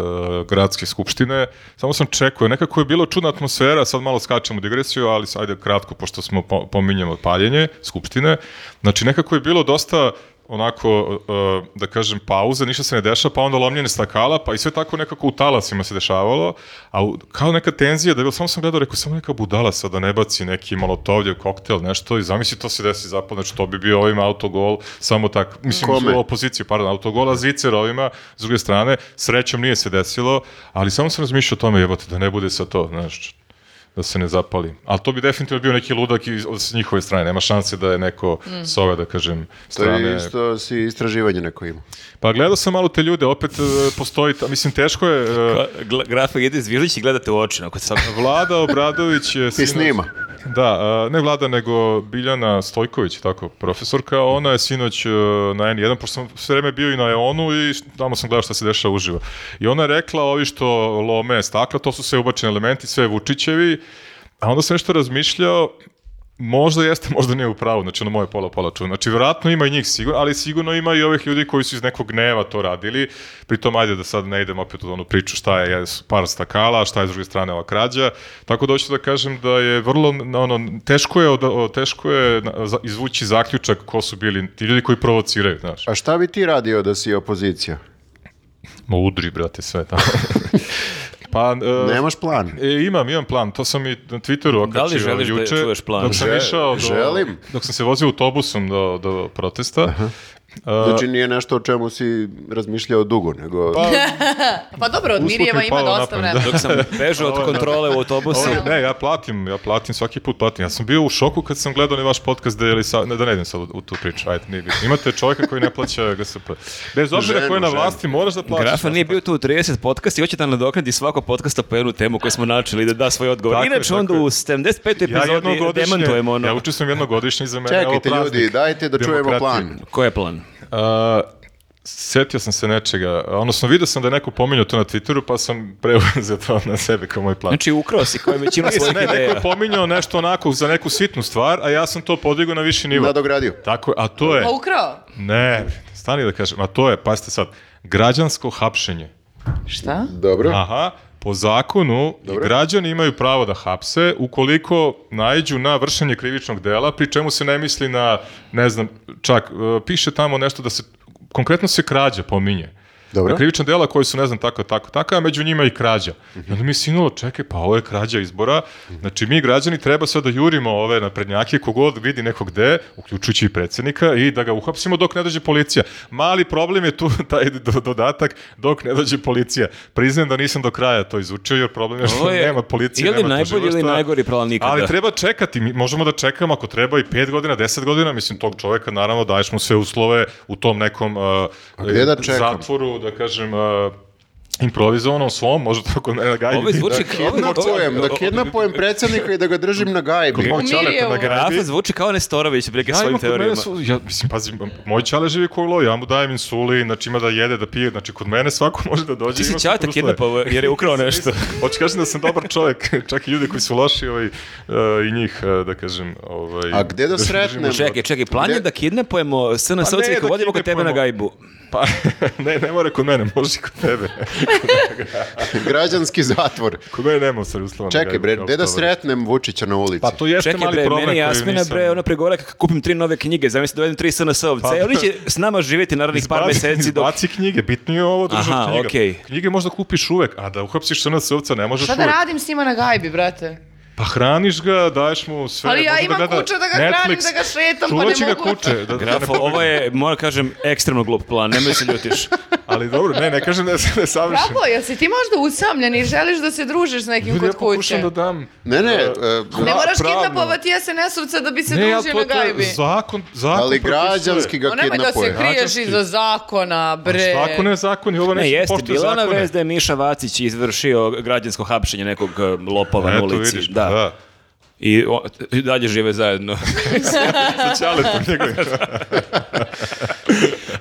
Speaker 4: gradske skupštine. Samo sam čekao, nekako je bilo čudna atmosfera, sad malo skačemo u digresiju, ali s- ajde kratko, pošto smo po, pominjamo paljenje skupštine. Znači nekako je bilo dosta onako, e, da kažem, pauza, ništa se ne dešava, pa onda lomljene stakala, pa i sve tako nekako u talasima se dešavalo, a u- kao neka tenzija, da je bilo, samo sam gledao, rekao, samo neka budala sad da ne baci neki molotovljev koktel, nešto, i zamisli to se desi zapad, znači to bi bio ovim autogol, samo tako, mislim,
Speaker 3: Kome?
Speaker 4: u opoziciju, pardon, autogola, zicer ovima, s druge strane, srećom nije se desilo, ali samo sam razmišljao o tome, jebote, da ne bude sa to, znaš, da se ne zapali. Ali to bi definitivno bio neki ludak iz, od s njihove strane. Nema šanse da je neko s ove, da kažem,
Speaker 3: To je
Speaker 4: strane
Speaker 3: isto si istraživanje neko ima.
Speaker 4: pa gledao sam malo te ljude, opet e, postoji, ta- mislim teško je, e,
Speaker 2: Grafa ide iz i gledate u oči. Ako sam...
Speaker 4: Vlada Obradović je... sinoć-
Speaker 3: snima.
Speaker 4: Da, e, ne Vlada, nego Biljana Stojković, tako, profesorka, ona je sinoć e, na N1, pošto sam sve vreme bio i na EON-u i š- tamo sam gledao šta se dešava uživo. I ona je rekla, ovi što lome stakla, to su sve ubačeni elementi, sve Vučićevi, a onda sam nešto razmišljao, Možda jeste, možda nije u pravu, znači ono moje pola pola čuo. Znači vjerojatno ima i njih sigurno, ali sigurno ima i ovih ljudi koji su iz nekog gneva to radili. Pritom ajde da sad ne idem opet u onu priču šta je jesu par stakala, šta je s druge strane ova krađa. Tako da hoću da kažem da je vrlo n- ono teško je od- o, teško je na- za- izvući zaključak ko su bili ti ljudi koji provociraju, znaš.
Speaker 3: A šta bi ti radio da si opozicija?
Speaker 4: Ma udri brate sve tamo. pa e,
Speaker 3: Nemaš plan.
Speaker 4: E, imam, imam plan, to sam i na Twitteru
Speaker 2: Da li
Speaker 4: okačio
Speaker 2: želiš da
Speaker 4: juče.
Speaker 2: čuješ plan?
Speaker 4: Dok sam
Speaker 3: Žel-
Speaker 4: išao do,
Speaker 3: želim.
Speaker 4: Dok sam se vozio autobusom do, do protesta, E,
Speaker 3: Znači nije nešto o čemu si razmišljao dugo, nego... Pa,
Speaker 1: Pa dobro, od
Speaker 4: Usput mi
Speaker 1: Mirjeva ima
Speaker 4: palo na
Speaker 1: dosta
Speaker 4: pamet,
Speaker 1: vremena.
Speaker 2: Dok sam bežao od kontrole u autobusu.
Speaker 4: Ovo je- ovaj- ne, ja platim, ja platim, svaki put platim. Ja sam bio u šoku kad sam gledao onaj vaš podcast da je Elisa- ne, da ne idem sad u, u tu priču, ajde, nije bitno. Imate čovjeka koji ne plaća GSP. Bez obzira
Speaker 3: Ženu,
Speaker 4: ko je na
Speaker 3: ženu.
Speaker 4: vlasti, moraš da plaćaš.
Speaker 2: Grafa nije bio tu u 30 podcasta i hoće da nadoknadi svako podcasta po jednu temu koju smo načeli da da svoj odgovor.
Speaker 4: Tako je,
Speaker 2: Inače
Speaker 4: tako
Speaker 2: onda
Speaker 4: je.
Speaker 2: u 75.
Speaker 4: Ja
Speaker 2: epizodi
Speaker 4: jednogodišnje-
Speaker 2: demantujemo ono.
Speaker 4: Ja učestvujem jednogodišnje iza mene. evo,
Speaker 3: Čekajte
Speaker 4: praznik
Speaker 3: ljudi, dajte da čujemo
Speaker 4: demokratije.
Speaker 3: plan.
Speaker 2: Ko je plan?
Speaker 4: A, setio sam se nečega, odnosno vidio sam da je neko pominjao to na Twitteru, pa sam preuzeo to na sebe kao moj plan.
Speaker 2: Znači ukrao si koja je većina svojih
Speaker 4: Mislim, Pa- ne, neko
Speaker 2: ideja.
Speaker 4: je pominjao nešto onako za neku sitnu stvar, a ja sam to podigao na viši nivo.
Speaker 3: Nadogradio.
Speaker 4: Tako, je, a to je...
Speaker 1: Pa ukrao?
Speaker 4: Ne, stani da kažem, a to je, pazite sad, građansko hapšenje.
Speaker 1: Šta?
Speaker 3: Dobro.
Speaker 4: Aha, po zakonu i građani imaju pravo da hapse ukoliko naiđu na vršenje krivičnog dela, pri čemu se ne misli na, ne znam, čak e, piše tamo nešto da se, konkretno se krađa pominje.
Speaker 3: Dobro.
Speaker 4: Na krivična dela koji su, ne znam, tako, tako, tako, a među njima i krađa.
Speaker 2: Mhm.
Speaker 4: I onda mi je sinulo, čekaj, pa ovo je krađa izbora, znači mi građani treba sad da jurimo ove naprednjake, kogod vidi nekog gde, uključujući i predsjednika, i da ga uhapsimo dok ne dođe policija. Mali problem je tu taj do- dodatak dok ne dođe policija. Priznam da nisam do kraja to izučio, jer problem je što
Speaker 2: Ovo je
Speaker 4: nema policije,
Speaker 2: ili
Speaker 4: nema
Speaker 2: najbolji ili
Speaker 4: tužilaštva.
Speaker 2: najgori plan nikada.
Speaker 4: Ali treba čekati, mi možemo da čekamo ako treba i 5 godina, 10 godina, mislim tog čoveka naravno daješ mu sve uslove u tom nekom uh,
Speaker 3: gde da čekam?
Speaker 4: zatvoru, da kažem uh, improvizovanom svom, možda tako kod mene na gajbi.
Speaker 2: Ovo je Ovaj zvuči
Speaker 4: Dakle,
Speaker 2: kao... ono- ovo-
Speaker 3: Kidnapujem, da kidnapujem predsjednika i da ga držim na gajbi.
Speaker 4: mog
Speaker 1: Umirio
Speaker 4: ćaleta na
Speaker 1: je.
Speaker 4: gajbi.
Speaker 2: Grafa zvuči kao Nestorović, brige
Speaker 4: Ja imam
Speaker 2: svojim
Speaker 4: kod mene
Speaker 2: teorijama.
Speaker 4: su, ja, mislim, pazi, moj čale živi ko lov, ja mu dajem insulin, znači ima da jede, da pije, znači kod mene svako može da dođe.
Speaker 2: Ti si
Speaker 4: Znači, ima sve
Speaker 2: Ćata
Speaker 4: uslove.
Speaker 2: kidnapovo jer pa je ukrao nešto.
Speaker 4: Hoću kažem da sam dobar čovjek, čak i ljudi koji su loši ovaj, e, i njih, e, da kažem. Ovaj,
Speaker 3: A gde da
Speaker 4: držim-
Speaker 3: sretnem?
Speaker 4: držim-
Speaker 2: Čekaj, čekaj, plan je
Speaker 3: Gde-
Speaker 2: da kidnapujemo SNS-ovce
Speaker 4: Pa ne,
Speaker 2: i ih
Speaker 4: da
Speaker 2: vodimo kod tebe na
Speaker 4: kidnapujemo.
Speaker 2: gajbu.
Speaker 4: Pa, ne, ne mora kod mene, može i kod tebe.
Speaker 3: Građanski zatvor.
Speaker 4: Kod mene nema u stvari uslova. na
Speaker 3: Čekaj
Speaker 4: gajbu,
Speaker 3: bre,
Speaker 4: kao
Speaker 3: gde da
Speaker 4: što
Speaker 3: sretnem Vučića na ulici?
Speaker 4: Pa to jeste
Speaker 2: Čekaj
Speaker 4: mali
Speaker 2: bre,
Speaker 4: problem
Speaker 2: meni
Speaker 4: koji
Speaker 2: Jasmina
Speaker 4: nisam...
Speaker 2: bre, ono ona pregovara kako kupim tri nove knjige, zamisli dovedem tri SNS-ovce,
Speaker 4: Pa-
Speaker 2: pa, oni će s nama živjeti narednih par
Speaker 4: Izbaci-
Speaker 2: meseci dok...
Speaker 4: Izbaci knjige, bitnije je ovo držati
Speaker 2: Aha,
Speaker 4: knjiga.
Speaker 2: okej.
Speaker 4: Knjige možda kupiš uvek, a da uhapsiš srna srca ne možeš
Speaker 1: Šta da
Speaker 4: uvek.
Speaker 1: radim s njima na gajbi, brate?
Speaker 4: Pa hraniš ga, daješ mu sve.
Speaker 1: Ali ja
Speaker 4: možda
Speaker 1: imam
Speaker 4: gleda
Speaker 1: kuću da ga hranim, da ga šetam, pa
Speaker 4: Čuvat
Speaker 1: ne
Speaker 4: će ga
Speaker 1: mogu.
Speaker 4: kuće. Da, da ne
Speaker 2: Grafo, ovo je, moram kažem, ekstremno glup plan, nemoj se ljutiš.
Speaker 4: Ali dobro, ne, ne kažem da sam nesavršen.
Speaker 1: Bravo, jel si ti možda usamljen i želiš da se družiš s nekim
Speaker 4: Ljudi, ja
Speaker 1: kod kuće?
Speaker 4: pokušam da dam...
Speaker 3: Ne, ne, e,
Speaker 4: e, pra-
Speaker 1: Ne moraš
Speaker 4: pravno.
Speaker 1: kidnapovati SNS-ovca da bi se
Speaker 4: Ne, ja
Speaker 1: družio
Speaker 4: to-
Speaker 1: na
Speaker 4: to je
Speaker 1: gajbi.
Speaker 4: Zakon, zakon
Speaker 3: ali
Speaker 4: propisuje.
Speaker 3: građanski ga
Speaker 1: O, nemoj da se
Speaker 3: kidnapuje.
Speaker 1: kriješ
Speaker 4: Građanski.
Speaker 1: iza zakona, bre.
Speaker 4: Zakon je zakon i ovo
Speaker 2: Ne,
Speaker 4: nešto
Speaker 2: jeste,
Speaker 4: poštuje
Speaker 2: bila ona
Speaker 4: zakone.
Speaker 2: vez da je Miša Vacić izvršio građansko hapšenje nekog e, lopova na
Speaker 4: Eto,
Speaker 2: ulici.
Speaker 4: vidiš,
Speaker 2: da.
Speaker 4: da.
Speaker 2: I, o- i dalje žive zajedno.
Speaker 4: Sa Ćaletom njegovim.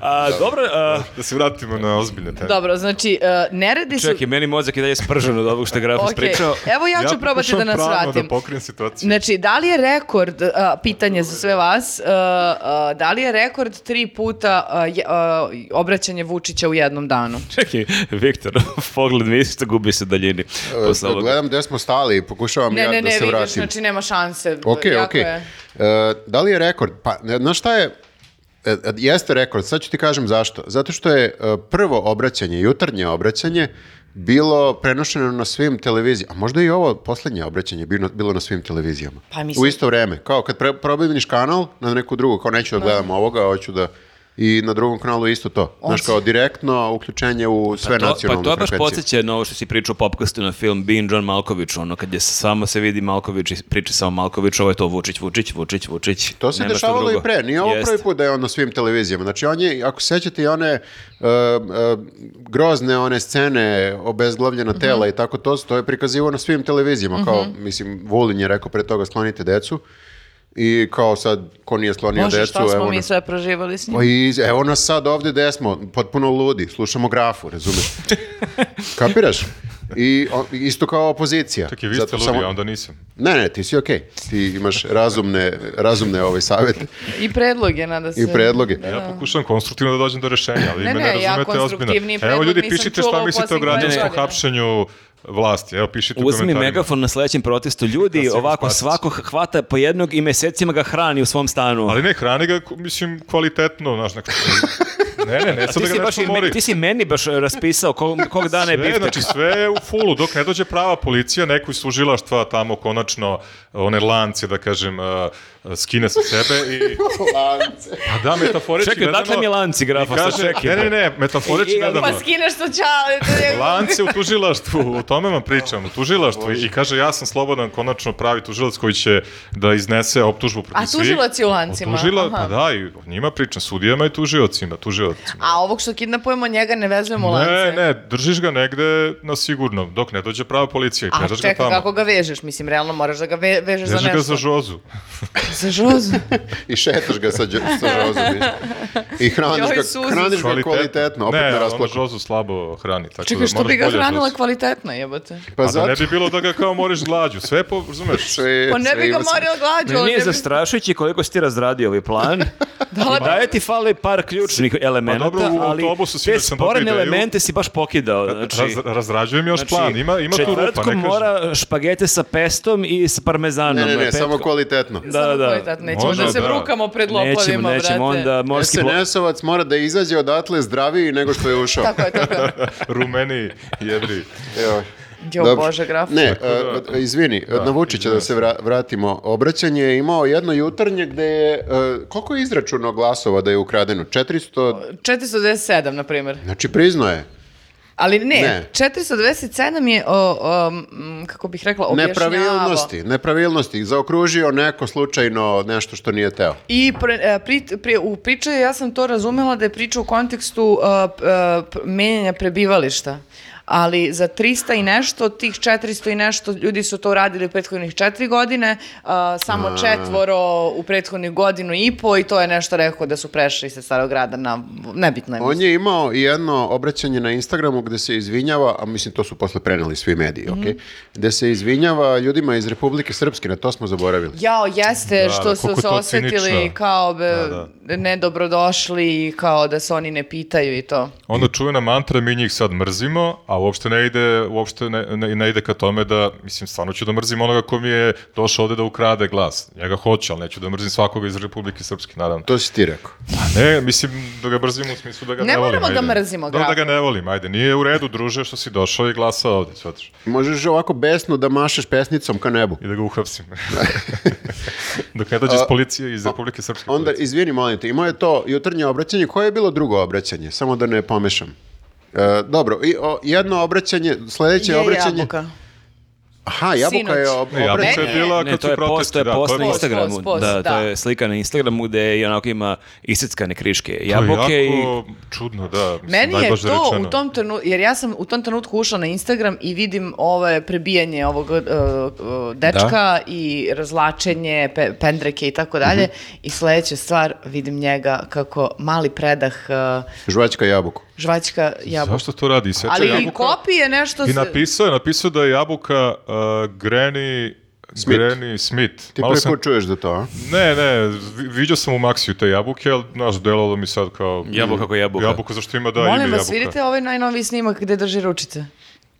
Speaker 2: A, dobro, a,
Speaker 4: Da se vratimo na ozbiljne teme.
Speaker 1: Dobro, znači, e, neredi su...
Speaker 2: čekaj, meni mozak je dalje spržan od ovog što je Graf
Speaker 1: Ok,
Speaker 2: ispričao.
Speaker 1: Evo ja ću probati
Speaker 4: pokušavam
Speaker 1: da nas
Speaker 4: pravno
Speaker 1: vratim.
Speaker 4: da pokrijem situaciju.
Speaker 1: Znači, da li je rekord, a, pitanje za sve vas, a, a, da li je rekord tri puta a, je- a, obraćanje Vučića u jednom danu?
Speaker 2: Čekaj, Viktor, pogled mi isto gubi se u daljini.
Speaker 3: E,
Speaker 2: posle ovoga.
Speaker 3: Gledam gde smo stali i pokušavam
Speaker 1: Ne,
Speaker 3: ja
Speaker 1: ne,
Speaker 3: da
Speaker 1: ne,
Speaker 3: se
Speaker 1: vidiš,
Speaker 3: vratim.
Speaker 1: znači nema šanse.
Speaker 3: Ok,
Speaker 1: Jako
Speaker 3: ok.
Speaker 1: je.
Speaker 3: E, da li je rekord? Pa, ne, znaš šta je? E, e, jeste rekord, sad ću ti kažem zašto. Zato što je e, prvo obraćanje, jutarnje obraćanje, bilo prenošeno na svim televizijama. A možda i ovo posljednje obraćanje bilo, bilo na svim televizijama.
Speaker 1: Pa mislim-
Speaker 3: U isto vreme. Kao kad pre, probiniš kanal na neku drugu, kao neću da gledam ovoga, hoću da... I na drugom kanalu isto to. Znaš, kao direktno uključenje u sve
Speaker 2: To-
Speaker 3: nacionalne
Speaker 2: Pa to baš
Speaker 3: frekvencije.
Speaker 2: podsjeća na ovo što si pričao u popkastu na film Bean John Malković, ono kad je samo se vidi Malković i priča samo Malković, ovo je to Vučić, Vučić, Vučić, Vučić.
Speaker 3: To se
Speaker 2: nema šta
Speaker 3: dešavalo
Speaker 2: drugo.
Speaker 3: i pre, nije ovo
Speaker 2: Jest.
Speaker 3: prvi put da je on na svim televizijama. Znači on je, ako sećate i one uh, uh, grozne one scene,
Speaker 4: Mhm.
Speaker 3: obezglavljena tela i tako to, to je prikazivo na svim televizijama. Kao, mislim, Vulin je rekao pre toga sklonite decu i kao sad, ko nije sklonio
Speaker 1: Može,
Speaker 3: decu,
Speaker 1: šta smo
Speaker 3: evo
Speaker 1: mi
Speaker 3: nas.
Speaker 1: sve proživali s njim?
Speaker 3: Pa i, evo nas sad ovdje gde smo, potpuno ludi, slušamo grafu, razumiješ? Kapiraš? I o- isto kao opozicija.
Speaker 4: Čekaj, vi
Speaker 3: Zato
Speaker 4: ste ludi,
Speaker 3: samo-
Speaker 4: a onda nisam.
Speaker 3: Ne, ne, ti si okej. Ti imaš razumne, razumne ovaj savjete
Speaker 1: I predloge, nada se.
Speaker 3: i predloge.
Speaker 4: Ja pokušavam konstruktivno da dođem do rešenja, ali
Speaker 1: Ne,
Speaker 4: vi me
Speaker 1: ne, ja
Speaker 4: ne razumete
Speaker 1: konstruktivniji
Speaker 4: ozbiljno. Evo
Speaker 1: predlog
Speaker 4: ljudi,
Speaker 1: nisam
Speaker 4: pišite
Speaker 1: čula
Speaker 4: šta
Speaker 1: u
Speaker 4: mislite o
Speaker 1: posljednjih
Speaker 4: građanskom
Speaker 1: godina.
Speaker 4: hapšenju vlasti. Evo, pišite u
Speaker 2: Uzmi
Speaker 4: komentarima.
Speaker 2: megafon na sledećem protestu. Ljudi,
Speaker 4: Sigurno
Speaker 2: ovako,
Speaker 4: Spasić.
Speaker 2: svako hvata po jednog i mesecima ga hrani u svom stanu.
Speaker 4: Ali ne, hrani ga, mislim, kvalitetno, znaš, neko... Ne, ne, ne, sad
Speaker 2: Ti
Speaker 4: da
Speaker 2: si,
Speaker 4: ga
Speaker 2: baš,
Speaker 4: nešto
Speaker 2: i meni-
Speaker 4: mori.
Speaker 2: ti si meni baš e, raspisao kog, kog dana je
Speaker 4: Sve,
Speaker 2: biftek.
Speaker 4: znači sve je u fulu, dok ne dođe prava policija, neko iz tužilaštva tamo konačno one lance, da kažem, uh, skine sa sebe i...
Speaker 3: Lance.
Speaker 4: A pa da, metaforički
Speaker 2: Čekaj,
Speaker 4: gledano...
Speaker 2: dakle mi lanci, grafa,
Speaker 4: i kaže-
Speaker 2: sad čekaj,
Speaker 4: Ne,
Speaker 2: bre.
Speaker 4: ne, ne,
Speaker 2: I-
Speaker 4: metaforički
Speaker 2: i-
Speaker 4: gledano.
Speaker 1: Pa skineš to čale.
Speaker 4: Lance u tužilaštvu, o tome vam pričam, u tužilaštvu i kaže ja sam slobodan konačno pravi tužilac koji će da iznese optužbu protiv
Speaker 1: A tužilac je u lancima,
Speaker 4: O Tužila,
Speaker 1: aha.
Speaker 4: pa da, i o njima pričam, sudijama i tužiocima, tužiocima.
Speaker 1: A ovog što kidnapujemo njega ne vezujemo u lance.
Speaker 4: Ne, ne, držiš ga negde na sigurno, dok ne dođe prava policija i
Speaker 1: A
Speaker 4: pežaš ga
Speaker 1: čekaj,
Speaker 4: tamo.
Speaker 1: kako ga vežeš? Mislim, realno moraš da ga ve- vežeš za
Speaker 4: Veži
Speaker 1: nešto. Pa
Speaker 4: ga za žozu.
Speaker 1: Za žozu.
Speaker 3: I šetaš ga sa, dž- sa žozom. I hraniš
Speaker 1: Joj,
Speaker 3: ga,
Speaker 1: Suzi.
Speaker 3: hraniš ga kvalitetno, opet
Speaker 1: ono
Speaker 4: ne,
Speaker 3: ne
Speaker 4: ona
Speaker 3: rasplaka.
Speaker 4: žozu slabo hrani. Tako
Speaker 1: Čekaj,
Speaker 4: da
Speaker 1: što
Speaker 4: moraš
Speaker 1: bi ga
Speaker 4: bolje
Speaker 1: hranila
Speaker 4: žozu.
Speaker 1: kvalitetno, jebote?
Speaker 3: Pa
Speaker 4: A da ne
Speaker 3: zato
Speaker 4: bi bilo da ga kao moriš glađu, sve po, razumeš?
Speaker 3: sve,
Speaker 1: Pa ne
Speaker 3: E,
Speaker 1: bi
Speaker 3: sve
Speaker 1: ga
Speaker 3: ima sam-
Speaker 1: morila glađu.
Speaker 2: Meni
Speaker 1: on
Speaker 2: nije
Speaker 1: ne bi-
Speaker 2: zastrašujući koliko si ti razradio ovaj plan.
Speaker 1: Dale,
Speaker 2: I daje ti fale par ključnih elemenata,
Speaker 4: Pa dobro, u
Speaker 2: ali
Speaker 4: autobusu si
Speaker 2: te
Speaker 4: da sam dobio
Speaker 2: sporne
Speaker 4: ideju.
Speaker 2: elemente si baš pokidao. Znači,
Speaker 4: Raz, razrađujem još
Speaker 2: znači,
Speaker 4: plan, ima, ima tu rupa, ne
Speaker 2: četvrtkom
Speaker 4: kažem.
Speaker 2: mora špagete sa pestom i sa parmezanom.
Speaker 3: Ne, ne, ne,
Speaker 2: petkom-
Speaker 3: samo kvalitetno.
Speaker 2: Da, da,
Speaker 1: Samo
Speaker 2: da.
Speaker 1: kvalitetno, Nećemo
Speaker 4: Možda,
Speaker 1: da se
Speaker 4: da.
Speaker 1: brukamo pred lopovima,
Speaker 2: Nećemo,
Speaker 1: brate.
Speaker 2: nećemo, onda morski plo...
Speaker 3: SNS-ovac mora da izađe odatle zdraviji nego što je ušao.
Speaker 1: Tako je, tako je.
Speaker 4: Rumeni jedri.
Speaker 3: Evo.
Speaker 1: Jo,
Speaker 3: Dobro.
Speaker 1: Bože, graf.
Speaker 3: Ne, e, izvini, na Vučića da se vra- vratimo. Obraćanje je imao jedno jutarnje gde je, e, koliko je izračuno glasova da je ukradeno? 400,
Speaker 1: Pa- 497, na primjer.
Speaker 3: znači prizno je,
Speaker 1: Ali ne,
Speaker 3: Ne.
Speaker 1: 497 je, o, o, m, kako bih rekla, objašnjavao.
Speaker 3: nepravilnosti, nepravilnosti, zaokružio neko slučajno nešto što nije teo.
Speaker 1: I pre- e, pri- pri- u priči ja sam to razumela da je priča u kontekstu e, p- e, p- menjanja prebivališta. Ali za 300 i nešto, tih 400 i nešto, ljudi su to radili u prethodnih četiri godine, a, samo četvoro u prethodnih godinu i po i to je nešto rekao da su prešli sa starog grada na, nebitno je.
Speaker 3: On je imao i jedno obraćanje na Instagramu gde se izvinjava, a mislim to su posle preneli svi mediji, ok?
Speaker 1: Mhm.
Speaker 3: Gde se izvinjava ljudima iz Republike Srpske, na to smo zaboravili.
Speaker 1: Jao, jeste,
Speaker 4: Da,
Speaker 1: što
Speaker 4: da,
Speaker 1: su
Speaker 4: koliko
Speaker 1: se
Speaker 4: je to
Speaker 1: osetili
Speaker 4: cinično.
Speaker 1: kao be,
Speaker 4: Da,
Speaker 1: nedobrodošli i kao da se oni ne pitaju i to.
Speaker 4: Onda čuvena Ono mantra, mi njih sad mrzimo, a uopšte ne ide, uopšte ne, ne, ne ide ka tome da, mislim, stvarno ću da mrzim onoga ko mi je došao ovde da ukrade glas. Ja ga hoću, ali neću da mrzim svakoga iz Republike Srpske, naravno.
Speaker 3: To si ti rekao.
Speaker 4: A ne, mislim, da ga mrzim u smislu da ga
Speaker 1: Ne
Speaker 4: ne, volim.
Speaker 1: moramo da
Speaker 4: ajde.
Speaker 1: mrzimo
Speaker 4: Dobro,
Speaker 1: grada.
Speaker 4: da ga ne volim, ajde. Nije u redu, druže, što si došao i glasao ovde, svataš.
Speaker 3: Možeš ovako besno da mašeš pesnicom ka nebu.
Speaker 4: I da ga uhapsim. Dok ne dođe iz policije, iz Republike Srpske
Speaker 3: Onda,
Speaker 4: policije.
Speaker 3: izvini, molim te, imao je to jutarnje obraćanje. Koje je bilo drugo obraćanje? Samo da ne pomešam. E, dobro, i, o, jedno obraćanje, sledeće
Speaker 1: Je
Speaker 3: Znači, obraćanje...
Speaker 1: jabuka.
Speaker 3: Aha, jabuka je ob-
Speaker 4: Ne, jabuka
Speaker 3: obraćanje.
Speaker 4: je bila
Speaker 2: Ne,
Speaker 4: kad
Speaker 2: to
Speaker 4: su
Speaker 2: je post, to
Speaker 4: protesti.
Speaker 2: je
Speaker 4: da, to
Speaker 2: post na
Speaker 4: je
Speaker 1: post,
Speaker 2: Instagramu.
Speaker 1: post, post,
Speaker 2: da, to
Speaker 1: da.
Speaker 2: je slika na Instagramu gde i onako ima isickane kriške,
Speaker 4: To je
Speaker 2: jabuke i...
Speaker 4: jako čudno, da. Mislim,
Speaker 1: Meni je
Speaker 4: najblaže
Speaker 1: to
Speaker 4: rečeno.
Speaker 1: u tom trenutku, jer ja sam u tom trenutku ušla na Instagram i vidim ovo prebijanje ovog uh, uh, dečka i razlačenje pe- pendreke i tako dalje.
Speaker 4: Mhm.
Speaker 1: I sledeća stvar, vidim njega kako mali predah uh,
Speaker 3: Žvačka jabuku.
Speaker 1: žvačka jabuka.
Speaker 4: Zašto to radi? Iseče
Speaker 1: Ali
Speaker 4: jabuka.
Speaker 1: i kopije nešto...
Speaker 4: I
Speaker 1: s-
Speaker 4: napisao je, napisao da je jabuka uh, Granny
Speaker 3: Smith.
Speaker 4: Smith. Granny Smith.
Speaker 3: Ti
Speaker 4: Malo sam- Mm.
Speaker 3: preko čuješ za to, a?
Speaker 4: Ne, ne, vi- viđao sam u Maxiju te jabuke, ali znaš, delalo mi sad kao...
Speaker 2: Jabuka ko jabuka.
Speaker 4: Jabuka, zašto ima da ime
Speaker 1: Molim vas,
Speaker 4: jabuka.
Speaker 1: vidite ovaj najnoviji snimak gde drži ručice.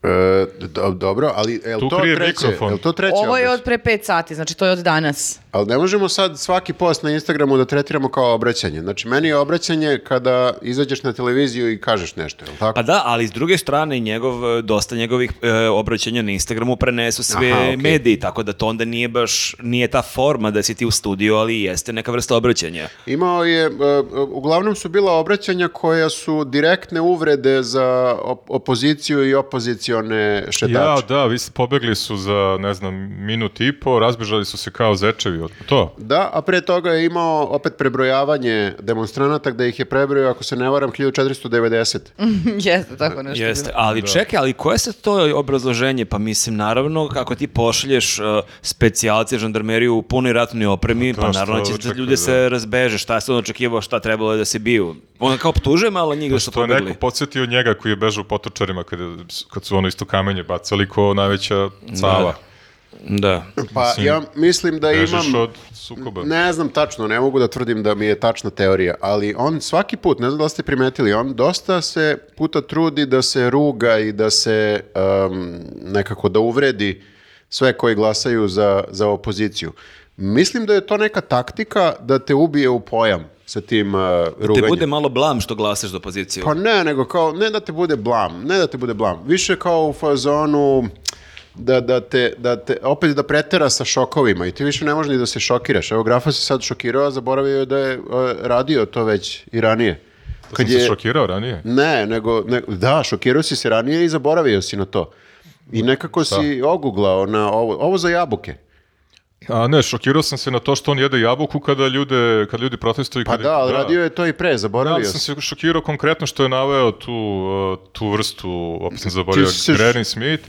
Speaker 3: E, do- dobro, ali je li
Speaker 4: Tu
Speaker 3: to
Speaker 4: krije
Speaker 3: treće?
Speaker 4: mikrofon.
Speaker 3: Je li to treće
Speaker 1: Ovo je
Speaker 3: obraćanje?
Speaker 1: od pre 5 sati, znači to je od danas.
Speaker 3: Ali ne možemo sad svaki post na Instagramu da tretiramo kao obraćanje. Znači, meni je obraćanje kada izađeš na televiziju i kažeš nešto, je li tako?
Speaker 2: Pa da, ali s druge strane njegov, e, dosta njegovih e, obraćanja na Instagramu prenesu sve
Speaker 3: Aha, okej.
Speaker 2: mediji, tako da to onda nije baš, nije ta forma da si ti u studiju, ali jeste neka vrsta obraćanja.
Speaker 3: Imao je, e, e, uglavnom su bila obraćanja koja su direktne uvrede za op- opoziciju i opozicione
Speaker 4: Ja,
Speaker 3: šetače.
Speaker 4: da, vi ste pobegli su za, ne znam, minut i po, razbežali su se kao zečevi. od- To,
Speaker 3: Da, a pre toga je imao opet prebrojavanje demonstranata gde ih je prebrojao, ako se ne varam, 1490.
Speaker 1: Mm. Jeste tako nešto. bilo.
Speaker 2: Jeste, ali čekaj, ali koje se to obrazloženje? Pa mislim, naravno, kako ti pošalješ uh, specijalce žandarmeriju u punoj ratnoj opremi, pa
Speaker 4: šta
Speaker 2: naravno će
Speaker 4: očekuje,
Speaker 2: ljude
Speaker 4: da.
Speaker 2: se razbeže, šta se on očekivao, šta trebalo je da se biju. Ona kao optužuje malo njih da su
Speaker 4: to Pa je
Speaker 2: pobegli.
Speaker 4: neko podsjetio njega koji je bežao u potočarima kad, je- kad su ono isto kamenje bacali ko najveća cava.
Speaker 2: Da.
Speaker 3: Pa ja mislim da
Speaker 4: Bežeš
Speaker 3: imam...
Speaker 4: od sukoba.
Speaker 3: Ne znam tačno, ne mogu da tvrdim da mi je tačna teorija, ali on svaki put, ne znam da li ste primetili, on dosta se puta trudi da se ruga i da se em, nekako da uvredi sve koji glasaju za, za opoziciju. Mislim da je to neka taktika da te ubije u pojam. sa tim uh,
Speaker 2: Te
Speaker 3: ruganjem.
Speaker 2: bude malo blam što glasaš za opoziciju.
Speaker 3: Pa ne, nego kao, ne da te bude blam, ne da te bude blam. Više kao u fazonu da, da, te, da te, opet da pretera sa šokovima i ti više ne možeš ni da se šokiraš. Evo, Grafa se sad šokirao, a zaboravio je da je e, radio to već i ranije.
Speaker 4: Kad Pa sam se šokirao ranije.
Speaker 3: Ne, nego, ne- da, šokirao si se ranije i zaboravio si na to. I nekako si oguglao na ovo, ovo za jabuke.
Speaker 4: A ne, šokirao sam se na to što on jede jabuku kada ljude, kada ljudi protestuju. i
Speaker 3: Pa
Speaker 4: kada-
Speaker 3: da, ali radio je to i pre,
Speaker 4: Da, ali
Speaker 3: zaboravio
Speaker 4: sam
Speaker 3: si.
Speaker 4: se šokirao konkretno što je naveo tu, uh, tu vrstu, opet sam zaboravio,
Speaker 3: Ti si se š-
Speaker 4: Granny Smith.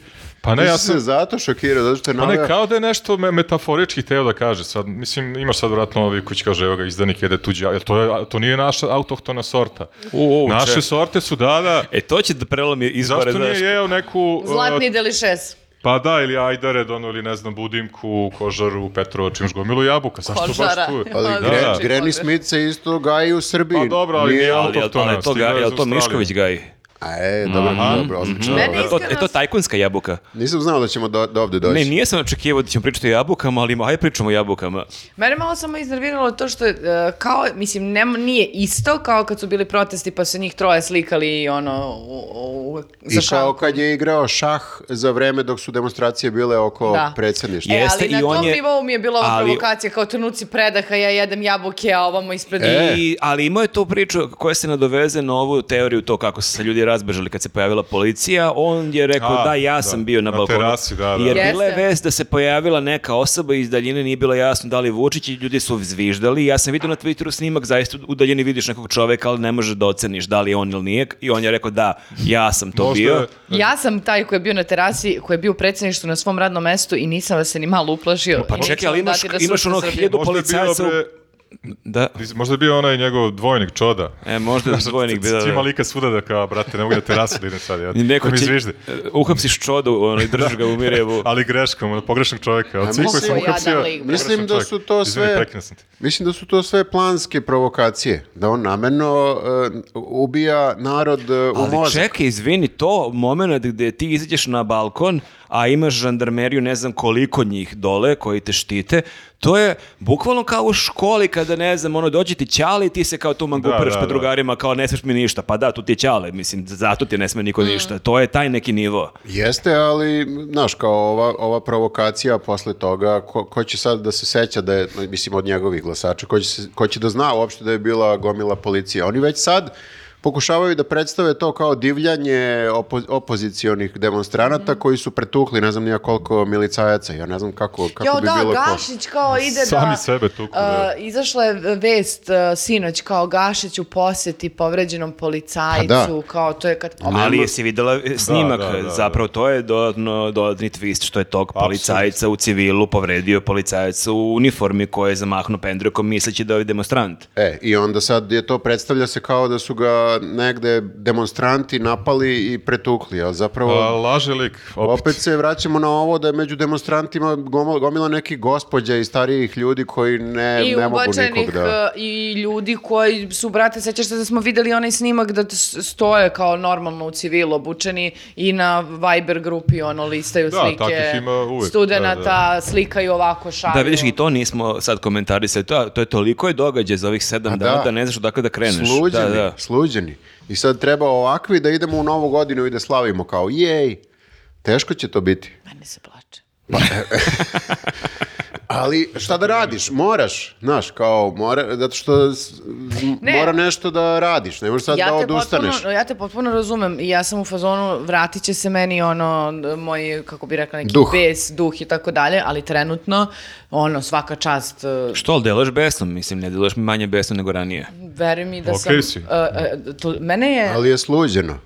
Speaker 4: Pa ne,
Speaker 3: Ti
Speaker 4: ja
Speaker 3: si
Speaker 4: sam
Speaker 3: se zato šokirao, zato što je
Speaker 4: Pa
Speaker 3: naveo-
Speaker 4: ne, kao da je nešto me- metaforički teo da kaže sad. Mislim, imaš sad vratno ovi koji će kaže, evo ga, izdanik jede tuđi, jel to, je, to nije naša autohtona sorta.
Speaker 2: U, u,
Speaker 4: Naše
Speaker 2: ček.
Speaker 4: sorte su, da, da,
Speaker 2: E, to će da prelomi izbore,
Speaker 4: zašto nije
Speaker 2: znaš.
Speaker 4: jeo neku...
Speaker 1: Zlatni
Speaker 4: uh,
Speaker 1: delišes.
Speaker 4: pa da, ili ajdared, ono, ili ne znam, budimku, kožaru, petrovač, imaš gomilu jabuka, zašto
Speaker 1: Kožara.
Speaker 4: baš tu?
Speaker 3: Ali
Speaker 1: Da,
Speaker 3: Gre-
Speaker 4: Pa da.
Speaker 3: Granny Smith se isto gaji u Srbiji.
Speaker 4: Pa dobro, ali nije
Speaker 2: Ali, jel- ali
Speaker 4: autohtona.
Speaker 2: je to, ga,
Speaker 4: stigla iz
Speaker 2: jel to
Speaker 4: Australije.
Speaker 2: Mišković gaji?
Speaker 3: A e, dobro, dobro, odlično.
Speaker 1: Meni-
Speaker 2: Je to,
Speaker 1: iskreno-
Speaker 2: je to tajkunska jabuka?
Speaker 3: Nisam znao da ćemo do, do ovde doći.
Speaker 2: Ne, nije sam očekivao da ćemo pričati o jabukama, ali hajde pričamo o jabukama.
Speaker 1: Mene malo samo iznerviralo to što je, e, kao, mislim, nema- nije isto kao kad su bili protesti pa se njih troje slikali i ono, u, u,
Speaker 3: I
Speaker 1: za
Speaker 3: kao
Speaker 1: šakom.
Speaker 3: kad je igrao šah za vreme dok su demonstracije bile oko
Speaker 1: Da.
Speaker 3: predsjedništva.
Speaker 1: E,
Speaker 2: Jeste,
Speaker 1: ali na
Speaker 2: i on
Speaker 1: tom
Speaker 2: je-
Speaker 1: nivou mi je bila ova
Speaker 2: ali-
Speaker 1: provokacija, kao trenuci predaha, ja jedem jabuke, a ovamo ispred...
Speaker 3: E.
Speaker 4: E.
Speaker 2: I, ali imao je tu priču koja se nadoveze na ovu teoriju to kako su se ljudi razbežali kad se pojavila policija. On je rekao
Speaker 4: A,
Speaker 2: da ja
Speaker 4: da,
Speaker 2: sam bio na,
Speaker 4: na
Speaker 2: balkonu.
Speaker 4: terasi, da, da.
Speaker 2: Jer bila je
Speaker 1: Jeste.
Speaker 2: vest da se pojavila neka osoba iz daljine, nije bilo jasno da li je Vučić i ljudi su zviždali. Ja sam vidio na Twitteru snimak, zaista u daljini vidiš nekog čoveka, ali ne možeš da oceniš da li je on ili nije. I on je rekao da, ja sam to
Speaker 4: Možda
Speaker 2: bio.
Speaker 4: je-
Speaker 1: Ja sam taj koji je bio na terasi, koji je bio u predsjedništvu na svom radnom mestu i nisam vas se ni malo uplašio.
Speaker 2: Pa
Speaker 1: I
Speaker 2: čekaj,
Speaker 1: neću
Speaker 2: ali
Speaker 1: vam
Speaker 2: imaš,
Speaker 1: dati da
Speaker 2: imaš
Speaker 1: srušite
Speaker 2: ono
Speaker 1: Srbiju.
Speaker 2: hiljadu
Speaker 4: Možda je bio,
Speaker 2: policajca... u-
Speaker 4: bre,
Speaker 2: Da.
Speaker 4: Možda je bio onaj njegov dvojnik čoda.
Speaker 2: E, možda je dvojnik bio.
Speaker 4: Ti ima
Speaker 2: da.
Speaker 4: lika svuda da kao, brate, ne mogu na terasu da idem sad. Ja,
Speaker 2: I Neko
Speaker 4: da mi
Speaker 2: će, e,
Speaker 4: zviždi.
Speaker 2: uhapsiš čodu, ono, i držiš ga u Mirjevu.
Speaker 4: Ali greškom, ono, pogrešnog čovjeka. Od svih koji sam
Speaker 3: mislim-
Speaker 4: uhapsio,
Speaker 1: Jadan lik, bre.
Speaker 4: pogrešan
Speaker 3: Mislim da
Speaker 4: čovjek.
Speaker 3: su to
Speaker 4: Izvini,
Speaker 3: sve-
Speaker 4: prekinuo sam te.
Speaker 3: Mislim da su to sve planske provokacije, da on namjerno ubija narod e, u
Speaker 2: Ali
Speaker 3: mozak.
Speaker 2: čekaj, izvini, to moment gdje ti izađeš na balkon, a imaš žandarmeriju, ne znam koliko njih dole koji te štite, to je bukvalno kao u školi kada, ne znam, ono, dođe ti ćale i ti se kao tu manguperaš
Speaker 4: da,
Speaker 2: pred
Speaker 4: da.
Speaker 2: drugarima, kao ne smeš mi ništa. Pa da, tu ti je ćale, mislim, zato ti ne sme niko ništa. To je taj neki nivo.
Speaker 3: Jeste, ali, znaš, kao ova, ova provokacija posle toga, ko, ko će sad da se seća da je, mislim, od njegovih glasača, ko će, se- ko će da zna uopšte da je bila gomila policije. Oni već sad pokušavaju da predstave to kao divljanje opo, opozicionih
Speaker 1: Mhm.
Speaker 3: demonstranata koji su pretukli, ne znam nija koliko milicajaca, ja ne znam kako, kako
Speaker 1: Jo,
Speaker 3: bi
Speaker 1: da,
Speaker 3: bilo ko.
Speaker 1: Gašić kao ide da...
Speaker 4: Sami sebe tuku, da.
Speaker 1: e, izašla je vest e, sinoć kao Gašić u posjeti povređenom
Speaker 4: Pa
Speaker 1: policajcu, kao to je kad...
Speaker 2: Ali jesi vidjela snimak,
Speaker 4: da, da, da.
Speaker 2: zapravo to je dodatno, dodatni twist što je tog policajca u civilu povredio policajca u uniformi koji je zamahnuo pendrekom misleći da je demonstrant.
Speaker 3: E, i onda sad je to predstavlja se kao da su ga negde demonstranti napali i pretukli, ali zapravo...
Speaker 4: Pa, laže lik, opet.
Speaker 3: Opet se vraćamo na ovo da je među demonstrantima gomila, gomila nekih gospođa i starijih ljudi koji ne,
Speaker 1: I
Speaker 3: ne mogu
Speaker 1: ubačenih
Speaker 3: nikog da...
Speaker 1: e, i ljudi koji su, brate, sećaš se da smo videli onaj snimak da t- s- stoje kao normalno u civilu obučeni i na Viber grupi ono listaju
Speaker 4: Da,
Speaker 1: slike
Speaker 4: takvih ima uvek,
Speaker 1: studenata,
Speaker 4: da,
Speaker 1: slikaju ovako šalju.
Speaker 2: Da, vidiš, i to nismo sad komentarisali. To, to je toliko je događaj za ovih sedam
Speaker 3: A
Speaker 2: dana
Speaker 3: da.
Speaker 2: da ne znaš odakle da kreneš.
Speaker 3: Sluđeni,
Speaker 2: Da, da.
Speaker 3: sluđeni. I sad treba ovakvi da idemo u novu godinu i da slavimo kao jej. Teško će to biti.
Speaker 1: Mene se plače.
Speaker 3: Ali šta da radiš? Moraš, znaš, kao mora, zato što s- m-
Speaker 1: Ne.
Speaker 3: mora nešto da radiš, ne možeš sad da
Speaker 1: te
Speaker 3: odustaneš.
Speaker 1: potpuno, ja te potpuno razumem i ja sam u fazonu vratit će se meni ono d- moj, kako bi rekla, neki
Speaker 3: Duh.
Speaker 1: bes, duh i tako dalje, ali trenutno ono, svaka čast e,
Speaker 2: Što, ali delaš besnom? Mislim, ne delaš manje besnom nego ranije.
Speaker 1: Veruj mi da
Speaker 4: Okej si.
Speaker 1: sam... e, e, to- mene je...
Speaker 3: Ali je sluđeno.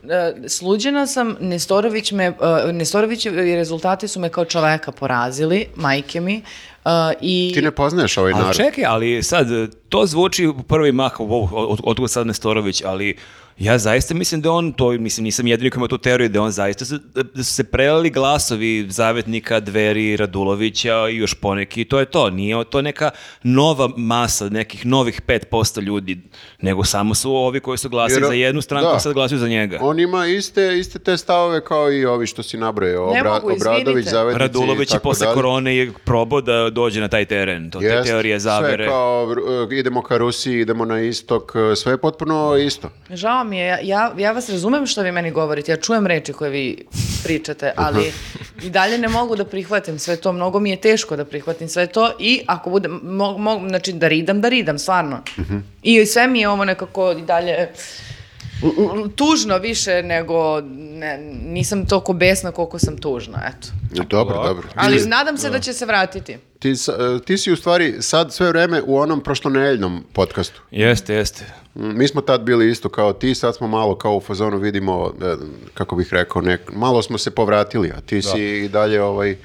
Speaker 1: e, sluđena sam, Nestorović me, e, Nestorovićevi rezultati su me kao čoveka porazili, majke mi, e, i...
Speaker 3: Ti ne poznaješ ovaj
Speaker 2: Ali
Speaker 3: narod.
Speaker 2: čekaj, ali sad, to zvuči u prvi mah, wow, otkud sad Nestorović, ali Ja zaista mislim da on, to mislim nisam jedini koji ima tu teoriju, da on zaista se, da su se prelili glasovi zavetnika, dveri, Radulovića i još poneki, to je to. Nije to neka nova masa, nekih novih 5% ljudi, nego samo su ovi koji su glasili
Speaker 3: Jer-
Speaker 2: za jednu stranku,
Speaker 3: da.
Speaker 2: sad glasuju za njega.
Speaker 3: On ima iste, iste te stavove kao i ovi što si nabrojao.
Speaker 1: Ne
Speaker 3: Obra-
Speaker 1: mogu, izvinite.
Speaker 3: Obradović, Zavetnici i
Speaker 2: Radulović je
Speaker 3: tako
Speaker 2: posle
Speaker 3: dalje.
Speaker 2: korone je probao da dođe na taj teren, to te
Speaker 3: Jest,
Speaker 2: teorije zavere.
Speaker 3: Sve kao e, idemo ka Rusiji, idemo na istok, e, sve je potpuno isto.
Speaker 1: Žao mi je, ja- ja, ja vas razumem što vi meni govorite, ja čujem reči koje vi pričate, ali i dalje ne mogu da prihvatim sve to, mnogo mi je teško da prihvatim sve to i ako bude, mo, mo- znači da ridam, da ridam, stvarno.
Speaker 3: Mhm.
Speaker 1: I sve mi je ovo nekako i dalje l- l- tužno više nego, ne, nisam toliko besna koliko sam tužna, eto.
Speaker 3: Dobro, dobro.
Speaker 1: Ali nadam se da će se vratiti.
Speaker 3: Ti, sa- e, ti si u stvari sad sve vreme u onom prošlonedeljnom podcastu.
Speaker 2: Jeste, jeste.
Speaker 3: Mm, Mi smo tad bili isto kao ti, sad smo malo kao u fazonu vidimo, e, kako bih rekao, nek- malo smo se povratili, a ti si i dalje ovaj,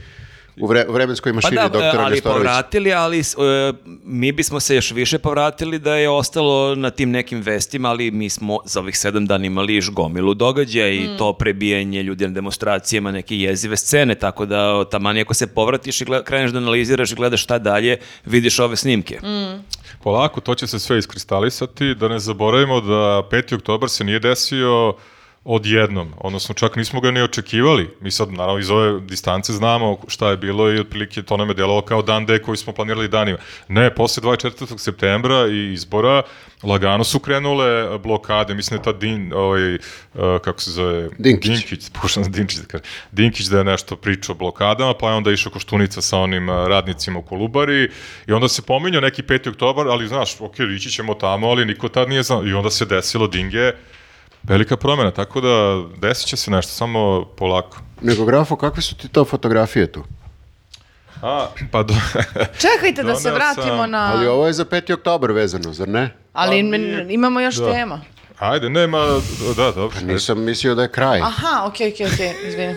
Speaker 3: u vre- vremenskoj mašini doktora
Speaker 2: Pa ali
Speaker 3: Nestorovića.
Speaker 2: povratili, ali s- e, mi bismo se još više povratili da je ostalo na tim nekim vestima, ali mi smo za ovih sedam dana imali još gomilu događaja i to prebijanje ljudi na demonstracijama, neke jezive scene, tako da o, taman i ako se povratiš i gleda- kreneš da analiziraš i gledaš šta dalje, vidiš ove snimke.
Speaker 4: Polako, to će se sve iskristalisati, da ne zaboravimo da 5. oktobar se nije desio odjednom, odnosno čak nismo ga ni očekivali. Mi sad, naravno, iz ove distance znamo šta je bilo i otprilike to nam je delovao kao dan D koji smo planirali danima. Ne, posle 24. septembra i izbora lagano su krenule blokade, mislim da je ta Din, ovaj, eh, kako se zove?
Speaker 3: Dinkić.
Speaker 4: Dinkić, pokušam sam Dinkić da kažem. Dinkić da je nešto pričao o blokadama, pa je onda išao Koštunica sa onim a, radnicima u Kolubari i onda se pominjao neki 5. oktobar, ali znaš, ok, ići ćemo tamo, ali niko tad nije znao. I onda se desilo Dinge, velika promjena, tako da desit će se nešto, samo polako.
Speaker 3: Nego grafo, kakve su ti to fotografije tu?
Speaker 4: A, pa do...
Speaker 1: Čekajte da se
Speaker 4: Doneo sam- Pa
Speaker 1: vratimo na...
Speaker 3: Ali ovo je za 5. oktobar vezano, zar ne?
Speaker 1: Ali
Speaker 4: Ali-
Speaker 1: men- imamo još tema.
Speaker 4: Ajde, nema, da, dobro.
Speaker 2: Pa
Speaker 3: Nisam mislio da je kraj.
Speaker 1: Aha, okej, okej, okej, izvini.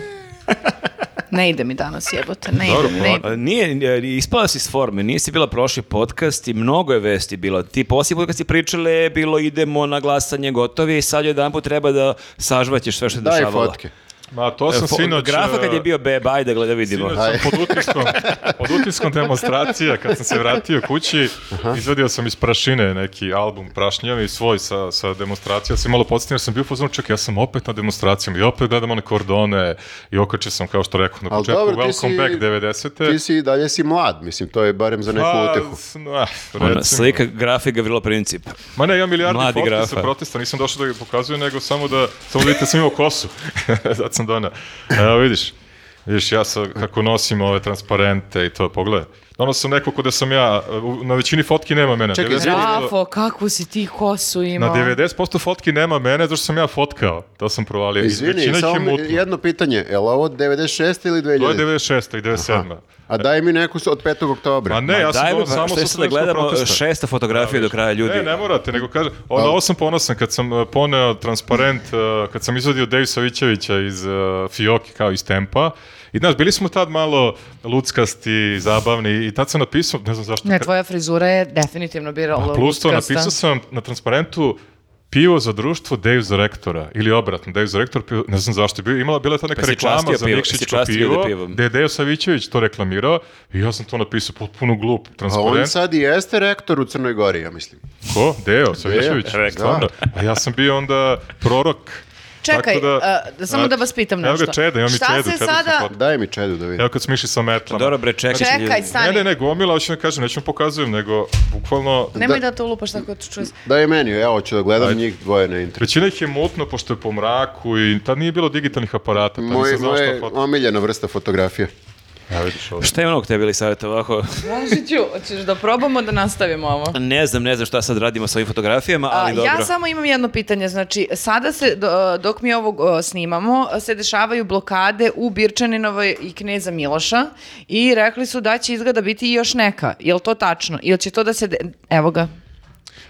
Speaker 1: Ne ide mi danas jebote, ne
Speaker 4: Dobro,
Speaker 1: ide,
Speaker 4: pa,
Speaker 1: ne ide.
Speaker 2: A, Nije, e, ispala si s forme, nisi bila prošli podcast i mnogo je vesti bilo. Ti posljednji podcast si pričale je bilo idemo na glasanje gotovi i sad jedan put treba da sažvaćeš sve što je
Speaker 3: Daj
Speaker 2: dešavalo.
Speaker 3: fotke.
Speaker 4: Ma, to
Speaker 2: E,
Speaker 4: sam
Speaker 2: fo-
Speaker 4: sinoć...
Speaker 2: Grafa kad je
Speaker 4: e,
Speaker 2: bio beba, ajde gleda vidimo.
Speaker 4: Sinoć sam pod utiskom, pod utiskom demonstracija, kad sam se vratio kući, izvadio sam iz prašine neki album prašnjavi svoj sa, sa demonstracija. Ja sam malo podsjetio jer sam bio pozvan, čekaj, ja sam opet na demonstracijama i opet gledam one kordone i okačio sam, kao što rekao, na
Speaker 3: Ali
Speaker 4: početku
Speaker 3: dobro, ti
Speaker 4: Welcome
Speaker 3: si-
Speaker 4: Back 90.
Speaker 3: Ti si i dalje si mlad, mislim, to je barem za neku
Speaker 4: Pa,
Speaker 3: utehu.
Speaker 4: s- na, recimo.
Speaker 2: Ona, slika grafe Gavrilo Princip.
Speaker 4: Ma ne, ja milijardi
Speaker 2: Mladi
Speaker 4: potpisa
Speaker 2: grafa.
Speaker 4: protesta, nisam došao da ga pokazujem, nego samo da, samo da vidite da sam imao kosu. Zato sam donao. Evo vidiš, vidiš ja sa, kako nosim ove transparente i to, pogledaj. Ono sam neko ko da sam ja, u- na većini fotki nema mene.
Speaker 3: Čekaj,
Speaker 4: 90%
Speaker 1: Rafo, kakvu si ti kosu
Speaker 4: pa, Na
Speaker 1: imao?
Speaker 4: 90% fotki nema mene, zato što sam ja fotkao. To sam provalio.
Speaker 3: Izvini,
Speaker 4: Većina ih je
Speaker 3: samo mi-
Speaker 4: mutna.
Speaker 3: jedno pitanje, je li ovo 96 ili
Speaker 4: To je
Speaker 3: 2000?
Speaker 4: 96. i 97.
Speaker 3: A daj mi neku s- od 5.
Speaker 4: Ma
Speaker 3: oktobra.
Speaker 4: ne, E, ja sam
Speaker 2: Dajmo,
Speaker 4: donao
Speaker 2: pa,
Speaker 4: samo
Speaker 2: šta
Speaker 4: sa
Speaker 2: je sad da gledamo
Speaker 4: protesta.
Speaker 2: šesta fotografija do kraja ljudi.
Speaker 4: Ne, ne morate, nego kaže, o, na ovo sam ponosan kad sam e, poneo transparent, e, kad sam izvadio Dave Savićevića iz e, Fioki, kao iz Tempa, I znaš, bili smo tad malo luckasti, zabavni i tad sam napisao, ne znam zašto,
Speaker 1: Ne, tvoja frizura je definitivno ono birala
Speaker 4: plus to
Speaker 1: lutkasta.
Speaker 4: napisao sam na transparentu pivo za društvo, Dave za rektora, ili obratno, Dave za rektor, pivo, ne znam zašto, Bio- imala, bila je ta neka
Speaker 2: Pa si
Speaker 4: reklama
Speaker 2: častio
Speaker 4: za
Speaker 2: pivo, si
Speaker 4: Nikšićko
Speaker 2: častio ljude
Speaker 4: pivo,
Speaker 2: pivom.
Speaker 4: gde je Dave Savićević to reklamirao i ja sam to napisao potpuno glup,
Speaker 3: A
Speaker 4: transparent.
Speaker 3: Pa on sad i jeste rektor u Crnoj Gori, ja mislim.
Speaker 4: Ko? Deo, Savićević.
Speaker 2: Deo, rektor.
Speaker 4: Stvarno. A ja sam bio onda prorok.
Speaker 1: Čekaj,
Speaker 4: Tako znači,
Speaker 1: a, samo da vas pitam
Speaker 4: Evo
Speaker 1: nešto.
Speaker 4: ga Čeda, imam i
Speaker 1: Šta
Speaker 4: Čedu.
Speaker 1: se
Speaker 4: Čedu sam
Speaker 1: sada-
Speaker 4: fotkao.
Speaker 3: Daj mi čedu da vidim.
Speaker 4: Evo kad smo išli sa metlama.
Speaker 2: Dobro bre, čekaj.
Speaker 1: Čekaj,
Speaker 2: ljudi.
Speaker 1: stani.
Speaker 4: Ne, ne, ne, gomila, hoću da kažem, neću vam pokazujem, nego bukvalno...
Speaker 1: Nemoj da, te ulupaš tako ću čuje.
Speaker 3: Daj meni, ja hoću da gledam
Speaker 4: Ajde.
Speaker 3: njih dvoje na internetu.
Speaker 4: Većina ih je mutno, pošto je po mraku i tad nije bilo digitalnih aparata, pa
Speaker 3: Moje,
Speaker 4: nisam znao šta
Speaker 3: moje
Speaker 4: fotka.
Speaker 3: omiljena vrsta fotografije.
Speaker 4: Ja vidiš ovo.
Speaker 2: Šta je ono onog tebi, Elisaveta, ovako?
Speaker 1: Božiću, hoćeš da probamo da nastavimo ovo?
Speaker 2: Ne znam, ne znam šta sad radimo s ovim fotografijama,
Speaker 1: A,
Speaker 2: ali dobro.
Speaker 1: ja samo imam jedno pitanje, znači sada se, do- dok mi ovo o, snimamo, se dešavaju blokade u Birčaninovoj i Kneza Miloša i rekli su da će izgleda biti i još neka, je li to tačno? Ili će to da se, de- evo ga,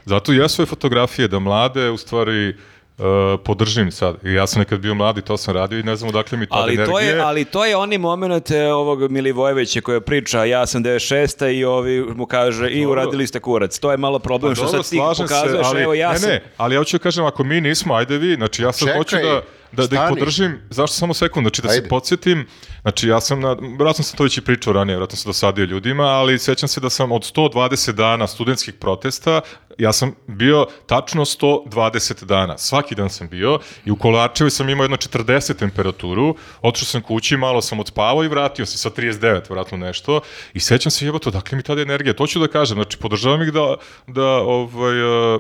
Speaker 4: Zato i jesu ove fotografije da mlade, u stvari, e, podržim sad. I Ja sam nekad bio mladi, to sam radio i ne znam odakle mi ta
Speaker 2: Ali
Speaker 4: energije.
Speaker 2: to, je, ali to je oni moment e, ovog Milivojevića koja priča ja sam 96. i ovi mu kaže i uradili ste kurac. To je malo problem što
Speaker 4: Pa Dobro,
Speaker 2: sad ti
Speaker 4: slažem se,
Speaker 2: pokazuješ,
Speaker 4: ali,
Speaker 2: evo ja
Speaker 4: ne,
Speaker 2: sam.
Speaker 4: ne, ali ja hoću da kažem, ako mi nismo, ajde vi, znači ja sad
Speaker 3: Čekaj,
Speaker 4: hoću da, da, da ih
Speaker 3: stani.
Speaker 4: podržim, zašto samo sekund, znači da
Speaker 3: Ajde.
Speaker 4: se podsjetim, znači ja sam, na, vratno sam to već i pričao ranije, vratno sam dosadio ljudima, ali sećam se da sam od 120 dana studentskih protesta, ja sam bio tačno 120 dana, svaki dan sam bio i u Kolarčevi sam imao jedno 40 temperaturu, otišao sam kući, malo sam odspavao i vratio se sa 39, vratno nešto, i sećam se jebote, odakle mi tada energija, to ću da kažem, znači podržavam ih da, da ovaj, e,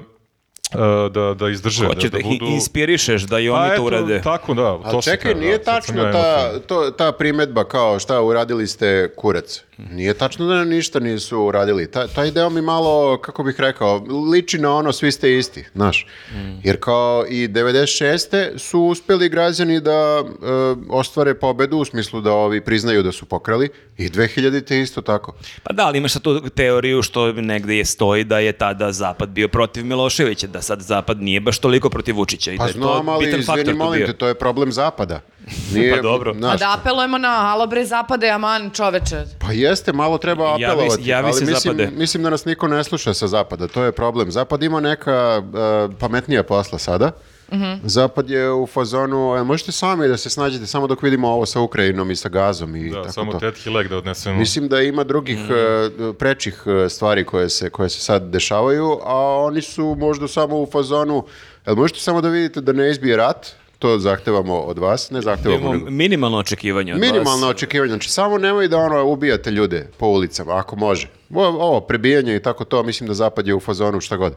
Speaker 4: e, da, da izdrže,
Speaker 2: Hoće da
Speaker 4: da, da
Speaker 2: ih
Speaker 4: budu...
Speaker 2: inspirišeš da i
Speaker 4: Pa
Speaker 2: oni to
Speaker 4: eto,
Speaker 2: urade.
Speaker 4: Tako da,
Speaker 3: A
Speaker 4: to
Speaker 3: Pa
Speaker 4: sam
Speaker 3: čekaj,
Speaker 4: teo,
Speaker 3: nije
Speaker 4: da, sad sam
Speaker 3: tačno
Speaker 4: ja
Speaker 3: ta,
Speaker 4: emotivan.
Speaker 3: to, ta primetba kao šta uradili ste kurac. Nije tačno da nam ništa nisu uradili. Ta, taj deo mi malo, kako bih rekao, liči na ono svi ste isti, znaš.
Speaker 2: Mm.
Speaker 3: Jer kao i 96. su uspeli građani da e, ostvare pobedu u smislu da ovi priznaju da su pokrali i 2000. isto tako.
Speaker 2: Pa da, ali imaš sad tu teoriju što negde je stoji da je tada Zapad bio protiv Miloševića, da sad Zapad nije baš toliko protiv Vučića. I
Speaker 3: Pa
Speaker 2: da je
Speaker 3: znam,
Speaker 2: to
Speaker 3: ali
Speaker 2: bitan faktor
Speaker 3: izvini,
Speaker 2: tu
Speaker 3: molim
Speaker 2: bio.
Speaker 3: te, to je problem zapada. Nije,
Speaker 2: Pa dobro.
Speaker 1: A
Speaker 3: znaš,
Speaker 1: da apelujemo na alo bre zapade, aman čoveče.
Speaker 3: Pa jeste, malo treba
Speaker 2: Javi-
Speaker 3: apelovati,
Speaker 2: javi se
Speaker 3: ali
Speaker 2: zapade.
Speaker 3: mislim, mislim da nas niko ne sluša sa zapada, to je problem. Zapad ima neka e, pametnija posla sada. Zapad je u fazonu, e, možete sami da se snađete, samo dok vidimo ovo sa Ukrajinom i sa gazom i
Speaker 4: Da,
Speaker 3: tako
Speaker 4: samo
Speaker 3: to.
Speaker 4: tet hilek da odnesemo.
Speaker 3: Mislim da ima drugih e, prečih e, stvari koje se, koje se sad dešavaju, a oni su možda samo u fazonu, jel možete samo da vidite da ne izbije rat, to zahtevamo od vas, ne zahtevamo
Speaker 2: Imamo
Speaker 3: nego-
Speaker 2: minimalno očekivanje od
Speaker 3: Minimalno
Speaker 2: vas.
Speaker 3: očekivanje, znači samo nemoj da ono ubijate ljude po ulicama, ako može. O- Ovo, prebijanje i tako to, mislim da zapad je u fazonu šta god.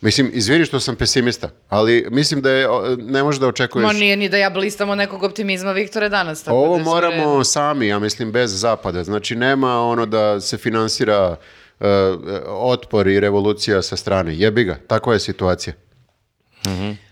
Speaker 3: Mislim, izvini što sam pesimista, ali mislim da je, o, ne možeš da očekuješ.
Speaker 1: Ma nije ni da ja blistamo nekog optimizma Viktore danas. tako
Speaker 3: Ovo
Speaker 1: da sve-
Speaker 3: moramo sami, ja mislim, bez zapada. Znači, nema ono da se finansira e, e, otpor i revolucija sa strane. Jebi ga, takva je situacija.
Speaker 1: E,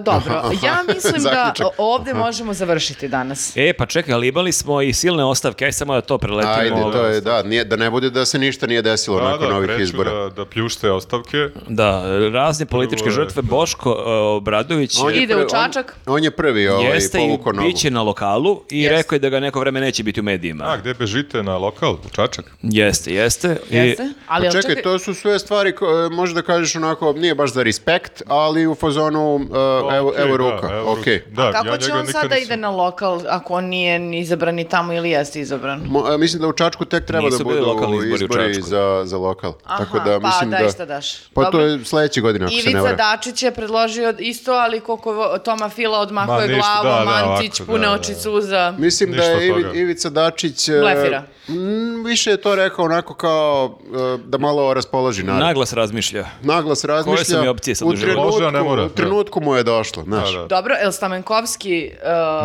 Speaker 1: dobro, ja mislim da
Speaker 3: Zaključak.
Speaker 1: ovdje možemo završiti danas.
Speaker 2: E, pa čekaj, ali imali smo i silne ostavke, aj samo da to preletimo.
Speaker 3: Ajde,
Speaker 2: ovaj.
Speaker 3: to je, da, nije, da ne bude da se ništa nije desilo
Speaker 4: da,
Speaker 3: nakon
Speaker 4: da,
Speaker 3: ovih
Speaker 4: kreću
Speaker 3: izbora.
Speaker 4: Da, da pljušte ostavke.
Speaker 2: Da, razne političke
Speaker 4: Prvo je-
Speaker 2: žrtve, Boško e, Obradović
Speaker 3: On je
Speaker 1: Ide u
Speaker 3: prvi- on-
Speaker 1: Čačak.
Speaker 3: On, je prvi ovaj,
Speaker 2: jeste i
Speaker 3: povukao nogu.
Speaker 2: bit će na lokalu i
Speaker 1: Jeste.
Speaker 2: rekao je da ga neko vreme neće biti u medijima.
Speaker 4: A, gde bežite? Na lokal? U Čačak?
Speaker 2: Jeste, jeste. I-
Speaker 1: Jeste? Ali,
Speaker 3: Pa
Speaker 1: jel
Speaker 3: čekaj,
Speaker 1: čekaj-
Speaker 3: to su sve stvari koje možda kažeš onako, nije baš za respekt, ali u fazonu uh, evo,
Speaker 4: Pa Okej,
Speaker 3: evo
Speaker 4: da,
Speaker 3: ruka,
Speaker 4: evo
Speaker 3: ok.
Speaker 4: ruka. Da,
Speaker 1: Kako
Speaker 4: ja
Speaker 1: će
Speaker 4: njega
Speaker 1: on
Speaker 4: nikad
Speaker 1: sada da
Speaker 4: nisam-
Speaker 1: ide na lokal ako on nije ni izabran ni tamo ili jeste izabran?
Speaker 3: e, mislim da u Čačku tek treba
Speaker 2: Nisu
Speaker 3: da
Speaker 2: bili
Speaker 3: budu
Speaker 2: lokalni izbori u
Speaker 3: izbori,
Speaker 2: Čačku.
Speaker 3: za, za lokal. Tako da
Speaker 1: pa
Speaker 3: mislim
Speaker 1: daj
Speaker 3: da...
Speaker 1: šta daš.
Speaker 3: Pa
Speaker 1: Dobro.
Speaker 3: to je sledeće godine, ako se ne
Speaker 1: Ivica
Speaker 3: varam.
Speaker 1: Dačić je predložio isto, ali koliko vo- Toma Fila
Speaker 4: Ma,
Speaker 1: odmahuje
Speaker 4: ništa, da, da,
Speaker 1: glavom, Antić,
Speaker 4: ovako,
Speaker 1: pune
Speaker 4: da, da.
Speaker 1: oči suza.
Speaker 3: Mislim da
Speaker 4: Ništa
Speaker 3: je
Speaker 4: od
Speaker 3: Ivi-
Speaker 4: toga.
Speaker 3: Ivica Dačić... e,
Speaker 1: Blefira.
Speaker 3: m, više je to rekao onako kao e, da malo raspoloži narod.
Speaker 2: Naglas razmišlja.
Speaker 3: Naglas razmišlja.
Speaker 2: su mi opcije sad
Speaker 3: u
Speaker 2: u životu?
Speaker 3: trenutku,
Speaker 4: Može, a ne mora,
Speaker 3: u
Speaker 4: da.
Speaker 3: trenutku mu je došlo, znaš.
Speaker 4: Da, da.
Speaker 1: Dobro, El Stamenkovski,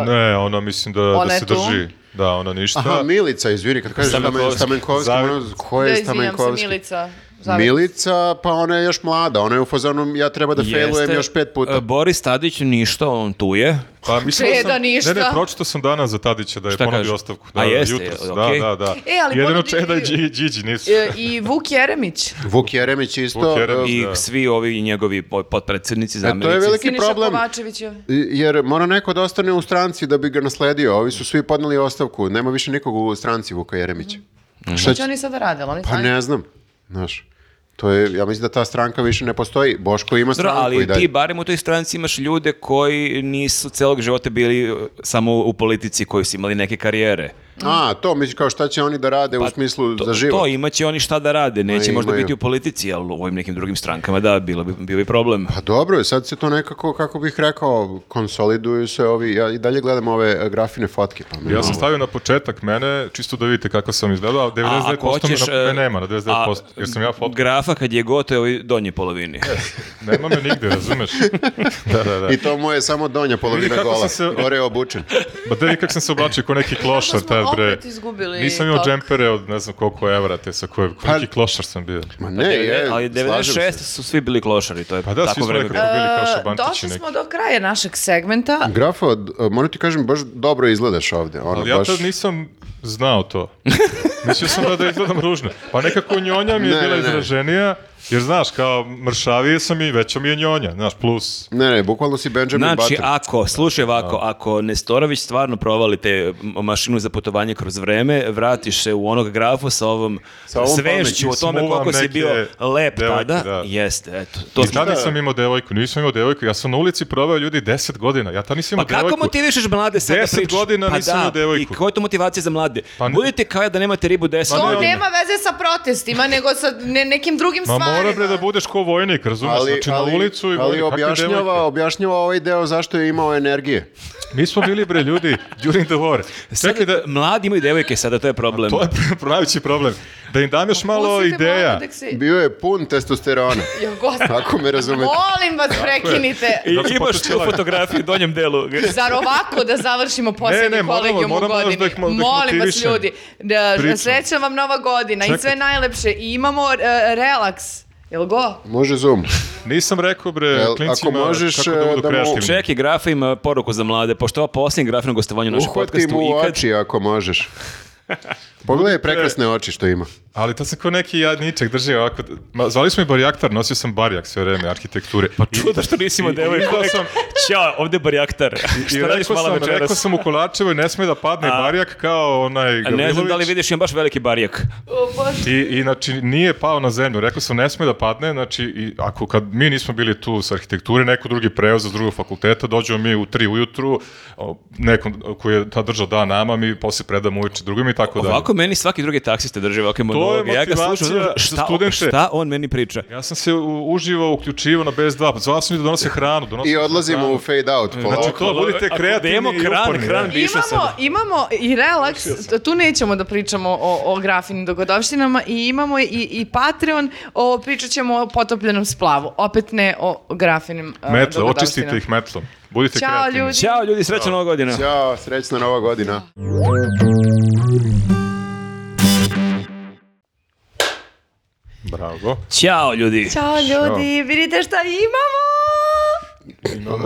Speaker 1: uh,
Speaker 4: Ne, ona mislim da,
Speaker 1: Ona
Speaker 4: da
Speaker 1: je
Speaker 4: se
Speaker 1: tu.
Speaker 4: drži. Da, ona ništa.
Speaker 3: Aha, Milica, izvini, kad kažeš
Speaker 2: Stamenkovski.
Speaker 3: Stamenkovski, Stamenkovski
Speaker 4: Zavi-
Speaker 3: ono, ko
Speaker 1: da,
Speaker 3: je
Speaker 1: izvinjam se,
Speaker 3: Stamenkovski?
Speaker 1: Milica. Zavet.
Speaker 3: Milica, pa ona je još mlada, ona je u fazonu, ja treba da failujem
Speaker 2: Jeste.
Speaker 3: još pet puta.
Speaker 2: E, Boris Tadić ništa, on tu je.
Speaker 4: Pa mislim da
Speaker 1: Čeda,
Speaker 4: sam,
Speaker 1: ništa.
Speaker 4: Ne, ne, pročitao sam danas za Tadića da je
Speaker 2: Šta kaže?
Speaker 4: ponudio ostavku. Da,
Speaker 2: A jeste,
Speaker 4: jutros,
Speaker 2: je,
Speaker 4: da,
Speaker 2: okej.
Speaker 4: da, da.
Speaker 1: E, ali
Speaker 4: Jedino
Speaker 1: ponudi-
Speaker 4: Čeda i Đi- Điđi nisu.
Speaker 1: E, I Vuk Jeremić.
Speaker 3: Vuk Jeremić isto. e,
Speaker 4: Vuk Jeremić.
Speaker 2: I
Speaker 4: Da.
Speaker 2: svi ovi njegovi po- potpredsednici,
Speaker 3: to je
Speaker 2: zamenici.
Speaker 3: veliki-
Speaker 1: Siniša
Speaker 3: problem.
Speaker 1: Kovačević je.
Speaker 4: Znači-
Speaker 3: e, Jer mora neko da ostane u stranci da bi ga nasledio. Ovi su svi podneli ostavku. Nema više nikog u stranci Vuka Jeremića. Šta
Speaker 2: Mhm.
Speaker 1: Šta
Speaker 3: će-
Speaker 1: će oni sada radili? Oni
Speaker 3: Pa
Speaker 1: sami-
Speaker 3: ne znam. Znaš, to je, ja mislim da ta stranka više ne postoji. Boško ima
Speaker 2: Dobro,
Speaker 3: stranku i
Speaker 2: ali
Speaker 3: dalje.
Speaker 2: ti barem u toj stranci imaš ljude koji nisu celog života bili e, samo u politici, koji su imali neke karijere. Pa
Speaker 3: A, to misliš kao šta će oni da rade u smislu
Speaker 2: To,
Speaker 3: za život.
Speaker 2: to imaće oni šta da rade, neće
Speaker 3: Ma,
Speaker 2: možda
Speaker 3: imaju.
Speaker 2: biti u politici, ali u ovim nekim drugim strankama da, bilo bi, bio bi problem.
Speaker 3: Pa dobro, je, sad se to nekako, kako bih rekao, konsoliduju se ovi, ja i dalje gledam ove e, grafine fotke. Pa mi
Speaker 4: Ja sam
Speaker 3: malo-
Speaker 4: stavio na početak mene, čisto da vidite kako sam izgledao,
Speaker 3: Pa
Speaker 4: a 99% me, na,
Speaker 2: e,
Speaker 4: me nema, na 99%,
Speaker 2: a
Speaker 4: jer sam ja fotka.
Speaker 2: Grafa kad je gotov je ovoj donji polovini.
Speaker 4: Nema me nigde, razumeš? Da, da, da.
Speaker 3: I to mu je samo donja
Speaker 4: Vidi
Speaker 3: polovina
Speaker 4: kako
Speaker 3: gola,
Speaker 4: sam se-
Speaker 3: gore je obučen.
Speaker 4: Ba da, i kako sam se oblačio ko neki
Speaker 1: Kako
Speaker 4: klošar
Speaker 1: smo
Speaker 4: tada. džempere.
Speaker 1: opet izgubili
Speaker 4: Nisam imao
Speaker 1: tok.
Speaker 4: džempere od ne znam koliko evra, te sa koje, koliki klošar sam bio.
Speaker 3: Ma ne, je,
Speaker 2: ali
Speaker 3: slažem se.
Speaker 2: 96 su svi bili klošari, to je
Speaker 4: Pa da, svi
Speaker 2: tako
Speaker 4: smo
Speaker 2: vreme.
Speaker 4: nekako bili kao
Speaker 1: E,
Speaker 4: šabantići
Speaker 1: Došli
Speaker 4: neki.
Speaker 1: smo do kraja našeg segmenta.
Speaker 3: Grafo, d- moram ti kažem, baš dobro izgledaš ovdje. Ono,
Speaker 4: Ali ja
Speaker 3: baš...
Speaker 4: tad nisam znao to. Mislio sam da, da izgledam ružno. Pa nekako njonja mi je
Speaker 3: Ne,
Speaker 4: bila
Speaker 3: ne, ne.
Speaker 4: izraženija, jer znaš, kao mršavije sam i veća mi je njonja, znaš, plus.
Speaker 3: Ne, ne, bukvalno si Benjamin
Speaker 2: Znači,
Speaker 3: Button.
Speaker 2: ako, slušaj ovako, ako Nestorović stvarno provali te m- mašinu za putovanje kroz vreme, vratiš se u onog grafu sa ovom,
Speaker 3: Sa ovom
Speaker 2: svešću o
Speaker 3: pameću,
Speaker 2: tome
Speaker 4: smuvam
Speaker 2: koliko si
Speaker 4: neke
Speaker 2: bio lep
Speaker 4: devojke,
Speaker 2: tada.
Speaker 4: da.
Speaker 2: Jeste, eto. To
Speaker 4: To I
Speaker 2: smo-
Speaker 4: tada sam imao devojku, nisam imao devojku. Ja sam na ulici proveo ljudi 10 godina. Ja tada nisam
Speaker 2: Pa
Speaker 4: imao
Speaker 2: kako
Speaker 4: devojku.
Speaker 2: motivišeš mlade sad da
Speaker 4: 10
Speaker 2: pričaju?
Speaker 4: godina
Speaker 2: pa
Speaker 4: nisam
Speaker 2: da,
Speaker 4: imao devojku.
Speaker 2: I koja je to motivacija za mlade?
Speaker 4: Pa ne-
Speaker 2: Budite kao ja da nemate ribu deset
Speaker 4: Pa
Speaker 1: To
Speaker 4: ne,
Speaker 2: godina.
Speaker 1: nema veze sa protestima, nego sa ne- nekim drugim
Speaker 4: Ma
Speaker 1: stvarima.
Speaker 4: mora bre da budeš ko vojnik, razumiješ? Znači na ulicu
Speaker 3: ali
Speaker 4: i vojnik, kakve devojke?
Speaker 3: objašnjava, objašnjava ovaj deo zašto je imao energije.
Speaker 4: Mi smo bili bre ljudi during the war.
Speaker 2: Sad,
Speaker 4: Čekaj da,
Speaker 2: Mladi imaju devojke sada, to je problem.
Speaker 4: to je najveći problem. Da im dam još malo
Speaker 1: Pustite
Speaker 4: ideja.
Speaker 1: mlade nek se-
Speaker 3: Bio je pun testosterona.
Speaker 1: Jo, gospod-
Speaker 3: Ako me razumete.
Speaker 1: Molim vas, prekinite.
Speaker 2: I
Speaker 4: Kako smo
Speaker 2: imaš tu
Speaker 4: počela-
Speaker 2: fotografiju u donjem delu.
Speaker 1: Zar ovako da završimo
Speaker 4: Ne, ne,
Speaker 1: posljednji
Speaker 4: moramo-
Speaker 1: kolegijum u
Speaker 4: moramo još
Speaker 1: godini?
Speaker 4: da ih mo- da ih
Speaker 1: Molim vas
Speaker 4: motivišem.
Speaker 1: ljudi, da,
Speaker 4: Pričam.
Speaker 1: sreća vam nova godina i
Speaker 4: Čekaj.
Speaker 1: sve najlepše. I imamo e, relaks. Jel go?
Speaker 3: Može zoom.
Speaker 4: Nisam rekao bre
Speaker 3: Jel,
Speaker 4: klincima
Speaker 3: ako možeš,
Speaker 4: kako da
Speaker 3: e,
Speaker 4: budu
Speaker 3: da mu-
Speaker 4: kreativni.
Speaker 2: Čeki, Grafa ima poruku za mlade, pošto je ovo posljednje grafino gostovanje u našem
Speaker 3: Uhvati
Speaker 2: podcastu
Speaker 3: mu u
Speaker 2: Znači, ikad.
Speaker 3: oči ako možeš. Pogledaj prekrasne oči što ima.
Speaker 4: Ali to sam kao neki jadničak držio ovako. Ma, zvali smo i barjaktar, nosio sam barjak sve vreme arhitekture. Pa
Speaker 2: Čudo što nisi imao devojku.
Speaker 4: Rekao sam,
Speaker 2: Ćao, ovde je barjaktar.
Speaker 4: i
Speaker 2: Šta
Speaker 4: rekao
Speaker 2: radiš mala
Speaker 4: sam, rekao
Speaker 2: večeras?
Speaker 4: sam u Kolačevoj, ne sme da padne barjak kao onaj
Speaker 2: A Ne znam da li
Speaker 4: Gavrilović.
Speaker 2: vidiš, imam baš veliki barijak.
Speaker 1: O, Bože.
Speaker 4: I, i znači nije pao na zemlju, rekao sam ne sme da padne, znači i ako kad mi nismo bili tu sa arhitekture, neko drugi preoza s drugog fakulteta, dođemo mi u tri ujutru, o, nekom koji je tad držao dan nama, mi posle predamo uveče drugim i tako dalje.
Speaker 2: Ovako meni svaki drugi taksista drži ovakve monologe. Ja ga
Speaker 4: motivacija
Speaker 2: slušam, znaš,
Speaker 4: za
Speaker 2: šta,
Speaker 4: studente.
Speaker 2: šta on meni priča?
Speaker 4: Ja sam se u- uživo uključivao na BS2, pa zvao sam ljudi da donose hranu. Donose
Speaker 3: I odlazimo u fade out.
Speaker 4: Znači
Speaker 3: polako.
Speaker 4: to, budite
Speaker 2: Ako
Speaker 4: kreativni
Speaker 2: idemo
Speaker 4: i
Speaker 2: kran,
Speaker 4: uporni.
Speaker 2: kran
Speaker 4: da.
Speaker 2: bi išao
Speaker 1: Imamo,
Speaker 2: sada.
Speaker 1: imamo i relaks, tu nećemo da pričamo o, o grafinim dogodovštinama i imamo i, i Patreon, o, pričat ćemo o potopljenom splavu, opet ne o grafinim uh,
Speaker 4: Metlo,
Speaker 1: dogodovštinama.
Speaker 4: očistite ih metlom. Budite
Speaker 1: Ćao,
Speaker 4: kreativni.
Speaker 1: ljudi.
Speaker 2: Ćao ljudi, srećna nova godina.
Speaker 3: Ćao, srećna nova godina.
Speaker 4: Bravo.
Speaker 2: Ćao ljudi.
Speaker 1: Ćao ljudi, vidite šta imamo!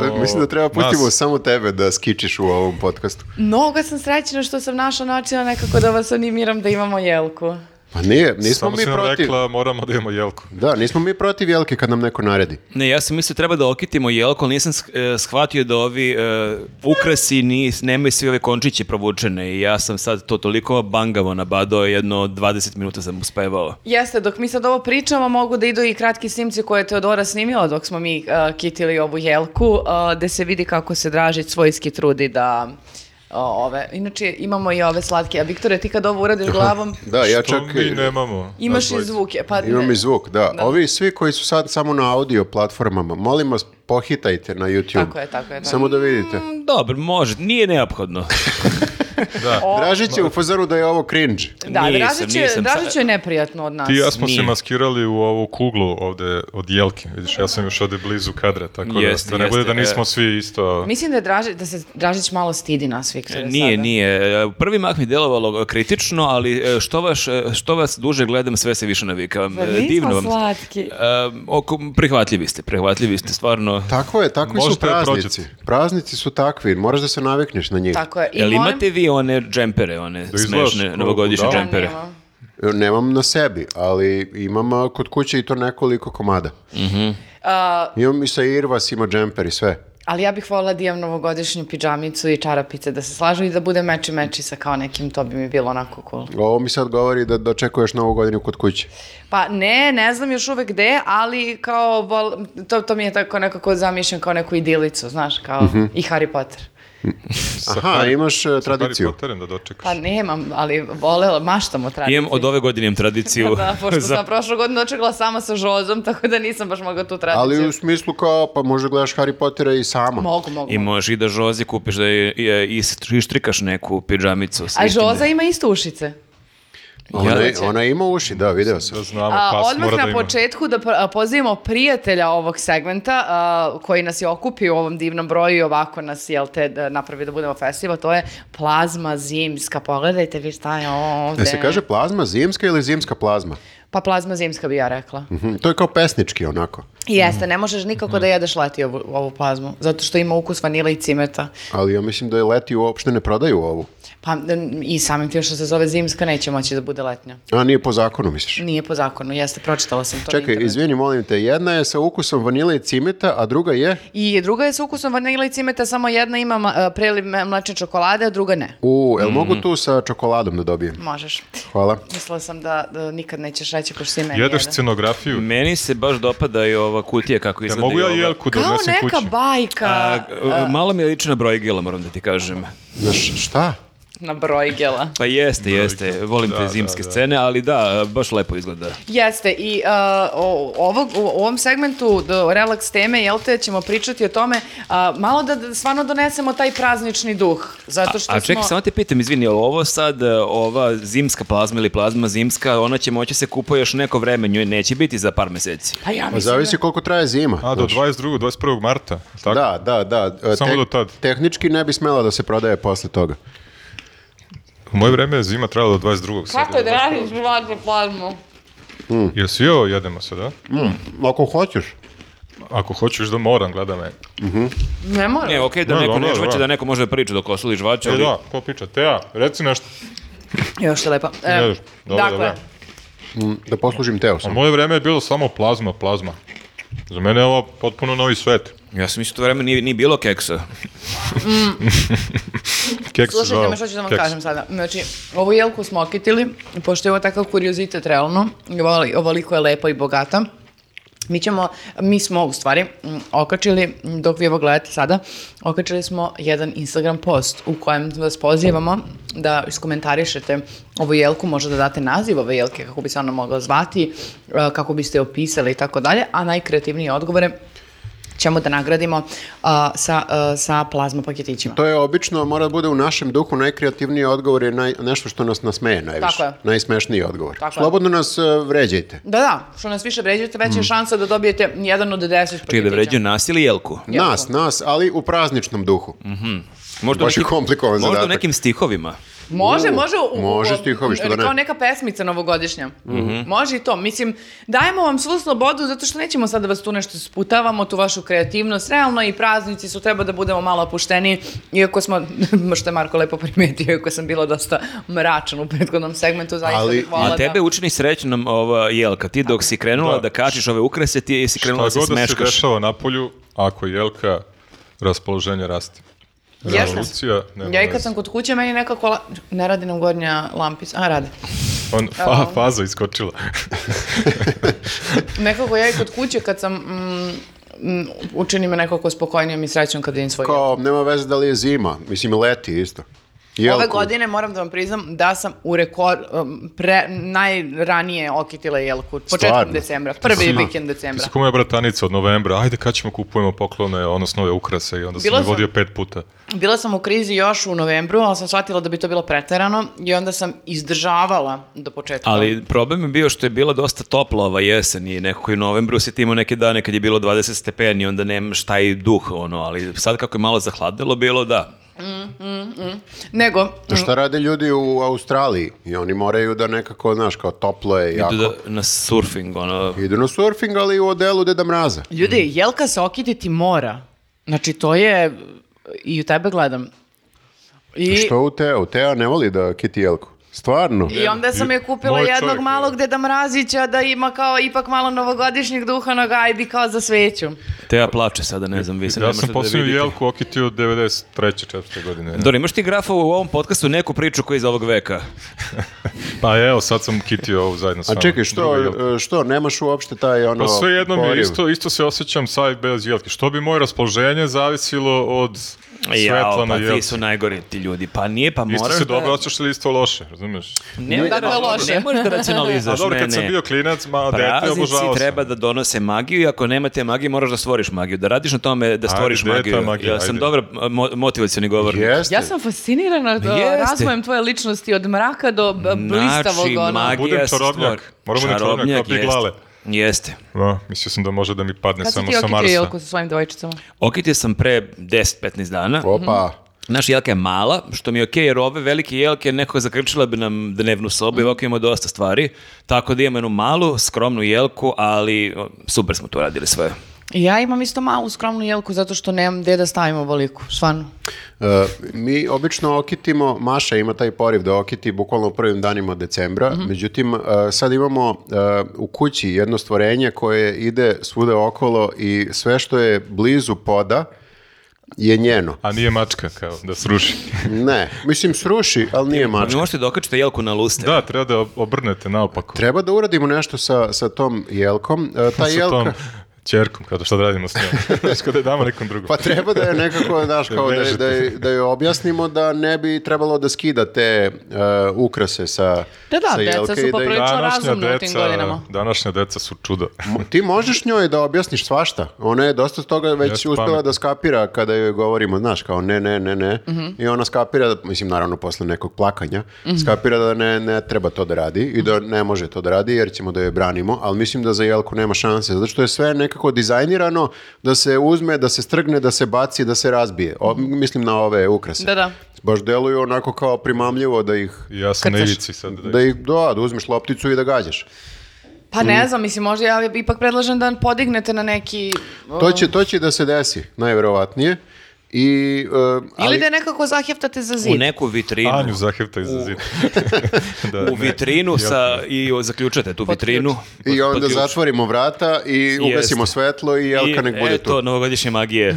Speaker 4: Imamo
Speaker 3: Mislim da treba pustimo
Speaker 4: nas.
Speaker 3: samo tebe da skičiš u ovom podcastu.
Speaker 1: Mnogo sam srećena što sam našla načina nekako da vas animiram da imamo jelku.
Speaker 3: Pa nije, nismo
Speaker 4: Samo
Speaker 3: mi
Speaker 4: si nam
Speaker 3: protiv.
Speaker 4: rekla, moramo da imamo jelku.
Speaker 3: Da, nismo mi protiv jelke kad nam neko naredi.
Speaker 2: Ne, ja sam mislio treba da okitimo jelko, ali nisam sk- e, shvatio da ovi e, ukrasi nis, nemaju svi ove končiće provučene i ja sam sad to toliko bangavo nabadao, jedno 20 minuta sam uspevao.
Speaker 1: Jeste, dok mi sad ovo pričamo mogu da idu i kratki snimci koje je Teodora snimila dok smo mi uh, kitili ovu jelku, uh, gde se vidi kako se Dražić svojski trudi da o, ove, inače imamo i ove slatke, a Viktore ti kad ovo uradiš glavom
Speaker 3: Da, ja čak...
Speaker 4: Što mi nemamo?
Speaker 1: imaš
Speaker 4: nas
Speaker 1: i
Speaker 4: dvojica?
Speaker 1: zvuke. Pa,
Speaker 3: Imam
Speaker 1: ne.
Speaker 3: i zvuk, da.
Speaker 1: Da.
Speaker 3: Ovi svi koji su sad samo na audio platformama, molim vas, pohitajte na YouTube.
Speaker 1: Tako je, tako je, tako.
Speaker 3: Samo da vidite.
Speaker 2: Mm, Dobro, može, nije neophodno.
Speaker 4: Da.
Speaker 3: Dražić je u fazoru da je ovo cringe.
Speaker 1: Da,
Speaker 2: Nisam,
Speaker 1: Dražić je,
Speaker 2: nisam.
Speaker 1: Dražiću je neprijatno od nas.
Speaker 4: Ti i ja smo
Speaker 2: Nije.
Speaker 4: se maskirali u ovu kuglu ovde od jelke. Vidiš, ja sam još ovde blizu kadra, tako da,
Speaker 2: Jeste,
Speaker 4: da ne bude
Speaker 2: jeste,
Speaker 4: da nismo
Speaker 2: e.
Speaker 4: svi isto...
Speaker 1: Mislim da, je Draži, da se Dražić malo stidi nas, Viktore.
Speaker 2: Nije,
Speaker 1: E, sada.
Speaker 2: nije. E, Prvi mah mi delovalo kritično, ali e, što, vaš, e, što vas duže gledam, sve se više navikavam.
Speaker 1: Zar
Speaker 2: E,
Speaker 1: nismo
Speaker 2: Divno vam.
Speaker 1: slatki?
Speaker 2: E, oko, prihvatljivi ste, prihvatljivi ste, stvarno.
Speaker 3: Tako je, takvi su
Speaker 4: Možete da
Speaker 3: praznici.
Speaker 4: prođete.
Speaker 3: Praznici su takvi, moraš da se navikneš na njih.
Speaker 1: Tako je. I
Speaker 2: Jel
Speaker 1: molim-
Speaker 2: imate vi one džempere, one
Speaker 4: izgledaš
Speaker 2: smešne
Speaker 4: kao
Speaker 2: novogodišnje
Speaker 4: budala?
Speaker 2: džempere?
Speaker 1: Nemam.
Speaker 3: Nemam na sebi, ali imam a, kod kuće i to nekoliko komada.
Speaker 1: A,
Speaker 3: Imam i sa Irvas, ima džemper i sve.
Speaker 1: Uh, ali ja bih volila da imam novogodišnju pidžamicu i čarapice da se slažu i da bude meči meči sa kao nekim, to bi mi bilo onako cool.
Speaker 3: Ovo mi sad govori da dočekuješ novu godinu kod kuće.
Speaker 1: Pa ne, ne znam još uvek gde, ali kao, vol- to, to mi je tako nekako zamišljam kao neku idilicu, znaš, kao
Speaker 2: Mhm.
Speaker 1: i Harry Potter.
Speaker 3: Aha, imaš e,
Speaker 4: Harry
Speaker 3: tradiciju.
Speaker 4: Potterem da dočekaš.
Speaker 1: Pa nemam, ali volela, maštam o tradiciji.
Speaker 2: Imam od ove godine imam tradiciju.
Speaker 1: Da, pošto
Speaker 2: za-
Speaker 1: sam prošlu godinu dočekala sama sa Žozom, tako da nisam baš mogla tu tradiciju.
Speaker 3: Ali u smislu kao, pa možda gledaš Harry Pottera i sama.
Speaker 1: Mogu, mogu.
Speaker 2: I možeš i da Žozi kupiš, da je, je- istri- ištrikaš neku pidžamicu. sa
Speaker 1: A
Speaker 2: istim-
Speaker 1: Žoza ima isto ušice.
Speaker 3: Ona,
Speaker 1: Ja-
Speaker 3: ona ima uši, da, video sam.
Speaker 4: Da znamo,
Speaker 1: A,
Speaker 4: pas
Speaker 1: odmah
Speaker 4: mora da
Speaker 1: na
Speaker 4: ima.
Speaker 1: početku da pr- a, pozivamo prijatelja ovog segmenta a, koji nas je okupio u ovom divnom broju i ovako nas jel te da napravi da budemo festival, to je plazma zimska. Pogledajte vi šta je ovde.
Speaker 3: Da
Speaker 4: E,
Speaker 3: E, se kaže plazma zimska ili zimska plazma?
Speaker 1: Pa plazma zimska bi ja rekla.
Speaker 4: Hm.
Speaker 3: Mhm, To je kao pesnički onako.
Speaker 1: I jeste, ne možeš nikako da jedeš leti ovu, ovu plazmu, zato što ima ukus vanile i cimeta.
Speaker 3: Ali ja mislim da je leti uopšte ne prodaju ovu.
Speaker 1: Pa n- i samim tim što se zove zimska neće moći da bude letnja.
Speaker 3: A nije po zakonu, misliš?
Speaker 1: Nije po zakonu, jeste, pročitala sam Mm, to. na
Speaker 3: Čekaj,
Speaker 1: internetu.
Speaker 3: izvini, molim te, jedna je sa ukusom vanile i cimeta, a druga je...
Speaker 1: I druga je s ukusom vanile i cimeta, samo jedna ima ma- e, preliv me- mlečne čokolade, a druga ne.
Speaker 3: U, jel mogu tu sa čokoladom da dobijem?
Speaker 1: Možeš.
Speaker 3: Hvala.
Speaker 1: Mislila sam da, da nikad nećeš reći ko što si meni.
Speaker 4: Jedeš
Speaker 1: jedan.
Speaker 4: scenografiju.
Speaker 2: Meni se baš dopada i ova kutija kako
Speaker 4: Ja
Speaker 2: izgleda.
Speaker 4: mogu
Speaker 2: i
Speaker 4: ja
Speaker 2: ova-
Speaker 4: jelku da
Speaker 1: Kao
Speaker 4: odnesem
Speaker 1: neka
Speaker 4: kući.
Speaker 1: bajka
Speaker 2: A, a, malo mi je liči na Brojgela, moram da ti kažem.
Speaker 3: Znaš, šta?
Speaker 1: na Brojgela.
Speaker 2: Pa jeste, jeste. Volim te zimske scene, ali da, baš lepo izgleda.
Speaker 1: Jeste, i a, o, ovog, u ovom segmentu do relaks teme, jel te, ćemo pričati o tome, a, malo da, da stvarno donesemo taj praznični duh, zato što
Speaker 2: A čekaj,
Speaker 1: smo...
Speaker 2: samo te pitam, izvini, jel ovo sad, e, ova zimska plazma ili plazma zimska, ona će moći se kupuje još neko vreme, nju neće biti za par meseci.
Speaker 1: Pa ja
Speaker 3: Pa
Speaker 1: mislim
Speaker 3: zavisi koliko traje zima.
Speaker 4: A, do
Speaker 3: znaš.
Speaker 4: 22. 21. marta. Tako?
Speaker 3: Da, da, da. e,
Speaker 4: Samo
Speaker 3: tek-
Speaker 4: do tad.
Speaker 3: Tehnički ne bi smela da se prodaje posle toga.
Speaker 4: U moje vreme je zima trajala do 22.
Speaker 1: da...
Speaker 4: sad.
Speaker 1: Kako je da radiš vladu plazmu?
Speaker 4: Jel svi ovo jedemo sad, a?
Speaker 3: Ako hoćeš.
Speaker 4: Ako hoćeš da moram, gleda me. E,
Speaker 1: Ne mora.
Speaker 2: Ne, E, okej, da
Speaker 4: Da,
Speaker 2: neko
Speaker 4: dobro,
Speaker 2: ne
Speaker 4: da.
Speaker 2: žvaće, da neko može da priča dok osuli žvaće,
Speaker 4: E
Speaker 2: ali
Speaker 4: da, ko priča? Teja, reci nešto.
Speaker 1: Još je lepa. E,
Speaker 4: Jedeš. Dobro,
Speaker 1: dakle,
Speaker 4: dobro.
Speaker 3: Da poslužim teo
Speaker 4: U
Speaker 3: sam.
Speaker 4: moje vreme je bilo samo plazma, plazma. Za mene je ovo potpuno novi svet.
Speaker 2: ja sam mislio to vreme nije, nije bilo keksa.
Speaker 4: Keks se
Speaker 1: Slušajte
Speaker 4: zvao.
Speaker 1: me što ću da vam
Speaker 4: Keks.
Speaker 1: kažem sada. Znači, ovu jelku smo okitili, pošto je ovo takav kuriozitet realno, i ovali- ovoliko je lepa i bogata. Mi ćemo, mi smo u stvari mm, okačili, mm, dok vi ovo gledate sada, okačili smo jedan Instagram post u kojem vas pozivamo da iskomentarišete ovu jelku, možda da date naziv ove jelke, kako bi se ona mogla zvati, e, kako biste je opisali i tako dalje, a najkreativnije odgovore ćemo da nagradimo a, sa, a, sa plazma paketićima.
Speaker 3: To je obično, mora da bude u našem duhu, najkreativniji odgovor je naj- nešto što nas nasmeje najviše.
Speaker 1: Tako je.
Speaker 3: Najsmešniji odgovor.
Speaker 1: Tako je.
Speaker 3: Slobodno nas e, vređajte.
Speaker 1: Da, da, što nas više vređate,
Speaker 3: Mm.
Speaker 1: veća je šansa da dobijete jedan od deset paketića.
Speaker 2: Čekaj, da vređaju nas ili jelku?
Speaker 1: Jako.
Speaker 3: Nas, nas, ali u prazničnom duhu.
Speaker 4: Mhm.
Speaker 2: Možda u
Speaker 3: Baš je komplikovan
Speaker 2: možda u
Speaker 3: zadatak.
Speaker 2: nekim stihovima.
Speaker 1: Može,
Speaker 3: U,
Speaker 1: može. U, u-
Speaker 3: može
Speaker 1: u-
Speaker 3: stihovi, što da ne. Mhm.
Speaker 1: Kao neka pesmica novogodišnja. Može i to. Mislim, dajemo vam svu slobodu zato što nećemo sad da vas tu nešto sputavamo, tu vašu kreativnost. Realno i praznici su, treba da budemo malo opušteni, iako smo, što je Marko lepo primetio, iako sam bila dosta mračan u prethodnom segmentu, zaista
Speaker 3: Ali-
Speaker 1: bih voljela
Speaker 2: A tebe
Speaker 1: da...
Speaker 2: učini srećnom ova jelka. Ti dok si krenula da,
Speaker 4: Da.
Speaker 2: kačiš ove ukrase, ti si
Speaker 4: Šta
Speaker 2: krenula
Speaker 4: god
Speaker 2: da se
Speaker 4: da se
Speaker 2: smeškaš.
Speaker 4: dešava na polju, ako je jelka, raspoloženje raste.
Speaker 1: Jeste.
Speaker 4: Revolucija, nema
Speaker 1: Ja i kad
Speaker 4: veze.
Speaker 1: sam kod kuće, meni nekako... La... Ne radi nam gornja lampica. A, radi.
Speaker 4: On, fa, faza iskočila.
Speaker 1: Nekako ja i kod kuće kad sam... Mm, mm, učini me nekako spokojnijom i srećom kad vidim svoj
Speaker 3: Kao, nema veze da li je zima. Mislim, leti isto.
Speaker 1: Ove
Speaker 3: Jelku.
Speaker 1: godine moram da vam priznam da sam u rekord, um, pre, najranije okitila jelku, početkom
Speaker 3: Stvarno?
Speaker 1: decembra, prvi
Speaker 3: Aha.
Speaker 1: vikend
Speaker 4: Ti
Speaker 1: decembra.
Speaker 4: si ko moja bratanica od novembra, ajde kad ćemo kupujemo poklone, odnosno ove ukrase i onda
Speaker 1: Bila
Speaker 4: sam me
Speaker 1: sam-
Speaker 4: vodio pet puta.
Speaker 1: Bila sam u krizi još u novembru, ali sam shvatila da bi to bilo preterano i onda sam izdržavala do početka.
Speaker 2: Ali problem je bio što je bila dosta topla ova jesen i nekako i u novembru si ti imao neke dane kad je bilo 20 stepeni, onda nemaš taj duh, ono, ali sad kako je malo zahladilo bilo, da.
Speaker 1: Nego,
Speaker 3: To šta rade ljudi u Australiji? I oni moraju da nekako, znaš, kao toplo je jako.
Speaker 2: Idu da- na surfing, ono,
Speaker 3: Idu na surfing, ali u odelu Deda Mraza.
Speaker 1: ljudi, jelka se okititi mora. Znači, to je, i u tebe gledam. I,
Speaker 3: Što u Teo? Teo ne voli da kiti jelku. Stvarno.
Speaker 1: I onda sam je kupila
Speaker 4: Moj
Speaker 1: jednog
Speaker 4: čovjek,
Speaker 1: malog
Speaker 4: je.
Speaker 1: deda Mrazića da ima kao ipak malo novogodišnjeg duha na gajbi kao za sveću.
Speaker 2: Teja plače sada, ne znam, vi se ne
Speaker 4: Ja
Speaker 2: možete da
Speaker 4: sam posljednju
Speaker 2: vidite.
Speaker 4: jelku okitio 93. 4. godine.
Speaker 2: Dobro, imaš ti grafa u ovom podcastu neku priču koja je iz ovog veka?
Speaker 4: Pa evo, sad sam kitio ovu zajedno s
Speaker 3: A
Speaker 4: vama.
Speaker 3: čekaj, što,
Speaker 4: Drugu jelku.
Speaker 3: e, što, nemaš uopšte taj ono...
Speaker 4: Pa sve jedno mi je
Speaker 3: poriv?
Speaker 4: isto, isto se osjećam sa i bez jelke. Što bi moje raspoloženje zavisilo od
Speaker 2: Jao,
Speaker 4: Svetlana
Speaker 2: pa ti
Speaker 4: Jelcić.
Speaker 2: su najgori ti ljudi. Pa nije, pa
Speaker 4: Isto
Speaker 2: moraš
Speaker 4: se
Speaker 2: da...
Speaker 4: dobro osjećaš ili isto loše, razumeš?
Speaker 2: Ne,
Speaker 1: Nije
Speaker 2: da,
Speaker 1: tako loše.
Speaker 2: Ne možeš da racionalizuješ
Speaker 4: A dobro, kad
Speaker 2: mene.
Speaker 4: sam bio klinac, ma,
Speaker 3: Pa
Speaker 4: dete,
Speaker 2: Praznici
Speaker 4: Pa obožavao sam.
Speaker 2: treba da donose magiju i ako nema te magije moraš da stvoriš magiju, da radiš na tome da stvoriš
Speaker 4: gde je ta
Speaker 2: magiju.
Speaker 4: magija?
Speaker 2: ja sam
Speaker 4: Ajde.
Speaker 2: dobro motivacioni govornik.
Speaker 3: Jeste.
Speaker 1: Ja sam fascinirana da,
Speaker 2: Jeste.
Speaker 1: razvojem tvoje ličnosti od mraka do b- blistavog
Speaker 2: Znači,
Speaker 1: ono.
Speaker 2: magija
Speaker 4: Budem
Speaker 2: se stvori.
Speaker 4: čarobnjak. Moram budem čarobnjak,
Speaker 2: Čarobnjak,
Speaker 4: kao Pig
Speaker 2: jeste.
Speaker 4: Lale.
Speaker 2: Jeste.
Speaker 4: Da, mislio sam da može da mi padne
Speaker 1: Kad si
Speaker 4: samo
Speaker 1: ti
Speaker 4: sa
Speaker 1: okitio
Speaker 4: Marsa.
Speaker 1: Jelku sa svojim dvojčicama?
Speaker 2: Okitio sam pre 10-15 dana.
Speaker 3: Opa.
Speaker 1: Mhm.
Speaker 2: Naša jelka je mala, što mi je okej, jer ove velike jelke nekako zakrčila bi nam dnevnu sobu i ovako imamo dosta stvari. Tako da imamo jednu malu, skromnu jelku, ali o, super smo to radili sve.
Speaker 1: Ja imam isto malu skromnu jelku zato što nemam gde da stavim oboliku, stvarno.
Speaker 3: E, mi obično okitimo, Maša ima taj poriv da okiti bukvalno u prvim danima decembra,
Speaker 4: Mhm.
Speaker 3: međutim e, sad imamo e, u kući jedno stvorenje koje ide svuda okolo i sve što je blizu poda je njeno.
Speaker 4: A nije mačka, kao, da sruši.
Speaker 3: Ne, mislim sruši, ali nije
Speaker 2: Pa ne
Speaker 3: mačka.
Speaker 2: možete da okačite jelku na luster.
Speaker 4: Da, treba da ob- obrnete naopako.
Speaker 3: Treba da uradimo nešto sa, sa tom jelkom. E, ta
Speaker 4: Sa
Speaker 3: jelka,
Speaker 4: tom čerkom, kao da šta da radimo s njom. Znaš, kao da je damo nekom drugom.
Speaker 3: pa treba da je nekako, znaš, kao da, je- da, je- da joj objasnimo da ne bi trebalo da skida te e, ukrase sa,
Speaker 1: Da, da,
Speaker 3: sa
Speaker 1: deca
Speaker 3: jelke
Speaker 1: su
Speaker 3: i da ih-
Speaker 1: poprilično razumna u tim godinama.
Speaker 4: današnja deca su čuda.
Speaker 3: Mo- Pa Ti možeš njoj da objasniš svašta. Ona je dosta toga već
Speaker 4: Jeste
Speaker 3: uspjela
Speaker 4: pametna.
Speaker 3: da skapira kada joj govorimo, znaš, kao ne, ne, ne, ne.
Speaker 1: Mhm.
Speaker 3: I ona skapira, mislim, naravno posle nekog plakanja, skapira da ne, ne treba to da radi i da ne može to da radi jer ćemo da joj branimo, ali mislim da za Jelku nema šanse, zato što je sve nekako dizajnirano da se uzme, da se strgne, da se baci, da se razbije. O, mislim na ove ukrase.
Speaker 1: Mhm. Da, da.
Speaker 3: Baš deluju onako kao primamljivo da ih...
Speaker 4: I ja sam na
Speaker 1: Krcaš.
Speaker 4: ivici sad. Da,
Speaker 3: Da, ih, da, da uzmeš lopticu i da gađaš.
Speaker 1: Pa ne znam, mislim, možda ja ipak predlažem da podignete na neki... ono,
Speaker 3: To će, to će da se desi, najverovatnije. I, e, ali,
Speaker 1: Ili da je nekako zaheftate za zid.
Speaker 2: U neku vitrinu.
Speaker 4: Anju zahevta iza zida. da,
Speaker 2: u
Speaker 4: ne.
Speaker 2: vitrinu sa, i o- zaključate tu vitrinu.
Speaker 3: I
Speaker 4: Pa
Speaker 2: Pod-
Speaker 3: onda
Speaker 2: pod ključ.
Speaker 3: zatvorimo vrata i ugasimo
Speaker 2: Jeste.
Speaker 3: svetlo i Jelka nek
Speaker 4: e,
Speaker 3: bude
Speaker 2: I
Speaker 3: tu.
Speaker 2: eto, novogodišnje magije.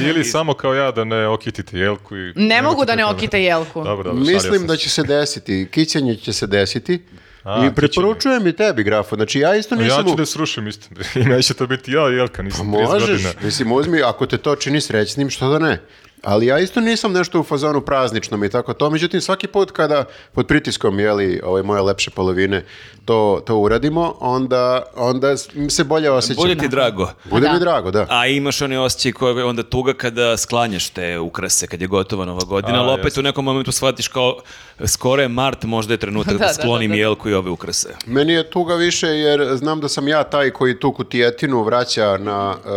Speaker 4: Ili samo kao ja da ne okitite jelku. I
Speaker 1: Ne mogu da ne
Speaker 4: nemate
Speaker 1: okite jelku.
Speaker 4: Dobro, dobro, šalio sam
Speaker 3: Mislim
Speaker 4: se.
Speaker 3: da će se desiti, kićenje će se desiti.
Speaker 4: A,
Speaker 3: I preporučujem i tebi, grafu. Znači, ja isto
Speaker 4: Ja
Speaker 3: nisam...
Speaker 4: ću
Speaker 3: u-
Speaker 4: da je srušim isto. I neće to biti ja, Jelka, nisam 30
Speaker 3: Pa Možeš,
Speaker 4: godina.
Speaker 3: mislim, uzmi, ako te to čini srećnim, što da ne. Ali ja isto nisam nešto u fazonu prazničnom i tako to, međutim svaki put kada pod pritiskom jeli, ove moje lepše polovine to, to uradimo, onda, onda se bolje osjećam.
Speaker 2: Bolje ti drago.
Speaker 3: Bude
Speaker 1: Da.
Speaker 3: mi drago, da.
Speaker 2: A imaš onaj osjećaj koji je onda tuga kada sklanjaš te ukrase, kad je gotova nova godina,
Speaker 4: A,
Speaker 2: ali opet
Speaker 4: jasno.
Speaker 2: u nekom momentu shvatiš kao skoro je mart, možda je trenutak da,
Speaker 1: Da, da,
Speaker 2: sklonim
Speaker 1: da, da.
Speaker 2: jelku i ove ukrase.
Speaker 3: Meni je tuga više jer znam da sam ja taj koji tu kutijetinu vraća na e,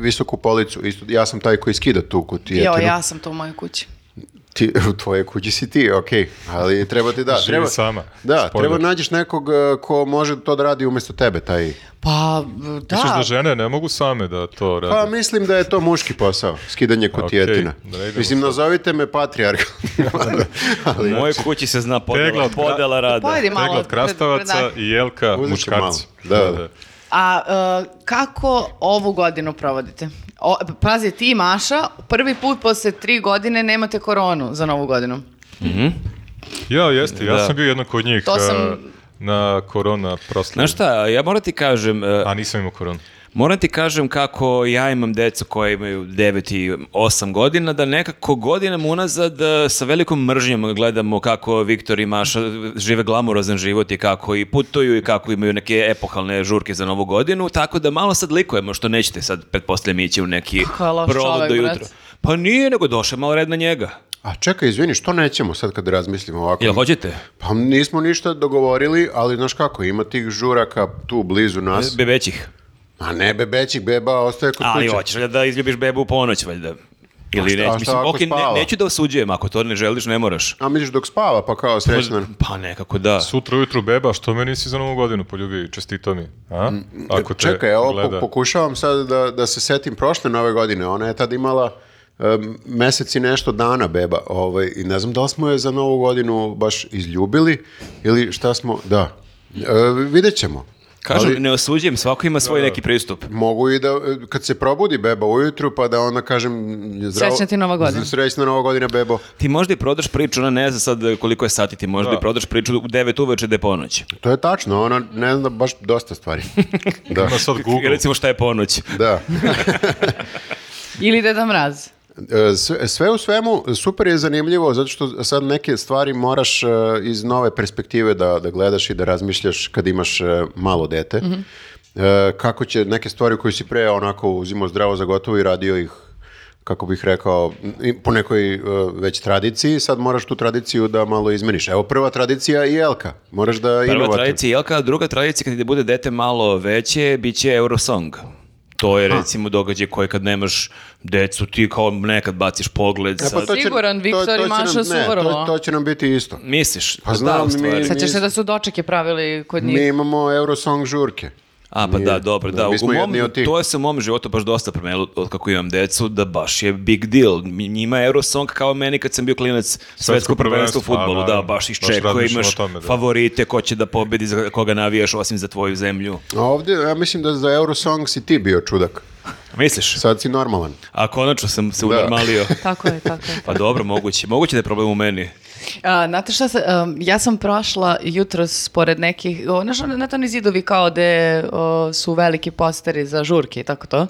Speaker 3: visoku policu. Isto, ja sam taj koji skida tu kutijetinu.
Speaker 1: Jo, ja sam to u mojoj kući.
Speaker 3: Ti, u tvojoj kući si ti, okej. Ali treba ti da.
Speaker 4: Živi
Speaker 3: treba,
Speaker 4: sama.
Speaker 3: Da,
Speaker 4: Spoiler.
Speaker 3: treba nađeš nekog e, ko može to da radi umjesto tebe, taj.
Speaker 1: Pa, da.
Speaker 4: Misliš da žene ne mogu same da to rade?
Speaker 3: Pa mislim da je to muški posao, skidanje kutijetina.
Speaker 4: Okej, da idemo
Speaker 3: mislim,
Speaker 4: sad.
Speaker 3: nazovite me patrijarh.
Speaker 2: U
Speaker 3: ali,
Speaker 2: mojoj kući se zna
Speaker 4: Tegla
Speaker 2: podela,
Speaker 4: od kra-
Speaker 2: podela rada.
Speaker 1: Pojedi malo.
Speaker 4: Tegla od
Speaker 1: pred- pred-
Speaker 4: krastavaca i Jelka
Speaker 3: Uzet ću malo.
Speaker 4: muškarci.
Speaker 3: Da, da.
Speaker 1: A e, kako ovu godinu provodite? O, pazi, ti i Maša, prvi put posle tri godine nemate koronu za novu godinu.
Speaker 4: Ja, jeste, ja
Speaker 2: Da.
Speaker 4: sam bio jednom kod njih
Speaker 1: To sam-
Speaker 4: e, na korona proslavu.
Speaker 2: Znaš šta, ja moram ti kažem, e,
Speaker 4: A nisam imao koronu.
Speaker 2: Moram ti kažem kako ja imam decu koje imaju 9 i 8 godina, da nekako godinama unazad e, sa velikom mržnjom gledamo kako Viktor i Maša žive glamurozan život i kako i putuju i kako imaju neke epohalne žurke za novu godinu, tako da malo sad likujemo što nećete sad, pretpostavljam, ići u neki
Speaker 1: Kako je loš
Speaker 2: provod do
Speaker 1: čovek, brat.
Speaker 2: jutra. Pa nije, nego došao je malo red na njega.
Speaker 3: A čekaj, izvini, što nećemo sad kad razmislimo ovako?
Speaker 2: Jel hoćete?
Speaker 3: Pa nismo ništa dogovorili, ali znaš kako, ima tih žuraka tu blizu nas.
Speaker 2: Bebećih.
Speaker 3: A ne bebećih beba, ostaje kod
Speaker 2: Ali
Speaker 3: kuće.
Speaker 2: hoćeš valjda da izljubiš bebu u ponoć, valjda. Ili
Speaker 3: šta-
Speaker 2: nećeš,
Speaker 3: a šta
Speaker 2: mislim,
Speaker 3: ako
Speaker 2: ok, ne-
Speaker 3: spava?
Speaker 2: neću da osuđujem, ako to ne želiš, ne moraš.
Speaker 3: A misliš dok spava, pa kao srećna.
Speaker 2: Pa nekako da.
Speaker 4: Sutra ujutru beba, što me nisi za novu godinu poljubi, čestito mi. A? Ako te
Speaker 3: Mm, Čekaj, evo, po-
Speaker 4: gleda.
Speaker 3: pokušavam sad da, da se setim prošle nove godine. Ona je tad imala em, mesec i nešto dana beba. Ovaj, I ne znam da li smo je za novu godinu baš izljubili ili šta smo... Da, e, vidjet ćemo.
Speaker 2: Kažem,
Speaker 3: Ali-
Speaker 2: ne osuđujem, svako ima svoj neki pristup.
Speaker 3: Mogu i da, e, kad se probudi beba ujutru, pa da onda kažem... zdravo-
Speaker 1: Srećna ti Nova godina.
Speaker 3: Srećna nova godina, bebo.
Speaker 2: Ti možda i prodaš priču, ona ne zna sad koliko je sati, ti možda
Speaker 4: Da.
Speaker 2: i prodaš priču u 9 uveče da je ponoć.
Speaker 3: To je tačno, ona ne zna baš dosta stvari. Da,
Speaker 4: Ima E sad Google.
Speaker 2: Recimo šta je ponoć.
Speaker 3: da.
Speaker 1: Ili Deda Mraz.
Speaker 3: E, Sve, sve u svemu, super je zanimljivo, zato što sad neke stvari moraš e, iz nove perspektive da, da gledaš i da razmišljaš kad imaš e, malo dete.
Speaker 1: Mhm.
Speaker 3: E, Kako će neke stvari koje si pre onako uzimao zdravo za gotovo i radio ih kako bih rekao, i po nekoj e, već tradiciji, sad moraš tu tradiciju da malo izmeniš. Evo, prva tradicija je jelka. Moraš da
Speaker 2: Prva
Speaker 3: inovativno.
Speaker 2: tradicija je jelka, a druga tradicija kad ti bude dete malo veće, bit će Eurosong. To je recimo događaj koji kad nemaš decu, ti kao nekad baciš pogled.
Speaker 3: E, pa
Speaker 2: sad-
Speaker 3: to će-
Speaker 1: Siguran,
Speaker 3: to-
Speaker 1: Viktor
Speaker 3: to
Speaker 1: i
Speaker 3: će nam-
Speaker 1: Maša
Speaker 3: ne,
Speaker 1: su
Speaker 3: to-
Speaker 1: vrlo.
Speaker 3: to će nam biti isto.
Speaker 2: Misliš?
Speaker 3: Pa znam,
Speaker 2: u stvari.
Speaker 3: mi-
Speaker 1: Sećaš se da su dočeke pravili kod njih?
Speaker 3: Mi imamo Eurosong žurke.
Speaker 2: A, pa da, dobro, da.
Speaker 3: Mi
Speaker 2: u
Speaker 3: smo jedni
Speaker 2: mom,
Speaker 3: od tih.
Speaker 2: to je se u mom životu baš dosta promenilo od kako imam decu, da baš je big deal. Mi- Njima je Eurosong kao meni kad sam bio klinac svetsko prvenstvo
Speaker 4: prvenstvo,
Speaker 2: u futbolu, da,
Speaker 4: a, naravno.
Speaker 2: baš
Speaker 4: Baš
Speaker 2: iščekuje,
Speaker 4: razmišljam
Speaker 2: imaš
Speaker 4: o tome, da.
Speaker 2: favorite, ko će da pobedi, za koga navijaš, osim za tvoju zemlju.
Speaker 3: A ovdje, ja mislim da za Eurosong si ti bio čudak.
Speaker 2: Misliš?
Speaker 3: Sad si normalan.
Speaker 2: A konačno sam se unormalio.
Speaker 1: Tako je, tako je.
Speaker 2: Pa dobro, moguće. Moguće da je problem u meni.
Speaker 1: A, znate šta se, um, ja sam prošla jutros pored nekih, o, znaš, ono, znate oni zidovi kao da su veliki posteri za žurke i tako to.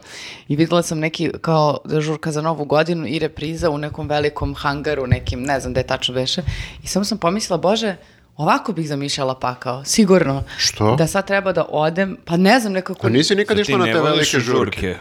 Speaker 1: I videla sam neki kao da je žurka za novu godinu i repriza u nekom velikom hangaru, nekim, ne znam gde tačno beše. I samo sam pomislila, bože, ovako bih zamišljala pakao, sigurno.
Speaker 3: Što?
Speaker 1: Da sad treba da odem, pa ne znam nekako.
Speaker 3: A nisi nikad
Speaker 2: Zar ti
Speaker 3: išla na
Speaker 2: Znači, ne
Speaker 3: te
Speaker 2: voliš
Speaker 3: velike žurke.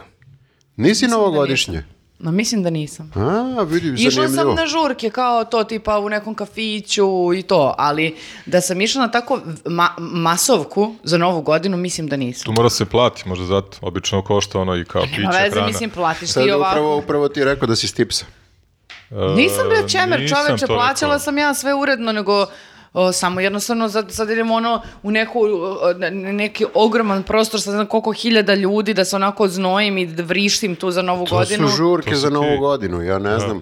Speaker 3: Nisi novogodišnje.
Speaker 1: No, mislim da nisam.
Speaker 3: A, vidi,
Speaker 1: Išla sam
Speaker 3: zanimljivo.
Speaker 1: na žurke kao to tipa u nekom kafiću i to, ali da sam išla na tako ma- masovku za novu godinu mislim da
Speaker 4: Tu
Speaker 1: nisam.
Speaker 4: mora se plati, možda zato, obično košta ono i kao piće,
Speaker 1: Ma veze,
Speaker 4: hrana.
Speaker 1: mislim, platiš
Speaker 3: Sad
Speaker 1: ti ovako.
Speaker 3: upravo, upravo ti je rekao da si stipsa.
Speaker 4: E,
Speaker 1: Nisam bre čemer,
Speaker 4: nisam
Speaker 1: čoveče,
Speaker 4: to
Speaker 1: plaćala
Speaker 4: rekao.
Speaker 1: sam ja sve uredno, nego o, samo jednostavno sad, sad idemo ono u neku, o, ne- neki ogroman prostor sa ne znam koliko hiljada ljudi da se onako znojim i da vrištim tu za novu
Speaker 3: To
Speaker 1: godinu.
Speaker 3: su žurke
Speaker 4: To si
Speaker 3: za
Speaker 4: ti.
Speaker 3: novu godinu, ja ne znam.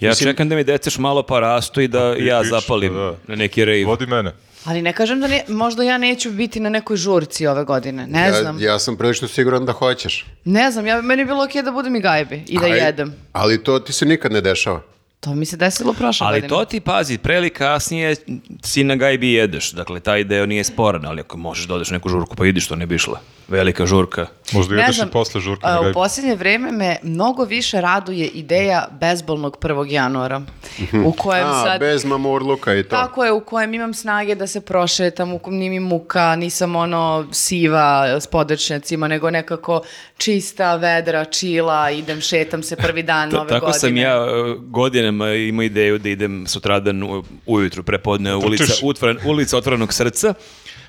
Speaker 2: Ja čekam da mi deceš malo pa rastu i da
Speaker 4: ti
Speaker 2: ja
Speaker 4: pričaš,
Speaker 2: zapalim
Speaker 4: da.
Speaker 2: na neki rave.
Speaker 4: Vodi mene.
Speaker 1: Ali ne kažem da ne, možda ja neću biti na nekoj žurci ove godine, ne
Speaker 3: Ja,
Speaker 1: znam.
Speaker 3: ja sam prilično siguran da hoćeš.
Speaker 1: Ne znam, ja, meni je bilo okej da budem i gajbi i da
Speaker 3: Aj,
Speaker 1: jedem.
Speaker 3: Ali to ti se nikad ne dešava.
Speaker 1: To mi se desilo prošle
Speaker 2: Ali
Speaker 1: godine.
Speaker 2: to ti pazi, pre ili kasnije si na gajbi i jedeš, dakle taj deo nije sporan, ali ako možeš da odeš na neku žurku pa ideš, to ne bi išla. Velika žurka.
Speaker 4: Možda
Speaker 1: Ne
Speaker 4: jedeš
Speaker 1: znam,
Speaker 4: i posle žurke.
Speaker 1: a,
Speaker 4: na
Speaker 1: U
Speaker 4: gajbi.
Speaker 1: posljednje vrijeme me mnogo više raduje ideja bezbolnog 1. januara.
Speaker 2: Mhm.
Speaker 1: U kojem
Speaker 3: A,
Speaker 1: sad...
Speaker 3: bez mamurluka i to.
Speaker 1: Tako je, u kojem imam snage da se prošetam, u kojem nije mi muka, nisam ono siva s podočnjacima, nego nekako čista, vedra, čila, idem, šetam se prvi dan
Speaker 2: Ta-
Speaker 1: nove
Speaker 2: tako
Speaker 1: godine.
Speaker 2: sam ja e, godinama imao ideju da idem sutradan u- ujutru prepodne ulica, utvoren, ulica otvorenog srca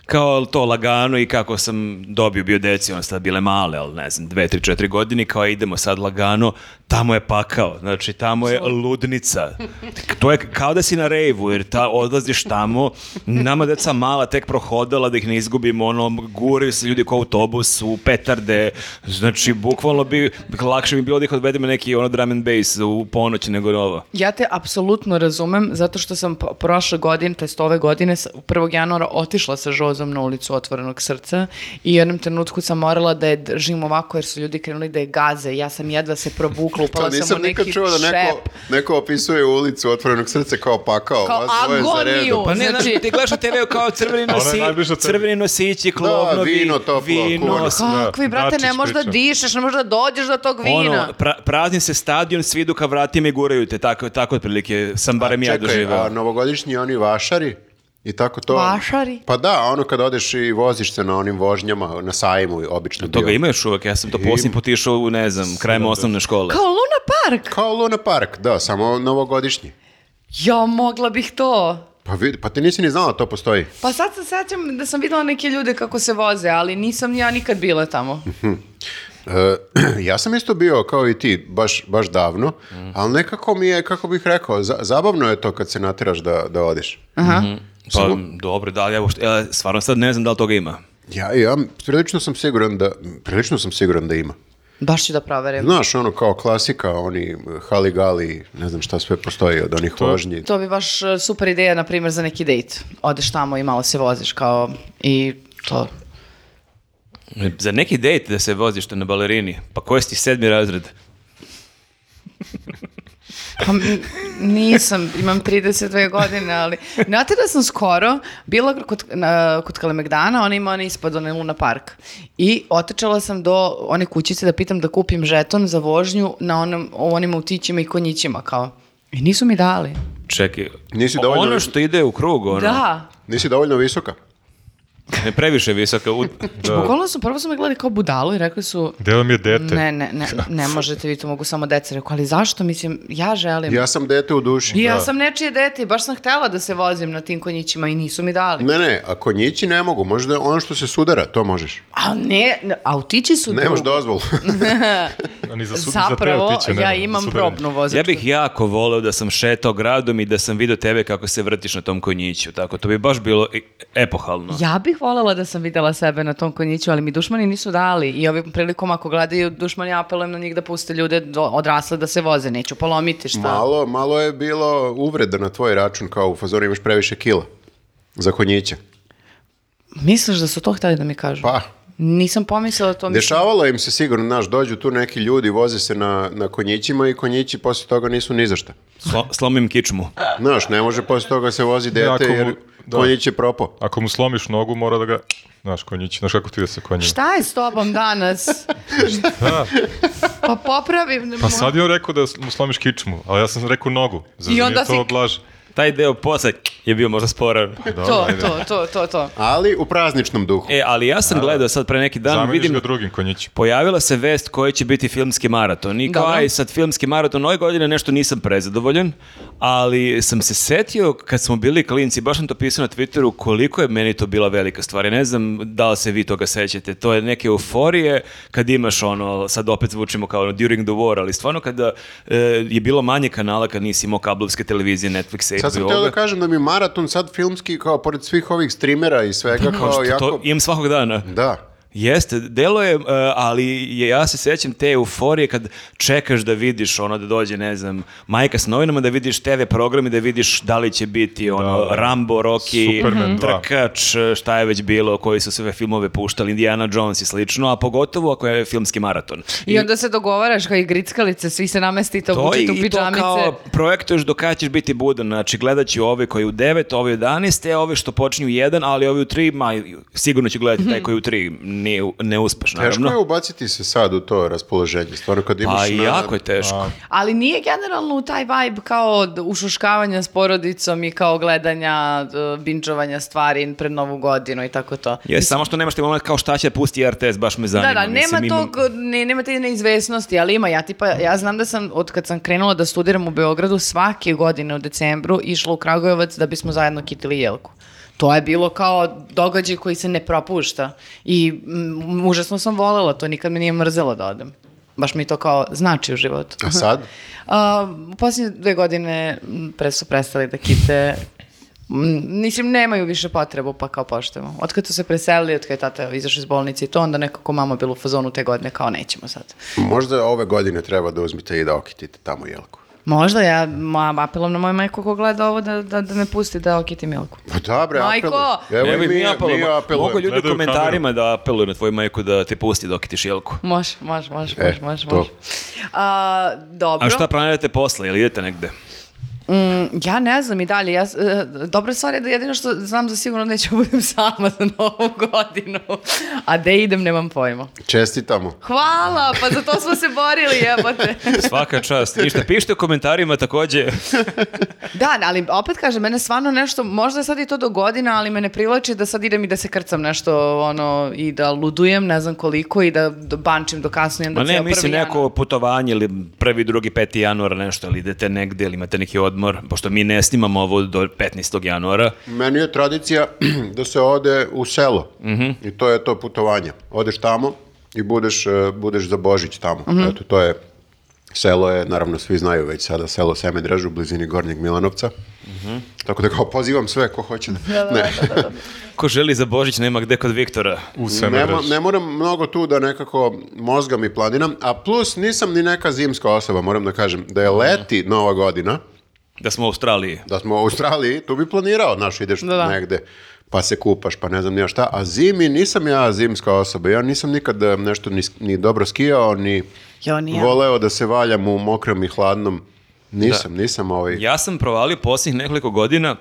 Speaker 2: kao to lagano i kako sam dobio bio deci, ono sad bile male, ali ne znam, dve, tri, četiri godine, kao idemo sad lagano, tamo je pakao, znači tamo je ludnica. To je kao da si na rejvu, jer ta, odlaziš tamo, nama deca mala tek prohodala da ih ne izgubimo, ono, guraju se ljudi kao autobus u petarde, znači, bukvalno bi, lakše mi bilo da ih odvedemo neki, ono, drum and bass u ponoć nego ovo.
Speaker 1: Ja te apsolutno razumem, zato što sam po- prošle godine, to jest ove godine, sa- 1. januara otišla sa Žozom na ulicu Otvorenog srca i u jednom trenutku sam morala da je držim ovako jer su ljudi krenuli da je gaze. Ja sam jedva se provukla,
Speaker 3: Pa
Speaker 1: upala sam
Speaker 3: nisam
Speaker 1: u
Speaker 3: nikad
Speaker 1: neki
Speaker 3: čuo da neko,
Speaker 1: šep.
Speaker 3: neko opisuje ulicu otvorenog srca kao pakao.
Speaker 1: Kao
Speaker 3: vas dvoje za redom.
Speaker 1: agoniju.
Speaker 2: Pa ne,
Speaker 1: Znači-
Speaker 2: znači, ti gledaš na TV kao crveni,
Speaker 4: Ona je
Speaker 2: nosi,
Speaker 4: najbliža tebi.
Speaker 2: crveni nosići, klovnovi,
Speaker 3: vino toplo, kurva.
Speaker 2: s-
Speaker 1: Kakvi,
Speaker 4: Da,
Speaker 1: brate, ne
Speaker 4: Dačić
Speaker 1: možeš da
Speaker 4: priča.
Speaker 1: dišeš, ne možeš da dođeš do tog vina.
Speaker 2: Ono, pra- prazni se stadion, svi idu ka vratima i guraju te, tako, tako otprilike sam barem ja
Speaker 3: Čekaj,
Speaker 2: doživeo.
Speaker 3: a novogodišnji oni vašari i tako to.
Speaker 1: Vašari?
Speaker 3: Pa da, ono kad odeš i voziš se na onim vožnjama, na sajmu obično bio.
Speaker 2: Toga ima još uvek, ja sam to posljednji put išao u, ne znam, krajem osnovne škole.
Speaker 1: Kao Luna Park.
Speaker 3: Kao Luna Park, da, samo novogodišnji.
Speaker 1: Ja, mogla bih to.
Speaker 3: Pa, vidi, pa ti nisi ni znala da to postoji.
Speaker 1: Pa sad se sećam da sam videla neke ljude kako se voze, ali nisam ja nikad bila tamo.
Speaker 3: E, ja sam isto bio kao i ti, baš, baš davno, ali nekako mi je, kako bih rekao, za- zabavno je to kad se natiraš da, da odeš.
Speaker 1: Aha.
Speaker 2: Pa, dobro, da, ali evo, što- ja stvarno sad ne znam da li toga ima.
Speaker 3: Ja, ja prilično sam siguran da, prilično sam siguran da ima.
Speaker 1: Baš ću da proverim.
Speaker 3: Znaš, ono kao klasika, oni haligali, ne znam šta sve postoji od onih vožnji.
Speaker 1: To bi baš e, super ideja, na primjer, za neki dejt. Odeš tamo i malo se voziš kao i to.
Speaker 2: Za neki dejt da se voziš na balerini, pa koji si ti sedmi razred?
Speaker 1: Pa, m, nisam, imam 32 godine, ali... Znate da sam skoro bila kod, na, kod Kalemegdana, ona ima ona ispod onaj Luna Park. I otečala sam do one kućice da pitam da kupim žeton za vožnju na onom, u onim autićima i konjićima, kao. I nisu mi dali.
Speaker 2: Čekaj,
Speaker 3: Nisi dovoljno-
Speaker 2: ono što ide u krug, ono,
Speaker 1: Da.
Speaker 3: Nisi dovoljno visoka.
Speaker 2: ne previše visoka ut... da.
Speaker 1: Bukvalno su, prvo su me gledali kao budalu i rekli su...
Speaker 4: Gde vam je dete?
Speaker 1: Ne, ne, ne, ne možete, vi to mogu samo deca. Rekao, ali zašto? Mislim, ja želim.
Speaker 3: Ja sam dete u duši.
Speaker 1: I ja sam nečije dete i baš sam htela da se vozim na tim konjićima i nisu mi dali.
Speaker 3: Ne, ne, a konjići ne mogu, možda ono što se sudara, to možeš.
Speaker 1: A ne, ne, autići su
Speaker 3: Nemaš
Speaker 1: drugo.
Speaker 3: dozvolu.
Speaker 4: Ni za sud, za te
Speaker 1: Zapravo,
Speaker 4: otiće, ne,
Speaker 1: ja
Speaker 4: ne, za
Speaker 1: imam
Speaker 4: sudaranje.
Speaker 1: probnu vozačku.
Speaker 2: Ja bih jako voleo da sam šetao gradom i da sam vidio tebe kako se vrtiš na tom konjiću, tako, to bi baš bilo i- epohalno.
Speaker 1: Ja bih voljela da sam videla sebe na tom konjiću, ali mi dušmani nisu dali. I ovim prilikom ako gledaju dušmani, apelujem na njih da puste ljude do- odrasle da se voze. Neću polomiti šta.
Speaker 3: malo, malo je bilo uvreda na tvoj račun, kao u fazonu imaš previše kila za konjića.
Speaker 1: Misliš da su to hteli da mi kažu?
Speaker 3: Pa,
Speaker 1: Nisam pomislila to. mislim-
Speaker 3: dešavalo im se sigurno, znaš, dođu tu neki ljudi, voze se na, na konjićima i konjići posle toga nisu ni za šta.
Speaker 2: Slo- slomim kičmu.
Speaker 3: Znaš, ne može posle toga se vozi
Speaker 4: Jako
Speaker 3: dete
Speaker 4: mu-
Speaker 3: jer
Speaker 4: da.
Speaker 3: konjić je propao.
Speaker 4: Ako mu slomiš nogu, mora da ga... Znaš, konjić, znaš kako ti ide sa konjima.
Speaker 1: Šta je s tobom danas? pa popravim.
Speaker 4: Pa sad je on rekao da mu slomiš kičmu, ali ja sam rekao nogu. Zar
Speaker 1: I
Speaker 4: nije
Speaker 1: onda
Speaker 4: to
Speaker 1: si-
Speaker 4: odlaže?
Speaker 2: Taj deo posle je bio možda sporan.
Speaker 1: To, to, to, to, to.
Speaker 3: Ali u prazničnom duhu.
Speaker 2: E, ali ja sam gledao sad pre neki dan,
Speaker 4: Zameniš
Speaker 2: vidim
Speaker 4: ga drugim konjićem.
Speaker 2: Pojavila se vest koji će biti filmski maraton. I kao,
Speaker 1: Dobro.
Speaker 2: aj, sad filmski maraton, ove godine nešto nisam prezadovoljen, ali sam se setio kad smo bili klinci, baš sam to pisao na Twitteru, koliko je meni to bila velika stvar. Ja ne znam da li se vi toga sećate. To je neke euforije kad imaš ono, sad opet zvučimo kao ono, during the war, ali stvarno kada e, je bilo manje kanala kad nisi imao kablovske televizije, Netflixa,
Speaker 3: Sad sam
Speaker 2: HBO-ga.
Speaker 3: htio da kažem da mi maraton sad filmski, kao pored svih ovih streamera i
Speaker 2: Kao
Speaker 3: svega,
Speaker 2: Pa, što
Speaker 3: kao jako...
Speaker 2: to imam svakog dana.
Speaker 3: Da.
Speaker 2: Jeste, delo je, e, ali je- ja se sjećam te euforije kad čekaš da vidiš ono da dođe, ne znam, majka s novinama, da vidiš TV program i da vidiš da li će biti ono Rambo, Rocky,
Speaker 4: Superman dva.
Speaker 2: Trkač, e, šta je već bilo, koji su sve filmove puštali, Indiana Jones i slično, a pogotovo ako je filmski maraton.
Speaker 1: I onda se dogovaraš kao i grickalice, svi se namestite,
Speaker 2: To i,
Speaker 1: obučite u
Speaker 2: i to
Speaker 1: pidžamice.
Speaker 2: kao projektuješ do kada ćeš biti budan. Znači, gledat ću ove koji u 9, ove u 11, a ove što počinju u 1, ali ove u 3, ma, sigurno ću gledati
Speaker 1: Mhm.
Speaker 2: taj koji u 3. Ne, ne uspeš, naravno.
Speaker 3: Teško je ubaciti se sad u to raspoloženje, stvarno kad imaš e,
Speaker 2: Pa
Speaker 3: na-
Speaker 2: jako je teško.
Speaker 1: Ali nije generalno u taj vibe kao d- ušuškavanja s porodicom i kao gledanja, d- binđovanja stvari pred novu godinu i tako to.
Speaker 2: Je, samo što nemaš ti moment kao šta će da pusti RTS, baš me zanima.
Speaker 1: Da, da, nema
Speaker 2: Mislim, imam-
Speaker 1: tog, ne, nema te neizvesnosti, ali ima, ja tipa, ja znam da sam, od kad sam krenula da studiram u Beogradu, svake godine u decembru išla u Kragujevac da bismo zajedno kitili jelku. To je bilo kao događaj koji se ne propušta i mm, užasno sam volela to, nikad me nije mrzelo da odem. Baš mi to kao znači u životu.
Speaker 3: A sad?
Speaker 1: A, u posljednje dve godine m, pre su prestali da kite M, Mislim, nemaju više potrebu, pa kao poštujemo. Od kad su se preselili, od kad je tata izašao iz bolnice i to, onda nekako mama bila u fazonu te godine, kao nećemo sad.
Speaker 3: Možda ove godine treba da uzmite i da okitite tamo jelku.
Speaker 1: Možda ja ma, apelom na moju majku ko gleda ovo da, da, da me pusti da okitim jelku.
Speaker 3: Pa dobro,
Speaker 1: Majko!
Speaker 3: Evo,
Speaker 2: Evo
Speaker 3: i
Speaker 2: i
Speaker 3: mi, mi
Speaker 2: apelujemo.
Speaker 3: apelujemo.
Speaker 2: Mogu ljudi u
Speaker 4: Gledaju
Speaker 2: komentarima da apeluju na tvoju majku da te pusti dok ti jelku.
Speaker 1: Može, može, može,
Speaker 3: E,
Speaker 1: može, može,
Speaker 3: to.
Speaker 1: može. A, dobro.
Speaker 2: A šta planirate posle, ili idete negde?
Speaker 1: Mm, ja ne znam i dalje. Ja, s- e, dobra stvar je da jedino što znam za sigurno neću da budem sama za novu godinu. A gde idem, nemam pojma.
Speaker 3: Čestitamo.
Speaker 1: Hvala, pa za to smo se borili, jebote.
Speaker 2: Svaka čast. Ništa, pišite u komentarima takođe.
Speaker 1: da, ali opet kažem, mene stvarno nešto, možda sad i to do godina, ali me ne privlači da sad idem i da se krcam nešto, ono, i da ludujem, ne znam koliko, i da do- bančim do kasno, i onda
Speaker 2: Ma ne,
Speaker 1: ceo
Speaker 2: mislim
Speaker 1: Znači, prvi januar.
Speaker 2: neko putovanje ili prvi, drugi, peti januar nešto, ili idete negde, ili imate neki odmor, pošto mi ne snimamo ovo do 15. januara.
Speaker 3: Meni je tradicija da se ode u selo.
Speaker 2: Mhm.
Speaker 3: I to je to putovanje. Odeš tamo i budeš, e, budeš za Božić tamo. Eto, to je... Selo je, naravno svi znaju već sada, selo Semedraž u blizini Gornjeg Milanovca.
Speaker 2: Mhm.
Speaker 3: Tako da kao pozivam sve ko hoće. Da, ne.
Speaker 2: Ko želi za Božić, nema gde kod Viktora.
Speaker 4: U
Speaker 3: Ne, mo-
Speaker 4: Semeraš.
Speaker 3: ne moram mnogo tu da nekako mozgam i planinam, a plus nisam ni neka zimska osoba, moram da kažem. Da je leti nova godina,
Speaker 2: Da smo u Australiji.
Speaker 3: da smo u Australiji, tu bi planirao, znaš, ideš
Speaker 1: Da, da.
Speaker 3: negde, pa se kupaš, pa ne znam nija šta, a zimi nisam ja zimska osoba, ja nisam nikad eh, nešto ni, s- ni dobro skijao, ni
Speaker 1: Jo, ni ja.
Speaker 3: voleo da se valjam u mokrom i hladnom Nisam, nisam ovaj...
Speaker 2: Ja sam provalio posljednjih nekoliko godina,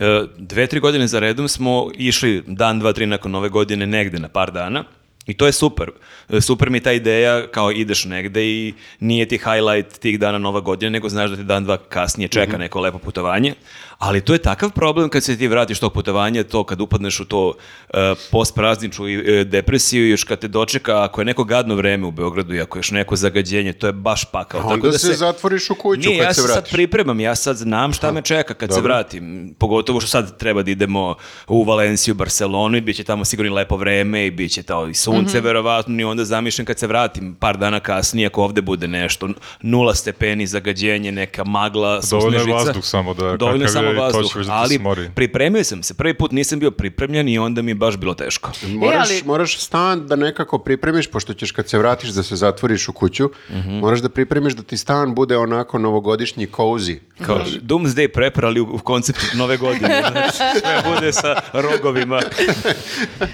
Speaker 2: e, dve, tri godine za redom smo išli dan, dva, tri nakon nove godine negde na par dana. I to je super. E, Super mi je ta ideja kao ideš negde i nije ti highlight tih dana nova godina, nego znaš da te dan, dva kasnije čeka
Speaker 3: Mhm.
Speaker 2: neko lepo putovanje. Ali to je takav problem kad se ti vratiš tog putovanja, to kad upadneš u to e, postprazničnu i, e, depresiju, još kad te dočeka, ako je neko gadno vreme u Beogradu i ako je još neko zagađenje, to je baš pakao.
Speaker 3: A
Speaker 2: Tako
Speaker 3: onda
Speaker 2: da
Speaker 3: se, zatvoriš u kuću
Speaker 2: nije,
Speaker 3: kad
Speaker 2: ja
Speaker 3: se
Speaker 2: se
Speaker 3: vratiš.
Speaker 2: sad pripremam, ja sad znam šta me čeka kad se
Speaker 3: dobro.
Speaker 2: vratim. Pogotovo što sad treba da idemo u Valenciju, Barcelonu i bit će tamo sigurno i lepo vreme i bit će tamo i sunce verovatno i onda zamišljam kad se vratim par dana kasnije ako ovde bude nešto, nula stepeni, zagađenje, neka magla,
Speaker 4: Pa Dovoljno je
Speaker 2: susnežica.
Speaker 4: vazduh samo da-
Speaker 2: Dovoljno je
Speaker 4: kakav
Speaker 2: samo
Speaker 4: je i to će
Speaker 2: vazduh,
Speaker 4: već da te
Speaker 2: ali
Speaker 4: smori.
Speaker 2: pripremio sam se. Prvi put nisam bio pripremljen i onda mi je baš bilo teško.
Speaker 3: Moraš,
Speaker 1: E, ali-
Speaker 3: moraš stan da nekako pripremiš, pošto ćeš kad se vratiš da se zatvoriš u kuću, moraš da pripremiš da ti stan bude onako novogodišnji cozy.
Speaker 2: Kao Doomsday Prepper, ali u, u konceptu nove godine. Znaš, sve bude sa rogovima.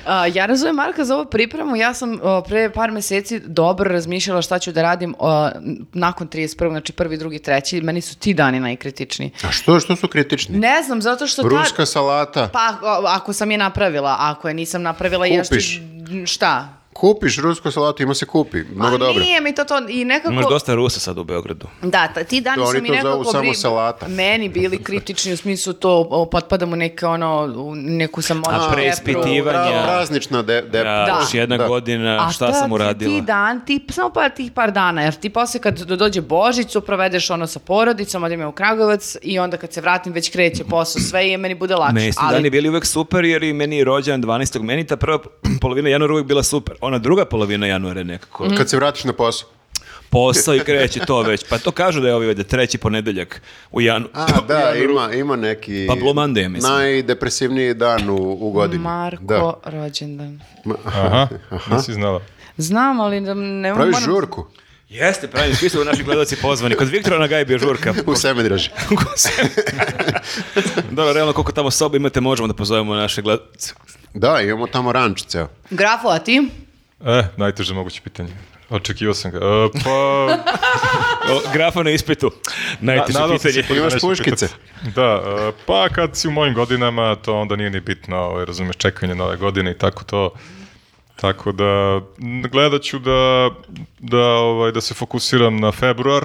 Speaker 1: A, ja razumem Marka za ovu pripremu. Ja sam o, pre par meseci dobro razmišljala šta ću da radim o, n- nakon 31. Znači prvi, drugi, treći. Meni su ti dani najkritičniji.
Speaker 3: A što, što su kritični?
Speaker 1: Ne znam, zato što... ta-
Speaker 3: Ruska salata.
Speaker 1: Pa o, ako sam je napravila, ako je nisam napravila, ja
Speaker 3: Kupiš.
Speaker 1: Šta?
Speaker 3: Kupiš rusku salatu, ima se kupi. Mnogo
Speaker 1: Pa
Speaker 3: dobro.
Speaker 1: Nije mi to to i nekako...
Speaker 2: Imaš dosta Rusa sad u Beogradu.
Speaker 1: Da, ta- ti dani
Speaker 3: To
Speaker 1: su
Speaker 3: oni
Speaker 1: mi
Speaker 3: to
Speaker 1: nekako
Speaker 3: zovu samo
Speaker 1: bri-
Speaker 3: salata.
Speaker 1: meni bili kritični u smislu to o, potpadam u neke ono u neku sam ono
Speaker 2: preispitivanje.
Speaker 3: Pra- praznična de, de-
Speaker 2: Ja,
Speaker 1: Da.
Speaker 2: Još jedna
Speaker 3: Da.
Speaker 2: godina,
Speaker 1: A
Speaker 2: šta
Speaker 1: ta-
Speaker 2: sam uradila?
Speaker 1: Ti dan, ti samo par tih par dana, jer ti posle kad do- dođe Božić, to provedeš ono sa porodicom, odim ja u Kragovac i onda kad se vratim već kreće posao sve i meni bude lakše.
Speaker 2: Meni su dani bili uvek super jer i meni je rođan 12. Meni ta prva polovina januara uvek bila super. Ona druga polovina januara je nekako
Speaker 3: Kad se vratiš na posao.
Speaker 2: posao i kreće to već. Pa to kažu da je ovaj valjda treći ponedeljak u janu.
Speaker 1: Pa
Speaker 3: A, da, ima, ima neki...
Speaker 2: Pa Blue Monday, ja mislim.
Speaker 3: Najdepresivniji dan u, u godini.
Speaker 1: Marko
Speaker 3: Da.
Speaker 1: rođendan.
Speaker 4: Aha, nisi znala.
Speaker 1: Znam, ali da ne
Speaker 3: Praviš
Speaker 1: moram-
Speaker 3: žurku
Speaker 2: Jeste, pravim, svi su naši gledalci pozvani. Kod Viktora na Gajbi je žurka.
Speaker 3: u Semedreži.
Speaker 2: Dobro, realno koliko tamo soba imate, možemo da pozovemo naše gledalce.
Speaker 3: Da, imamo tamo ranč ceo.
Speaker 1: Grafo, a ti?
Speaker 4: E, najteže moguće pitanje. Očekivao sam ga. E, pa...
Speaker 2: O, grafa na ispitu. Najteže
Speaker 4: nadao sam se
Speaker 2: pitanje.
Speaker 4: koliko
Speaker 3: Imaš
Speaker 4: neće
Speaker 3: puškice.
Speaker 4: pitati. Da, e, pa kad si u mojim godinama, to onda nije ni bitno, ovaj, razumeš, čekanje nove godine i tako to. Tako da, m, gledat ću da, da, ovaj, da se fokusiram na februar,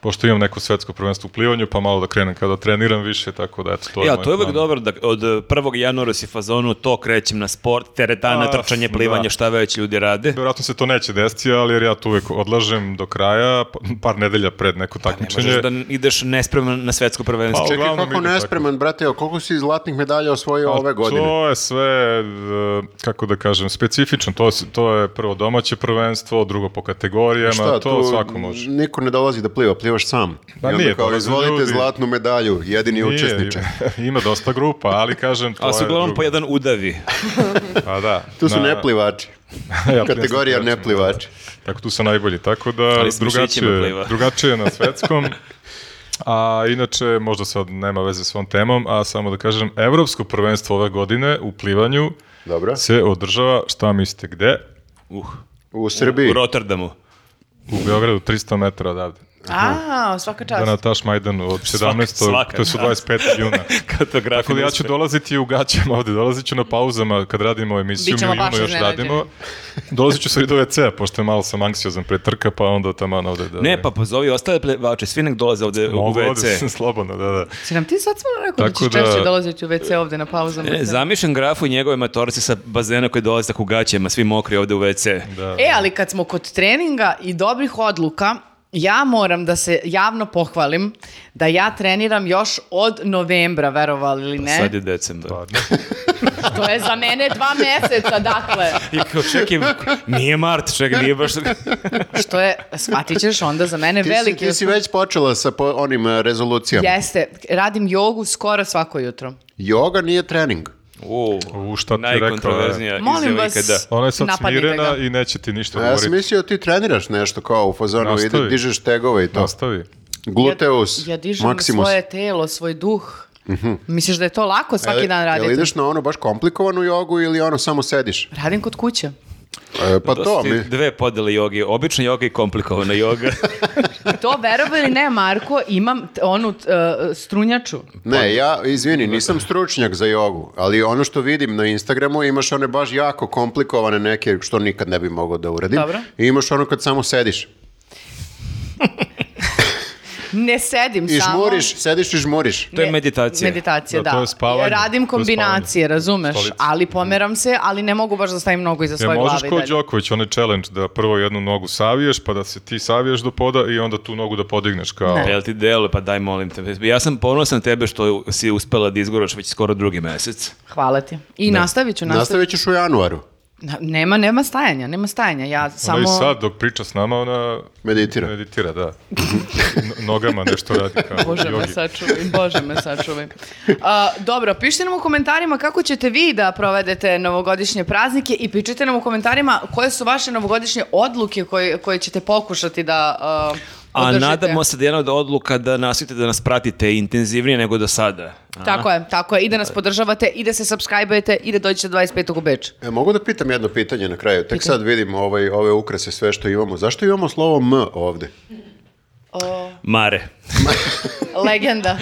Speaker 4: pošto imam neko svetsko prvenstvo u plivanju, pa malo da krenem kada treniram više, tako da, eto, to je
Speaker 2: Ja,
Speaker 4: moj
Speaker 2: to je uvek
Speaker 4: plan.
Speaker 2: dobro da od eh, 1. januara si fazonu to krećem na sport, teretana,
Speaker 4: Ah,
Speaker 2: trčanje, plivanje,
Speaker 4: da.
Speaker 2: šta već ljudi rade.
Speaker 4: Vjerojatno se to neće desiti, ali jer ja to uvek odlažem do kraja, pa- par nedelja pred neko
Speaker 2: Pa Ne
Speaker 4: takmičenje.
Speaker 2: možeš da n- ideš nespreman na svetsko prvenstvo.
Speaker 4: Pa,
Speaker 3: Čekaj,
Speaker 4: uglavnom
Speaker 3: kako
Speaker 4: ide tako.
Speaker 3: nespreman, brate, a koliko si zlatnih medalja osvojio
Speaker 4: Pa
Speaker 3: ove godine?
Speaker 4: To je sve, e, kako da kažem, specifično. To, s- to je prvo domaće prvenstvo, drugo po kategorijama, to
Speaker 3: tu
Speaker 4: svako može.
Speaker 3: Niko ne dolazi da pliva, plivaš sam.
Speaker 4: Pa
Speaker 3: I onda
Speaker 4: nije,
Speaker 3: kao,
Speaker 4: dolaze
Speaker 3: izvolite
Speaker 4: ljudi."
Speaker 3: zlatnu medalju, jedini
Speaker 4: Nije,
Speaker 3: učesniče.
Speaker 4: ima, ima dosta grupa, ali kažem, Pa, to
Speaker 2: Ali su
Speaker 4: je
Speaker 2: uglavnom
Speaker 4: drugo.
Speaker 2: po jedan udavi.
Speaker 4: Pa da.
Speaker 3: Tu su
Speaker 4: na-
Speaker 3: neplivači.
Speaker 4: Ja,
Speaker 3: Kategorija
Speaker 4: plivam sa
Speaker 3: neplivači.
Speaker 4: Tako tu sam najbolji, tako da
Speaker 2: Ali s mišićima
Speaker 4: drugačije,
Speaker 2: pliva.
Speaker 4: drugačije je na svetskom. A inače, možda sad nema veze s ovom temom, a samo da kažem, Evropsko prvenstvo ove godine u plivanju
Speaker 3: Dobro.
Speaker 4: se održava, šta mislite, gde?
Speaker 2: Uh,
Speaker 3: U Srbiji.
Speaker 2: u Rotterdamu.
Speaker 4: U Beogradu, 300 metara odavde.
Speaker 1: A, svaka čast.
Speaker 4: Da na Taš Majdanu od 17.
Speaker 2: svaka,
Speaker 4: to su
Speaker 2: da.
Speaker 4: 25. juna.
Speaker 2: Kartografija
Speaker 4: Tako da ja ću
Speaker 2: uspe-
Speaker 4: dolaziti u gaćama ovde, dolazit ću na pauzama kad radimo emisiju, mi
Speaker 1: Bićemo
Speaker 4: u
Speaker 1: baš
Speaker 4: junu još
Speaker 1: iznenađeni.
Speaker 4: radimo. Dolazit ću sve do WC-a, pošto je malo sam anksiozan pre trka, pa onda tamo ovde da...
Speaker 2: Ne, pa pozovi ostale plevače, svi nek dolaze ovde u
Speaker 4: Mogu ovde,
Speaker 2: WC.
Speaker 4: slobodno, da, da.
Speaker 1: Si nam ti sad smo rekao da
Speaker 4: Tako
Speaker 1: ćeš
Speaker 4: da-
Speaker 1: češće dolaziti u WC ovde na pauzama?
Speaker 2: Ne, zamišljam grafu i njegove matorce sa bazena koji dolaze tako u gaćama, svi mokri ovde u WC.
Speaker 4: da.
Speaker 1: E, ali kad smo kod treninga i dobrih odluka, ja moram da se javno pohvalim da ja treniram još od novembra, verovali ili ne.
Speaker 2: Sad je decembar.
Speaker 4: Pa.
Speaker 1: To je za mene dva meseca, dakle.
Speaker 2: I kao, čekaj, nije mart, čekaj, nije baš...
Speaker 1: Što je, shvatit ćeš onda za mene
Speaker 3: Ti si,
Speaker 1: veliki...
Speaker 3: ti si već počela sa po- onim e, rezolucijama.
Speaker 1: Jeste, radim jogu skoro svako jutro.
Speaker 3: Joga nije trening.
Speaker 2: U,
Speaker 4: U, šta ti je rekao, e?
Speaker 2: najkontroverznija
Speaker 1: Molim
Speaker 2: izjava
Speaker 1: vas,
Speaker 2: ikada.
Speaker 4: Ona je sad
Speaker 1: napadnite
Speaker 4: smirena
Speaker 1: ga.
Speaker 4: i neće ti ništa
Speaker 3: A ja sam
Speaker 4: govoriti.
Speaker 3: mislio ti treniraš nešto kao u fazonu,
Speaker 4: Nastavi.
Speaker 3: ide, dižeš tegove i to.
Speaker 4: Nastavi.
Speaker 3: Gluteus,
Speaker 1: Ja, ja dižem
Speaker 3: maksimus. Mhm.
Speaker 1: svoje telo, svoj duh. Misliš da je to lako svaki
Speaker 3: E, Jel-
Speaker 1: dan
Speaker 3: jel
Speaker 1: raditi?
Speaker 3: ideš na onu baš komplikovanu jogu ili ono samo sediš?
Speaker 1: Radim kod kuće.
Speaker 3: E, pa to,
Speaker 2: Dosta
Speaker 3: mi...
Speaker 2: Dve podele jogi, obična joga i komplikovana joga.
Speaker 1: To verovo ili ne, Marko, imam t- onu t- e, strunjaču.
Speaker 3: Ne, ja, izvini, nisam stručnjak za jogu, ali ono što vidim na Instagramu, imaš one baš jako komplikovane neke što nikad ne bi mogao da uradim.
Speaker 1: Dobro.
Speaker 3: I imaš ono kad samo sediš.
Speaker 1: Ne sedim
Speaker 3: I
Speaker 1: samo.
Speaker 3: žmuriš, sediš i žmuriš.
Speaker 2: To je
Speaker 1: Ne,
Speaker 2: meditacija.
Speaker 1: Meditacija, da.
Speaker 4: Da, to je spavanje.
Speaker 1: Radim
Speaker 4: To je
Speaker 1: kombinacije,
Speaker 4: spavanje.
Speaker 1: razumeš,
Speaker 4: Stolica.
Speaker 1: ali pomeram se, ali ne mogu baš da stavim mnogo iza
Speaker 4: E,
Speaker 1: svoje
Speaker 4: možeš
Speaker 1: glave. i
Speaker 4: kao
Speaker 1: dalje.
Speaker 4: Đoković, onaj challenge da prvo jednu nogu saviješ, pa da se ti saviješ do poda i onda tu nogu da podigneš kao...
Speaker 2: Pa Jel ti delo, pa daj molim te. Ja sam ponosan tebe što si uspela da izgoraš već skoro drugi mesec.
Speaker 1: Hvala ti. I nastavit ću, nastavit
Speaker 3: Nastavit ćeš u januaru,
Speaker 1: Na- Nema, nema stajanja, nema stajanja. Ja
Speaker 4: Samo...
Speaker 1: samo...
Speaker 4: i sad dok priča s nama, ona
Speaker 3: meditira.
Speaker 4: meditira, da. N- nogama nešto radi kao
Speaker 1: Bože me
Speaker 4: jogi.
Speaker 1: sačuvaj, bože me sačuvaj. A, dobro, pišite nam u komentarima kako ćete vi da provedete novogodišnje praznike i pišite nam u komentarima koje su vaše novogodišnje odluke koje, koje ćete pokušati da a,
Speaker 2: A
Speaker 1: održite.
Speaker 2: nadamo se da je jedna od odluka da nastavite da nas pratite intenzivnije nego do sada. A?
Speaker 1: Tako je, tako je. I da nas podržavate, i da se subscribe-ujete, i da dođete 25. u Beč.
Speaker 3: E, mogu da pitam jedno pitanje na kraju? Tek sad vidim ovaj, ove ukrase, sve što imamo. Zašto imamo slovo M ovde?
Speaker 2: Mare.
Speaker 1: Legenda.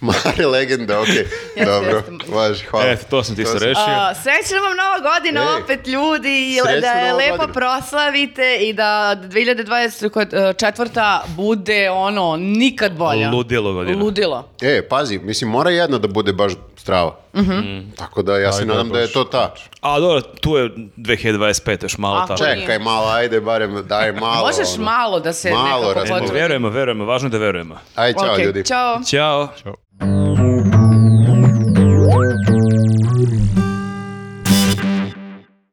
Speaker 3: Mare legenda, okej. Dobro,
Speaker 1: jeste.
Speaker 3: važi, hvala.
Speaker 4: Pa,
Speaker 2: Eto, to sam ti isto rešio.
Speaker 1: A, srećna vam nova godina
Speaker 3: Ej.
Speaker 1: opet ljudi, i
Speaker 3: Srećna
Speaker 1: da je
Speaker 3: Nova
Speaker 1: lepo
Speaker 3: godina.
Speaker 1: proslavite i da 2024. bude ono nikad bolja.
Speaker 2: Ludilo godina.
Speaker 1: Ludilo.
Speaker 3: E, pazi, mislim, mora jedna da bude baš strava.
Speaker 1: Mhm.
Speaker 3: Tako da ja se
Speaker 4: Ajde,
Speaker 3: nadam da je
Speaker 4: baš.
Speaker 3: to ta.
Speaker 2: A dobro, tu je 2025 još malo
Speaker 1: Ako
Speaker 2: tako.
Speaker 1: je.
Speaker 3: Čekaj, malo, ajde, barem daj malo.
Speaker 1: Možeš
Speaker 3: ono.
Speaker 1: malo da se
Speaker 3: Malo
Speaker 1: nekako
Speaker 3: razmovi.
Speaker 1: potvrdi.
Speaker 2: Verujemo, verujemo, važno je da verujemo.
Speaker 3: Ajde, čao
Speaker 1: Ok,
Speaker 3: ljudi.
Speaker 1: Ćao.
Speaker 2: Ćao.